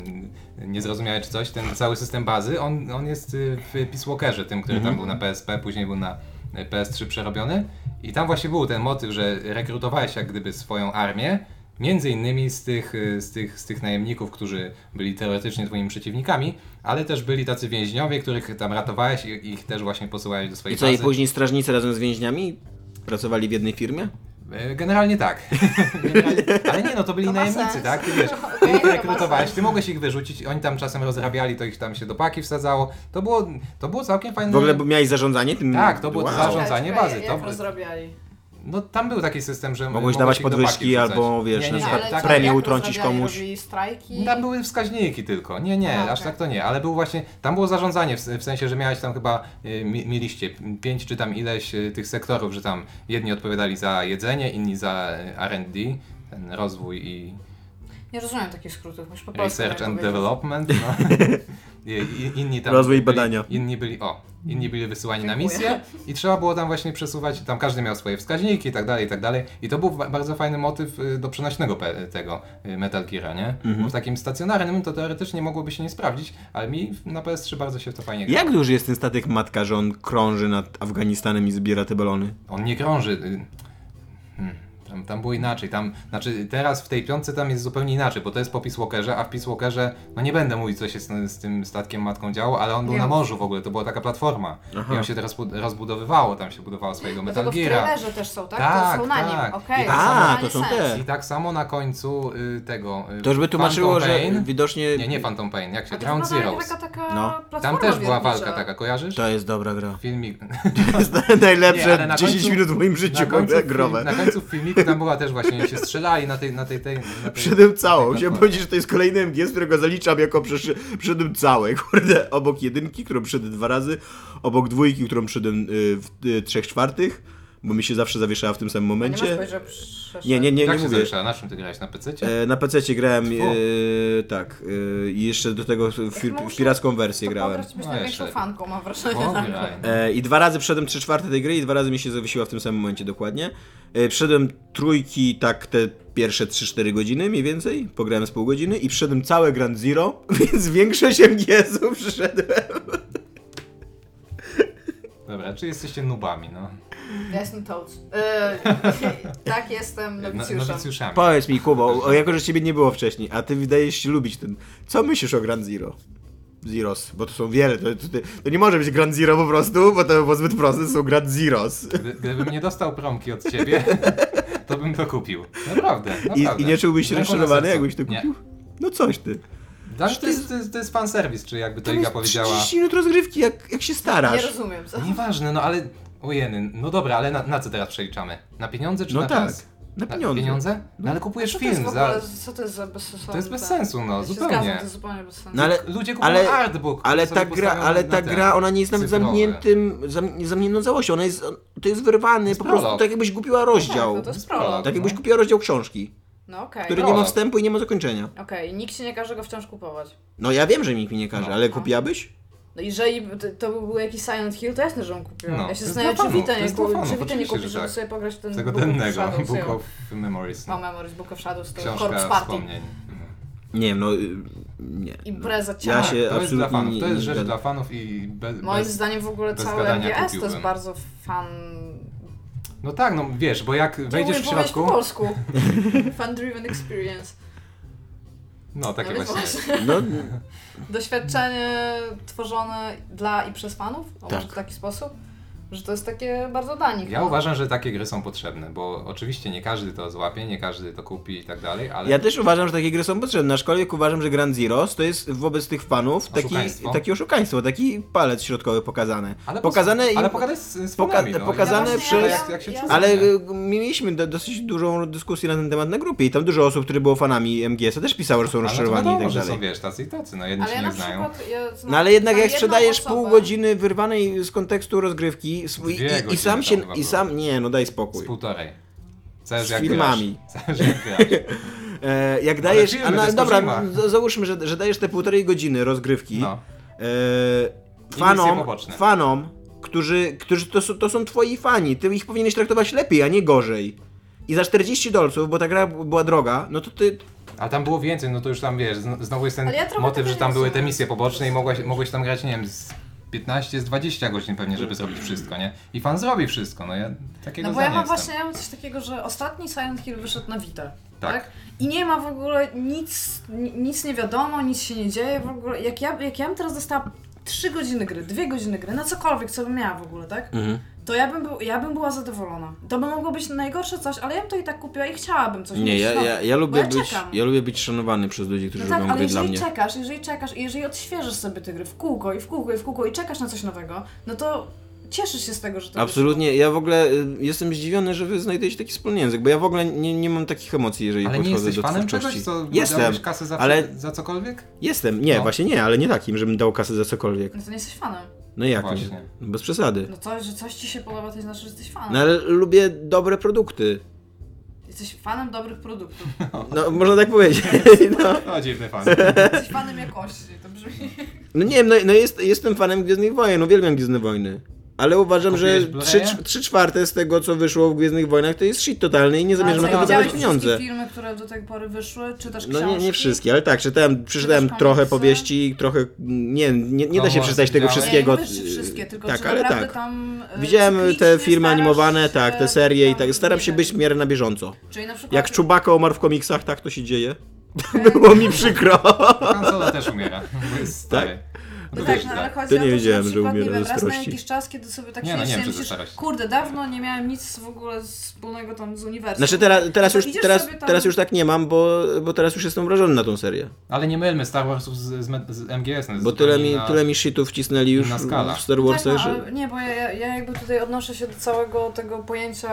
Speaker 3: y, niezrozumiałe czy coś, ten cały system bazy, on, on jest y, w Peace Walkerze, tym, który
Speaker 5: Mhm.
Speaker 3: tam był na PSP, później był na y, PS3 przerobiony. I tam właśnie był ten motyw, że rekrutowałeś jak gdyby swoją armię, między innymi z tych, y, z tych, z tych najemników, którzy byli teoretycznie twoimi przeciwnikami, ale też byli tacy więźniowie, których tam ratowałeś i ich też właśnie posyłałeś do swojej
Speaker 5: I co, i
Speaker 3: bazy.
Speaker 5: później strażnicy razem z więźniami pracowali w jednej firmie?
Speaker 3: E, Generalnie tak. Generalnie, ale nie, no to byli
Speaker 4: To ma
Speaker 3: najemnicy,
Speaker 4: sens.
Speaker 3: tak? Ty wiesz, ty
Speaker 4: Okej,
Speaker 3: ich
Speaker 4: to ma
Speaker 3: rekrutowałeś,
Speaker 4: sens.
Speaker 3: ty mogłeś ich wyrzucić, oni tam czasem rozrabiali, to ich tam się do paki wsadzało. To było, to było całkiem fajne.
Speaker 5: W ogóle miałeś zarządzanie tym?
Speaker 3: Tak, to było
Speaker 5: wow.
Speaker 3: zarządzanie. bazy,
Speaker 4: Jak
Speaker 3: to-
Speaker 4: to rozrabiali?
Speaker 3: No tam był taki system, że
Speaker 5: Mogłeś dawać
Speaker 3: ich do paki
Speaker 5: podwyżki
Speaker 3: wrzucać.
Speaker 5: albo,
Speaker 3: No,
Speaker 5: wiesz, na
Speaker 4: Nie,
Speaker 5: przykład
Speaker 3: tak.
Speaker 4: ale co,
Speaker 5: premię
Speaker 4: jak
Speaker 5: utrącić
Speaker 4: rozrabiali?
Speaker 5: komuś.
Speaker 4: Robili strajki?
Speaker 3: Tam były wskaźniki tylko. Nie, nie,
Speaker 4: Aha,
Speaker 3: aż
Speaker 4: okej.
Speaker 3: tak to nie, ale był właśnie, tam było zarządzanie, w, w sensie, że miałeś tam chyba, y, mi, mieliście pięć czy tam ileś y, tych sektorów, że tam jedni odpowiadali za jedzenie, inni za y, R&D, ten rozwój i,
Speaker 4: Nie rozumiem takich skrótów, musisz po polsku
Speaker 3: Research
Speaker 4: mi
Speaker 3: and
Speaker 4: powiedzieć.
Speaker 3: Development. No. I- i- Inni tam
Speaker 5: Rozwój
Speaker 3: byli,
Speaker 5: badania.
Speaker 3: Inni byli, o, inni byli wysyłani na
Speaker 4: Dziękuję.
Speaker 3: misję i trzeba było tam właśnie przesuwać, tam każdy miał swoje wskaźniki i tak dalej, i tak dalej. I to był ba- bardzo fajny motyw y, do przenośnego pe- tego y, Metal Gear'a, nie?
Speaker 5: Mhm.
Speaker 3: Bo w takim stacjonarnym to teoretycznie mogłoby się nie sprawdzić, ale mi na PS3 bardzo się w to fajnie gra.
Speaker 5: Jak duży jest ten statek matka, że on krąży nad Afganistanem i zbiera te balony?
Speaker 3: On nie krąży. y, Hmm. Tam, tam było inaczej, tam, znaczy teraz w tej piątce tam jest zupełnie inaczej, bo to jest po Peace Walkerze, a w Peace Walkerze, no nie będę mówić co się z, z tym statkiem matką działo, ale on był
Speaker 4: Nie.
Speaker 3: na morzu w ogóle, to była taka platforma i on się teraz bud- rozbudowywało, tam się budowało swojego Metal
Speaker 4: Dlatego No w
Speaker 3: Gear'a.
Speaker 4: trailerze też są, tak?
Speaker 3: Tak,
Speaker 4: to są na
Speaker 3: tak.
Speaker 4: nim, okej.
Speaker 3: I-
Speaker 4: to
Speaker 5: A,
Speaker 4: ma
Speaker 5: to są
Speaker 4: sens.
Speaker 5: te.
Speaker 3: I tak samo na końcu y, tego... y,
Speaker 5: To już by tłumaczyło,
Speaker 3: Phantom
Speaker 5: że
Speaker 3: Pain.
Speaker 5: widocznie...
Speaker 3: Nie, nie Phantom Pain, jak się,
Speaker 4: A to
Speaker 3: Ground
Speaker 4: wygląda jak
Speaker 3: Zeroes.
Speaker 4: taka- taka
Speaker 5: No.
Speaker 4: platforma
Speaker 3: Tam też była
Speaker 4: wiertnicza.
Speaker 3: walka taka, kojarzysz?
Speaker 5: To jest dobra gra.
Speaker 3: Filmik...
Speaker 5: To jest
Speaker 3: Nie,
Speaker 5: najlepsze
Speaker 3: ale na
Speaker 5: 10
Speaker 3: końcu-
Speaker 5: minut w moim życiu,
Speaker 3: na końcu,
Speaker 5: kurde,
Speaker 3: film,
Speaker 5: growe.
Speaker 3: na końcu w filmiku tam była też właśnie, oni się strzelali na tej, na tej, tej, na tej
Speaker 5: Przyszedłem cało.
Speaker 3: Tak,
Speaker 5: Chciałem
Speaker 3: tak.
Speaker 5: powiedzieć, że to jest kolejny MGS, którego zaliczam jako przyszy... przyszedłem cały. Kurde, obok jedynki, którą przyszedłem dwa razy, obok dwójki, którą przyszedłem y, w y, trzech czwartych, bo mi się zawsze zawieszała w tym samym
Speaker 4: Nie masz
Speaker 5: momencie.
Speaker 4: powiedzieć, że przeszedł.
Speaker 5: Nie, nie, nie, nie
Speaker 3: Jak się
Speaker 5: mówię.
Speaker 3: zawiesza? Na czym ty grałeś? Na PC?
Speaker 5: E, Na PC grałem,
Speaker 3: Fu.
Speaker 5: e, tak, e, i jeszcze do tego w, w, w piracką wersję
Speaker 4: To
Speaker 5: grałem.
Speaker 4: Pograć być
Speaker 3: No,
Speaker 4: największą
Speaker 3: jeszcze.
Speaker 4: fanką, mam wrażenie.
Speaker 3: Pograj.
Speaker 5: E, I dwa razy przeszedłem 3 czwarte tej gry i dwa razy mi się zawiesiła w tym samym momencie dokładnie. E, Przeszedłem trójki tak te pierwsze 3-4 godziny mniej więcej, pograłem z pół godziny i przeszedłem całe Grand Zero, więc większość MGS-ów przeszedłem.
Speaker 3: Dobra, czy jesteście nubami, no?
Speaker 4: Ja jestem Toads. Y, tak, jestem
Speaker 3: No-
Speaker 4: nowicjuszem.
Speaker 3: Nowicjuszami.
Speaker 5: Powiedz mi Kubo, o- jako że ciebie nie było wcześniej, a ty wydajesz się lubić ten, co myślisz o Grand Zero? Zeros, bo to są wiele, to, to, to nie może być Grand Zero po prostu, bo to było zbyt proste, są Grand Zeros.
Speaker 3: Gdy, gdybym nie dostał promki od ciebie, to bym to kupił. Naprawdę,
Speaker 5: I,
Speaker 3: naprawdę.
Speaker 5: I nie czułbyś się
Speaker 3: Ręką na
Speaker 5: rozczarowany,
Speaker 3: sercu.
Speaker 5: jakbyś to kupił?
Speaker 3: Nie.
Speaker 5: No coś ty.
Speaker 3: Tak, to jest, to jest, to jest fanserwis, czy jakby to
Speaker 5: Tam
Speaker 3: Iga
Speaker 5: jest
Speaker 3: powiedziała.
Speaker 5: 30 minut rozgrywki, jak, jak się
Speaker 4: Nie
Speaker 5: starasz.
Speaker 4: rozumiem. Co?
Speaker 3: Nieważne, no ale... Ojeny, no dobra, ale na, na co teraz przeliczamy? Na pieniądze czy
Speaker 5: No
Speaker 3: na
Speaker 5: tak,
Speaker 3: czas?
Speaker 5: na
Speaker 3: Na
Speaker 5: pieniądze.
Speaker 3: pieniądze? No ale kupujesz
Speaker 4: Co to jest
Speaker 3: film
Speaker 4: w
Speaker 3: za...
Speaker 4: ogóle, co to jest za bezsensowne?
Speaker 3: To jest bez sensu, no,
Speaker 4: Ja się
Speaker 3: zupełnie.
Speaker 4: Zgadzam, to jest zupełnie bez sensu.
Speaker 5: No ale,
Speaker 3: Ludzie kupują
Speaker 5: ale,
Speaker 3: artbook.
Speaker 5: ale
Speaker 3: sobie
Speaker 5: ta gra,
Speaker 3: postawią
Speaker 5: ale
Speaker 3: na
Speaker 5: ta
Speaker 3: ten,
Speaker 5: gra, ona nie jest nawet
Speaker 3: cyfrowy.
Speaker 5: zamkniętym, zam, zamkniętą całością, ona jest, to jest wyrwany,
Speaker 3: jest
Speaker 5: po prostu
Speaker 3: prolog.
Speaker 5: tak jakbyś kupiła rozdział.
Speaker 4: Tak, no to jest prolog.
Speaker 5: Tak jakbyś
Speaker 3: No.
Speaker 5: kupiła rozdział książki,
Speaker 4: No okej.
Speaker 5: który
Speaker 4: No,
Speaker 5: nie ma
Speaker 3: Prolog.
Speaker 5: wstępu i nie ma zakończenia.
Speaker 4: Okej, nikt ci nie każe go wciąż kupować.
Speaker 5: No ja wiem, że nikt mi nie każe,
Speaker 3: No.
Speaker 5: ale kupiłabyś?
Speaker 4: No i jeżeli to, to by był jakiś Silent Hill, to jasne, że on kupił.
Speaker 3: No, to
Speaker 4: ja
Speaker 3: jest
Speaker 4: się zastanawiam,
Speaker 3: dla
Speaker 4: czy
Speaker 3: fanów,
Speaker 4: Wita
Speaker 3: to
Speaker 4: nie,
Speaker 3: jest dla
Speaker 4: ku,
Speaker 3: fanów,
Speaker 4: czy Wita nie
Speaker 3: oczywiście,
Speaker 4: kupi,
Speaker 3: że
Speaker 4: żeby
Speaker 3: tak.
Speaker 4: sobie pograć w ten
Speaker 3: Tego
Speaker 4: Book of
Speaker 3: dennego,
Speaker 4: Shadows,
Speaker 3: Book
Speaker 4: ja.
Speaker 3: of Memories. no.
Speaker 4: O, Memories, Book of Shadows, to Corpse
Speaker 3: Książka
Speaker 4: Party.
Speaker 3: wspomnień.
Speaker 5: Nie wiem, no y, nie.
Speaker 4: Impreza ciała.
Speaker 5: Ja się
Speaker 3: to jest dla
Speaker 5: absolutnie
Speaker 3: fanów, to
Speaker 5: nie-
Speaker 3: jest
Speaker 5: nie
Speaker 3: rzecz
Speaker 5: zgadzam.
Speaker 3: dla fanów i be, bez...
Speaker 4: Moim zdaniem w ogóle
Speaker 3: bez
Speaker 4: cały
Speaker 3: gadania
Speaker 4: MGS to
Speaker 3: kupiłbym.
Speaker 4: jest bardzo fan...
Speaker 3: No tak, no wiesz, bo jak wejdziesz w
Speaker 4: Próbuję powiedzieć
Speaker 3: środku...
Speaker 4: po polsku. Fan-driven experience.
Speaker 3: No, takie
Speaker 4: No więc
Speaker 3: właśnie. jest.
Speaker 5: No,
Speaker 4: Doświadczenie tworzone dla i przez fanów? O,
Speaker 5: Tak.
Speaker 4: Może w taki sposób? Że to jest takie bardzo dla nich.
Speaker 3: Ja
Speaker 4: no.
Speaker 3: uważam, że takie gry są potrzebne, bo oczywiście nie każdy to złapie, nie każdy to kupi i tak dalej, ale
Speaker 5: ja też uważam, że takie gry są potrzebne. Na szkole uważam, że Grand Zeros to jest wobec tych fanów taki
Speaker 3: Oszukaństwo.
Speaker 5: takie oszukaństwo, taki palec środkowy pokazany.
Speaker 3: ale
Speaker 5: pokazane
Speaker 3: ale
Speaker 5: i-
Speaker 3: pogadać z, z
Speaker 5: poka-
Speaker 3: fanami, no.
Speaker 5: pokazane
Speaker 3: Jak-
Speaker 4: przez-
Speaker 3: jak, jak się
Speaker 4: ja-
Speaker 3: czuje,
Speaker 5: Ale
Speaker 3: nie?
Speaker 5: y, mieliśmy do, dosyć dużą dyskusję na ten temat na grupie i tam dużo osób, które było fanami MGS-a też pisało, że są
Speaker 3: Ale no to
Speaker 5: rozczarowani i
Speaker 3: wiadomo,
Speaker 5: tak
Speaker 3: że są,
Speaker 5: dalej.
Speaker 3: wiesz, tacy i tacy, no jedni
Speaker 4: Ale
Speaker 3: się
Speaker 4: ja
Speaker 3: nie
Speaker 4: na
Speaker 3: znają.
Speaker 4: przykład... Ja znam-
Speaker 5: No ale jednak
Speaker 4: znam
Speaker 5: jak
Speaker 4: jedną
Speaker 5: sprzedajesz
Speaker 4: osobę.
Speaker 5: pół godziny wyrwanej z kontekstu rozgrywki sw- i,
Speaker 3: Dwie
Speaker 5: i, i
Speaker 3: godziny
Speaker 5: sam
Speaker 3: tam
Speaker 5: się,
Speaker 3: chyba
Speaker 5: i
Speaker 3: było.
Speaker 5: sam, nie no daj
Speaker 3: Z
Speaker 5: spokój.
Speaker 3: półtorej. Zależy
Speaker 5: Z
Speaker 3: jak
Speaker 5: filmami.
Speaker 3: Grasz. Zależy jak grasz.
Speaker 5: E, jak dajesz,
Speaker 3: filmy,
Speaker 5: a
Speaker 3: to
Speaker 5: na,
Speaker 3: jest
Speaker 5: dobra,
Speaker 3: Kojima.
Speaker 5: z- załóżmy, że, że dajesz te półtorej godziny rozgrywki
Speaker 3: No.
Speaker 5: e,
Speaker 3: I misje
Speaker 5: fanom,
Speaker 3: poboczne.
Speaker 5: fanom, którzy, którzy to, są- to są twoi fani, ty ich powinieneś traktować lepiej, a nie gorzej. I za 40 dolców, bo ta gra była droga, no to ty,
Speaker 3: A tam było więcej, no to już tam wiesz, zno- znowu jest ten
Speaker 4: Ale ja trochę
Speaker 3: motyw,
Speaker 4: tego
Speaker 3: że tam
Speaker 4: nie
Speaker 3: były te
Speaker 4: rozumiem.
Speaker 3: misje poboczne i mogłeś, mogłeś tam grać, nie wiem, z 15, z 20 godzin pewnie, żeby zrobić wszystko, nie? I fan zrobi wszystko, no ja takiego
Speaker 4: No bo
Speaker 3: zdania
Speaker 4: ja mam
Speaker 3: jestem.
Speaker 4: właśnie ja mam coś takiego, że ostatni Silent Hill wyszedł na Vita.
Speaker 3: Tak.
Speaker 4: Tak. I nie ma w ogóle nic, ni- nic nie wiadomo, nic się nie dzieje w ogóle. Jak ja, jak ja bym teraz dostała 3 godziny gry, 2 godziny gry, na cokolwiek, co bym miała w ogóle, tak? To ja bym, był, ja bym była zadowolona. To by mogło być najgorsze coś, ale ja bym to i tak kupiła i chciałabym coś
Speaker 5: Nie,
Speaker 4: mieć no.
Speaker 5: ja,
Speaker 4: nowe,
Speaker 5: ja, ja,
Speaker 4: tak. bo
Speaker 5: lubię być,
Speaker 4: czekam.
Speaker 5: ja lubię być szanowany przez ludzi, którzy
Speaker 4: No tak,
Speaker 5: robią
Speaker 4: ale
Speaker 5: gry dla
Speaker 4: jeżeli
Speaker 5: mnie.
Speaker 4: czekasz, jeżeli czekasz i jeżeli odświeżysz sobie te gry w kółko i w kółko i w kółko i czekasz na coś nowego, no to cieszysz się z tego, że to
Speaker 5: Absolutnie, ja w ogóle y, jestem zdziwiony, że wy znajdujecie taki wspólny język, bo ja w ogóle nie, nie mam takich emocji, jeżeli
Speaker 3: Ale nie
Speaker 5: podchodzę
Speaker 3: jesteś
Speaker 5: do
Speaker 3: fanem
Speaker 5: twórczości.
Speaker 3: czegoś, co
Speaker 5: jestem,
Speaker 3: dałeś kasę za,
Speaker 5: ale-
Speaker 3: za cokolwiek?
Speaker 5: jestem, nie,
Speaker 3: No.
Speaker 5: właśnie nie, ale nie takim, żebym dał kasę za cokolwiek.
Speaker 4: No to nie jesteś fanem.
Speaker 5: No jak nie?
Speaker 3: Właśnie.
Speaker 5: No Bez przesady.
Speaker 4: No to, że coś ci się podoba, to znaczy, że jesteś fanem.
Speaker 5: No ale lubię dobre produkty.
Speaker 4: Jesteś fanem dobrych produktów.
Speaker 5: No, można tak powiedzieć. No,
Speaker 3: No, dziwny fan.
Speaker 4: Jesteś fanem jakości, to brzmi...
Speaker 5: no nie wiem, no, no jest, jestem fanem Gwiezdnych Wojen, uwielbiam Gwiezdne Wojny. Ale uważam, że
Speaker 3: Kupiłeś Blu-raya?
Speaker 5: 3, czwarte z tego, co wyszło w Gwiezdnych Wojnach, to jest shit totalny i nie zamierzam na
Speaker 4: A co,
Speaker 5: to
Speaker 4: widziałeś
Speaker 5: wydawać pieniądze.
Speaker 4: wszystkie filmy, które do tej pory wyszły? Czy też
Speaker 5: No
Speaker 4: książki?
Speaker 5: nie, nie wszystkie, ale tak, czytałem, przeczytałem
Speaker 4: Czytasz
Speaker 5: trochę
Speaker 4: komiksy?
Speaker 5: powieści, trochę, nie, nie, nie da się
Speaker 3: Komiks
Speaker 5: przeczytać tego
Speaker 3: widziałeś?
Speaker 5: wszystkiego.
Speaker 4: No, Nie, nie wiesz, czy wszystkie, tylko
Speaker 5: tak,
Speaker 4: czy
Speaker 5: ale
Speaker 4: naprawdę
Speaker 5: tak.
Speaker 4: tam... e,
Speaker 5: Widziałem
Speaker 4: cyklicznie
Speaker 5: te filmy
Speaker 4: starasz
Speaker 5: animowane,
Speaker 4: się
Speaker 5: tak, te serie i
Speaker 4: tam Tak.
Speaker 5: tak, staram się być
Speaker 4: wybiegać.
Speaker 5: w miarę na bieżąco.
Speaker 4: Czyli na przykład...
Speaker 5: Jak Czubaka umarł w komiksach, tak to się dzieje. Było mi przykro.
Speaker 3: Han Solo też umiera, bo
Speaker 5: Tak?
Speaker 3: jest stary. No to
Speaker 4: No tak,
Speaker 3: wiesz,
Speaker 4: no ale
Speaker 3: tak.
Speaker 4: chodzi
Speaker 5: To
Speaker 4: o
Speaker 5: nie
Speaker 4: to,
Speaker 5: wiedziałem,
Speaker 4: że, na
Speaker 5: że
Speaker 4: przykład,
Speaker 5: umiera
Speaker 4: nie wiem,
Speaker 5: ze
Speaker 4: raz na
Speaker 5: starości.
Speaker 4: jakiś czas, kiedy sobie tak
Speaker 3: Nie,
Speaker 4: się
Speaker 3: no nie wiem, czy ze
Speaker 4: myślisz,
Speaker 3: starości.
Speaker 4: kurde, dawno nie miałem nic w ogóle wspólnego tam z uniwersum.
Speaker 5: Znaczy teraz, teraz,
Speaker 4: To
Speaker 5: już,
Speaker 4: idziesz
Speaker 5: teraz,
Speaker 4: sobie tam-
Speaker 5: teraz już tak nie mam, bo, bo teraz już jestem wrażony na tą serię.
Speaker 3: Ale nie mylmy Star Warsów z, z, me- z MGS. No,
Speaker 5: Bo tyle mi,
Speaker 3: na...
Speaker 5: tyle mi shitów wcisnęli już
Speaker 3: inna skala.
Speaker 5: w Star
Speaker 4: No
Speaker 5: Warsa,
Speaker 4: Tak, no, ale
Speaker 5: że...
Speaker 4: nie, bo ja, ja, ja jakby tutaj odnoszę się do całego tego pojęcia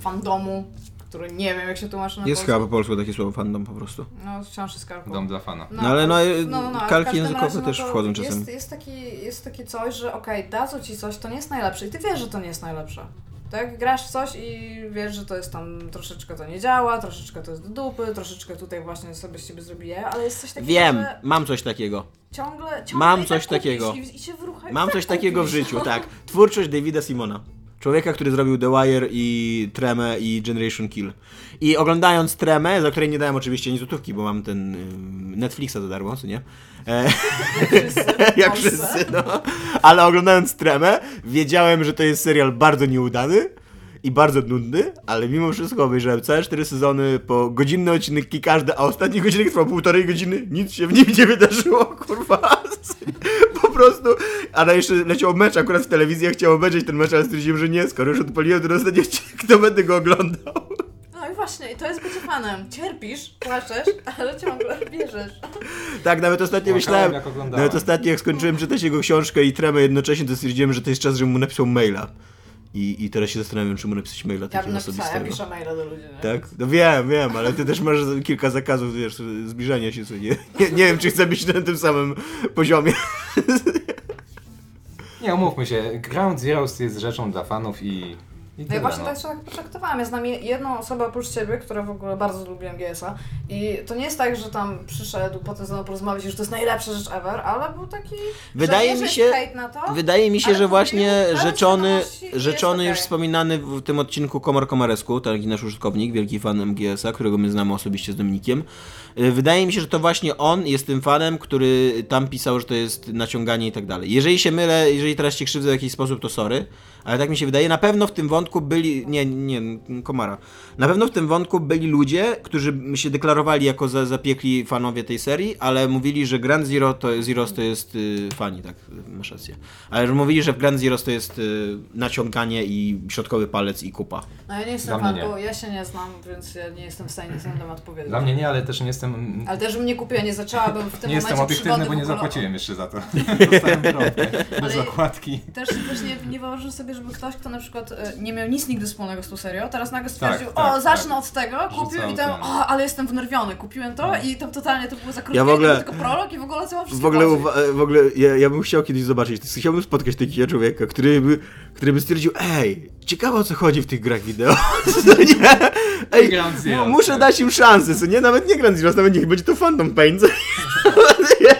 Speaker 4: fandomu, który nie wiem jak się tłumaczy na
Speaker 5: Jest chyba
Speaker 4: polsku.
Speaker 5: po polsku takie słowo fandom po prostu.
Speaker 4: No wciąż jest karką.
Speaker 3: Dom dla fana.
Speaker 5: No, ale no,
Speaker 4: ale w
Speaker 5: kalki
Speaker 4: każdym
Speaker 5: językowe
Speaker 4: razie, no
Speaker 5: też
Speaker 4: to
Speaker 5: wchodzą
Speaker 4: jest,
Speaker 5: czasem.
Speaker 4: Jest, taki, jest takie coś, że okej, dadzą ci coś, to nie jest najlepsze i ty wiesz, że to nie jest najlepsze. Tak, grasz w coś i wiesz, że to jest tam troszeczkę to nie działa, troszeczkę to jest do dupy, troszeczkę tutaj właśnie sobie z ciebie zrobię, ale jest coś takiego,
Speaker 5: Wiem,
Speaker 4: że
Speaker 5: mam coś takiego.
Speaker 4: ciągle, ciągle
Speaker 5: Mam
Speaker 4: i tak
Speaker 5: coś
Speaker 4: kupisz
Speaker 5: takiego.
Speaker 4: I, i się wrucha, i
Speaker 5: Mam
Speaker 4: tak
Speaker 5: coś takiego w
Speaker 4: kupisz.
Speaker 5: życiu, tak. Twórczość Davida Simona. Człowieka, który zrobił The Wire i Tremę i Generation Kill. I oglądając Tremę, za której nie dałem oczywiście ani złotówki, bo mam ten ym, Netflixa za darmo, co nie? E,
Speaker 4: Wszyscy w
Speaker 5: jak
Speaker 4: Polsce.
Speaker 5: wszyscy, no. Ale oglądając Tremę, wiedziałem, że to jest serial bardzo nieudany i bardzo nudny, ale mimo wszystko obejrzałem całe cztery sezony po godzinny odcinek i każdy, a ostatni godzinek trwał półtorej godziny, nic się w nim nie wydarzyło, kurwa. Po prostu. A na jeszcze leciał mecz akurat w telewizji, ja chciałem obejrzeć ten mecz, ale stwierdziłem, że nie, skoro już odpaliłem, to ostatnio kto będę go oglądał.
Speaker 4: No i właśnie, i to jest bycie fanem. Cierpisz, płaczesz, ale ciągle bierzesz.
Speaker 5: Tak, nawet ostatnio
Speaker 3: Płakałem,
Speaker 5: myślałem,
Speaker 3: jak oglądałem.
Speaker 5: nawet ostatnio jak skończyłem czytać jego książkę i tremę jednocześnie, to stwierdziłem, że to jest czas, żebym mu napisał maila. I, I teraz się zastanawiam, czy mu napisać maila
Speaker 4: Ja bym
Speaker 5: takiego
Speaker 4: napisała, ja
Speaker 5: osobistego.
Speaker 4: piszę maila do ludzi, nie?
Speaker 5: Tak? No wiem, wiem, ale ty też masz kilka zakazów, wiesz, zbliżania się, co nie, nie, nie wiem, czy chcę być na tym samym poziomie.
Speaker 3: Nie, umówmy się, Ground Zeroes jest rzeczą dla fanów i... i
Speaker 4: No
Speaker 3: tyle,
Speaker 4: i właśnie
Speaker 3: no.
Speaker 4: tak się tak potraktowałam. Ja znam je- jedną osobę oprócz ciebie, która w ogóle bardzo lubiłem GS-a. I to nie jest tak, że tam przyszedł, potem ze mną porozmawiać, i że to jest najlepsza rzecz ever, ale był taki.
Speaker 5: Wydaje
Speaker 4: że nie,
Speaker 5: mi
Speaker 4: że
Speaker 5: się-
Speaker 4: jest hejt na to.
Speaker 5: Wydaje mi się,
Speaker 4: Ale
Speaker 5: że
Speaker 4: to
Speaker 5: właśnie
Speaker 4: mieli
Speaker 5: rzeczony,
Speaker 4: bardzo znajomości i
Speaker 5: rzeczony
Speaker 4: jest
Speaker 5: już
Speaker 4: okej.
Speaker 5: wspominany w tym odcinku Komar Komaresku, taki nasz użytkownik, wielki fan MGS-a, którego my znamy osobiście z Dominikiem. Y, Wydaje mi się, że to właśnie on jest tym fanem, który tam pisał, że to jest naciąganie i tak dalej. Jeżeli się mylę, jeżeli teraz cię krzywdzę w jakiś sposób, to sorry, ale tak mi się wydaje. Na pewno w tym wątku byli, nie, nie, Komara. Na pewno w tym wątku byli ludzie, którzy się deklarowali jako za, zapiekli fanowie tej serii, ale mówili, że Grand Zero to, Zeros to jest y, fani, tak, masz rację. Ale że mówili, że w Grand Zeros to jest y, naciąganie i środkowy palec i kupa.
Speaker 4: No ja nie
Speaker 3: Dla
Speaker 4: jestem
Speaker 3: mnie
Speaker 4: fanką, ja się nie znam, więc ja nie jestem w stanie nic na ten temat powiedzieć.
Speaker 3: Dla mnie nie, ale też nie jestem... mm,
Speaker 4: Ale też bym nie kupiła, nie zaczęłabym w tym
Speaker 3: Nie
Speaker 4: momencie
Speaker 3: jestem obiektywny,
Speaker 4: przygody
Speaker 3: bo nie
Speaker 4: Google-
Speaker 3: zapłaciłem jeszcze za to. Dostałem drobkę, bez
Speaker 4: Ale-
Speaker 3: okładki.
Speaker 4: Też, też nie, nie wyobrażam sobie, żeby ktoś, kto na przykład e, nie miał nic nigdy wspólnego z tą serią, teraz nagle stwierdził,
Speaker 3: tak,
Speaker 4: o,
Speaker 3: tak.
Speaker 4: zacznę od tego, kupił
Speaker 3: Rzucał
Speaker 4: i tam,
Speaker 3: ten.
Speaker 4: o, ale jestem wnerwiony, kupiłem to i tam totalnie to było za krótkie,
Speaker 5: No. Ja w ogóle-
Speaker 4: to był tylko prolog i w ogóle cała wszystko
Speaker 5: W ogóle,
Speaker 4: chodzi.
Speaker 5: uwa- w ogóle ja, ja bym chciał kiedyś zobaczyć, chciałbym spotkać takiego człowieka, który by, który by stwierdził, ej, ciekawe o co chodzi w tych grach wideo, co nie? Ej,
Speaker 3: Grand Zero,
Speaker 4: no,
Speaker 5: mu- muszę
Speaker 3: tak.
Speaker 5: dać im szansę, co nie? Nawet nie Grand Zero, nawet niech będzie to Phantom Pain, co nie?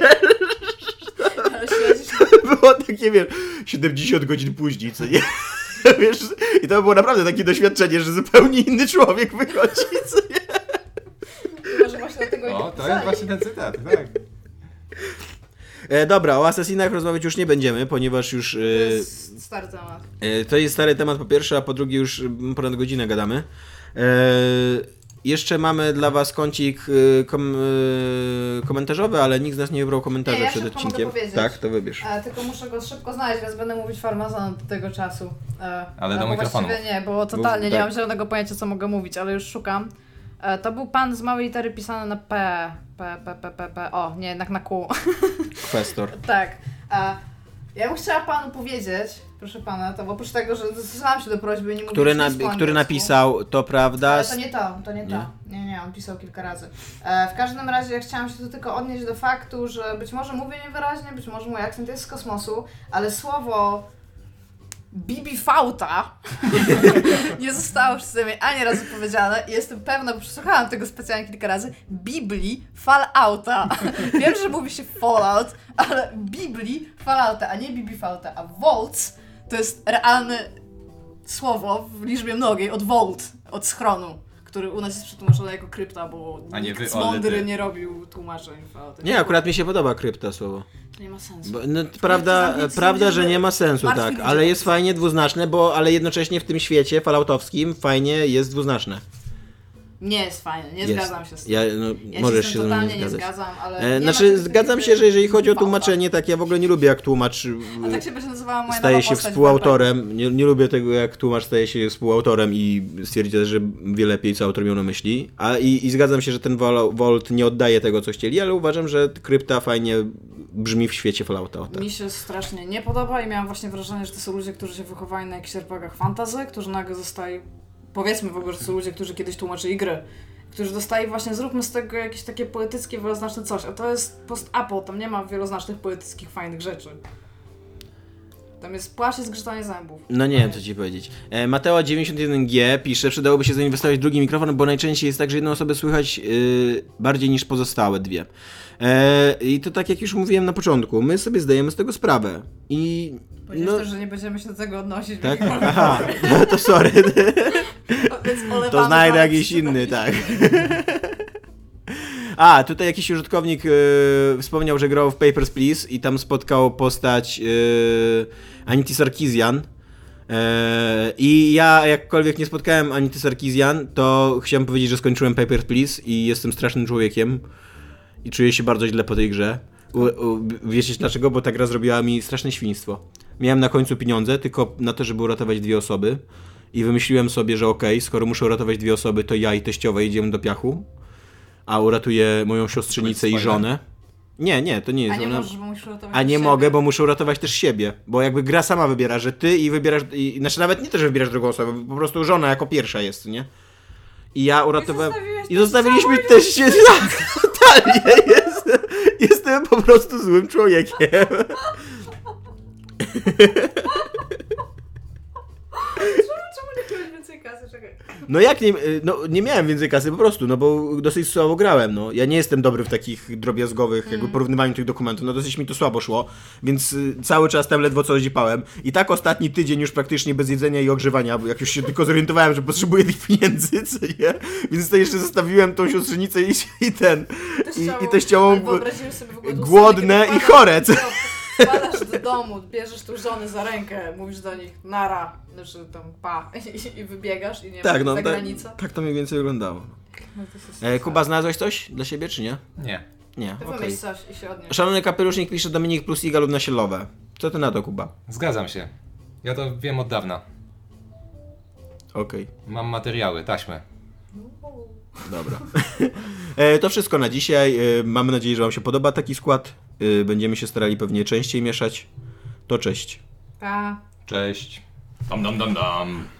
Speaker 4: Ale śledzisz,
Speaker 5: Było takie, wiesz, 70 godzin później, co nie? Wiesz, i to było naprawdę takie doświadczenie, że zupełnie inny człowiek wychodzi, co nie?
Speaker 4: że właśnie dlatego
Speaker 3: O, to
Speaker 4: pisali.
Speaker 3: jest właśnie ten cytat, tak.
Speaker 5: E, dobra, o Assassinach rozmawiać już nie będziemy, ponieważ już...
Speaker 4: To
Speaker 5: e,
Speaker 4: jest stary temat.
Speaker 5: E, To jest stary temat po pierwsze, a po drugie już mm, ponad godzinę gadamy. E, Jeszcze mamy dla was kącik y, kom, y, komentarzowy, ale nikt z nas nie wybrał komentarza
Speaker 4: Nie, ja
Speaker 5: przed
Speaker 4: szybko
Speaker 5: odcinkiem.
Speaker 4: mogę powiedzieć.
Speaker 5: tak, to wybierz.
Speaker 4: E, tylko muszę go szybko znaleźć, więc będę mówić farmazon do tego czasu. E,
Speaker 3: Ale do
Speaker 4: bo
Speaker 3: mikrofonu.
Speaker 4: Właściwie nie, bo totalnie
Speaker 5: tak.
Speaker 4: nie mam zielonego pojęcia, co mogę mówić, ale już szukam. E, to był pan z małej litery pisany na P. P, P, P, P, P. O, nie, jednak na Q.
Speaker 5: Kwestor.
Speaker 4: Tak. A ja bym chciała panu powiedzieć, proszę pana, to bo oprócz tego, że dostosowałam się do prośby i nie mówię
Speaker 5: Który,
Speaker 4: nic
Speaker 5: na,
Speaker 4: po
Speaker 5: który
Speaker 4: angielsku.
Speaker 5: napisał, to prawda.
Speaker 4: no. Ale to nie to, to nie, to. Nie, nie, on pisał kilka razy. E, w każdym razie ja chciałam się tu tylko odnieść do faktu, że być może mówię niewyraźnie, być może mój akcent jest z kosmosu, ale słowo bibifauta nie zostało przeze mnie ani razu powiedziane i jestem pewna, bo przesłuchałam tego specjalnie kilka razy, Biblii Fallouta. Wiem, że mówi się Fallout, ale Biblii Fallouta, a nie Bibifauta, a Vaults to jest realne słowo w liczbie mnogiej od Vault, od schronu, który u nas jest przetłumaczony jako krypta, bo
Speaker 3: A nie wy,
Speaker 4: nikt
Speaker 3: ale ty.
Speaker 4: mądry nie robił tłumaczeń Fallouta.
Speaker 5: Nie, akurat mi się podoba krypta słowo.
Speaker 4: To nie ma sensu.
Speaker 5: Bo, no, to prawda,
Speaker 4: zamknij się,
Speaker 5: prawda, że
Speaker 4: żeby
Speaker 5: nie ma sensu,
Speaker 4: martwi
Speaker 5: tak,
Speaker 4: ludzi.
Speaker 5: ale jest fajnie dwuznaczne, bo ale jednocześnie w tym świecie falloutowskim fajnie jest dwuznaczne.
Speaker 4: Nie jest fajne, nie
Speaker 5: Jest.
Speaker 4: zgadzam się z tym.
Speaker 5: Ja, no,
Speaker 4: Ja
Speaker 5: możesz
Speaker 4: się,
Speaker 5: się
Speaker 4: z tym
Speaker 5: ze mną
Speaker 4: totalnie
Speaker 5: nie
Speaker 4: nie
Speaker 5: zgadzać.
Speaker 4: zgadzam, ale. nie
Speaker 5: E,
Speaker 4: ma
Speaker 5: znaczy,
Speaker 4: czegoś
Speaker 5: zgadzam
Speaker 4: takiego,
Speaker 5: się, że jeżeli chodzi o
Speaker 4: bałwa.
Speaker 5: tłumaczenie, tak ja w ogóle nie lubię, jak tłumacz y,
Speaker 4: A tak się będzie nazywała moja
Speaker 5: staje
Speaker 4: nowa
Speaker 5: się
Speaker 4: postać w
Speaker 5: współautorem. Nie, nie lubię tego, jak tłumacz staje się współautorem i stwierdza, że wie lepiej, co autor miał na myśli. A, i, I zgadzam się, że ten Vol- Volt nie oddaje tego, co chcieli, ale uważam, że krypta fajnie brzmi w świecie Fallouta. o tak.
Speaker 4: Mi się strasznie nie podoba i miałam właśnie wrażenie, że to są ludzie, którzy się wychowali na jakichś RPGach fantasy, którzy nagle zostali, powiedzmy w ogóle, że to są ludzie, którzy kiedyś tłumaczyli gry, którzy dostali właśnie, zróbmy z tego jakieś takie poetyckie, wieloznaczne coś, a to jest post-apo, tam nie ma wieloznacznych, poetyckich, fajnych rzeczy. Tam jest płaszcz i zgrzytanie zębów.
Speaker 5: No nie wiem, co ci powiedzieć. E, Mateo91G pisze, przydałoby się zainwestować w drugi mikrofon, bo najczęściej jest tak, że jedną osobę słychać y, bardziej niż pozostałe dwie. E, I to tak jak już mówiłem na początku, my sobie zdajemy z tego sprawę. I...
Speaker 4: Powiedziałeś też, że nie będziemy się do tego odnosić.
Speaker 5: No. tak?
Speaker 4: więc-
Speaker 5: Aha, no to sorry.
Speaker 4: więc
Speaker 5: To
Speaker 4: olewamy
Speaker 5: znajdę
Speaker 4: palec.
Speaker 5: jakiś inny, tak. A, tutaj jakiś użytkownik y, wspomniał, że grał w Papers, Please i tam spotkał postać y, Anity Sarkisian. E, I ja jakkolwiek nie spotkałem Anity Sarkisian, to chciałem powiedzieć, że skończyłem Papers, Please i jestem strasznym człowiekiem i czuję się bardzo źle po tej grze. U, u, wiecie dlaczego? Bo ta gra zrobiła mi straszne świństwo. Miałem na końcu pieniądze tylko na to, żeby uratować dwie osoby. I wymyśliłem sobie, że okej, skoro muszę uratować dwie osoby, to ja i teściowa idziemy do piachu, a uratuję moją siostrzenicę i
Speaker 3: Spoiler.
Speaker 5: żonę. Nie, nie, to nie
Speaker 4: A
Speaker 5: jest.
Speaker 4: nie
Speaker 5: ona-
Speaker 4: możesz, bo musisz uratować
Speaker 5: no. a nie
Speaker 4: siebie.
Speaker 5: mogę, bo muszę uratować też siebie. Bo jakby gra sama wybiera, że ty i wybierasz. I, znaczy nawet nie to, że wybierasz drugą osobę, po prostu żona jako pierwsza jest, nie? I ja uratowałem.
Speaker 4: zostawiłeś
Speaker 5: I
Speaker 4: też
Speaker 5: zostawiliśmy też się. Tak, totalnie jest. Jestem po prostu złym człowiekiem.
Speaker 4: Czemu, czemu nie chciałeś więcej kasy? Czekaj.
Speaker 5: No jak nie. No nie miałem więcej kasy po prostu, no bo dosyć słabo grałem, no. Ja nie jestem dobry w takich drobiazgowych,
Speaker 4: Mm.
Speaker 5: jakby porównywaniu tych dokumentów, no dosyć mi to słabo szło, więc y, cały czas tam ledwo co zipałem. I tak ostatni tydzień już praktycznie bez jedzenia i ogrzewania, bo jak już się tylko zorientowałem, że potrzebuję tych pieniędzy, co nie? Więc to jeszcze zostawiłem tą siostrzenicę i, i ten. I, i teściową.
Speaker 4: Ale wyobraziłeś sobie w ogóle tą
Speaker 5: głodne
Speaker 4: scenę, kiedy
Speaker 5: i
Speaker 4: wpadasz-
Speaker 5: chore, co?
Speaker 4: Wpadasz No, do domu, bierzesz tu żony za rękę, mówisz do nich nara, znaczy tam pa i, i wybiegasz i nie
Speaker 5: Tak,
Speaker 4: wiem,
Speaker 5: no,
Speaker 4: za
Speaker 5: tak,
Speaker 4: granicę.
Speaker 5: tak to mniej więcej wyglądało.
Speaker 4: No to jest
Speaker 5: E, Kuba, znalazłeś coś dla siebie, czy nie?
Speaker 3: Nie.
Speaker 5: Nie,
Speaker 4: Ty
Speaker 5: okej.
Speaker 4: wymyśl coś i się odnieś.
Speaker 5: Szalony kapelusznik pisze Dominik plus Iga lub Nasielowe. Co ty na to, Kuba?
Speaker 3: Zgadzam się. Ja to wiem od dawna.
Speaker 5: Okej.
Speaker 3: Mam materiały, taśmy.
Speaker 5: Dobra. E, to wszystko na dzisiaj. E, Mamy nadzieję, że Wam się podoba taki skład. E, Będziemy się starali pewnie częściej mieszać. To cześć.
Speaker 4: Pa.
Speaker 3: Cześć. Dam, dam, dam, dam.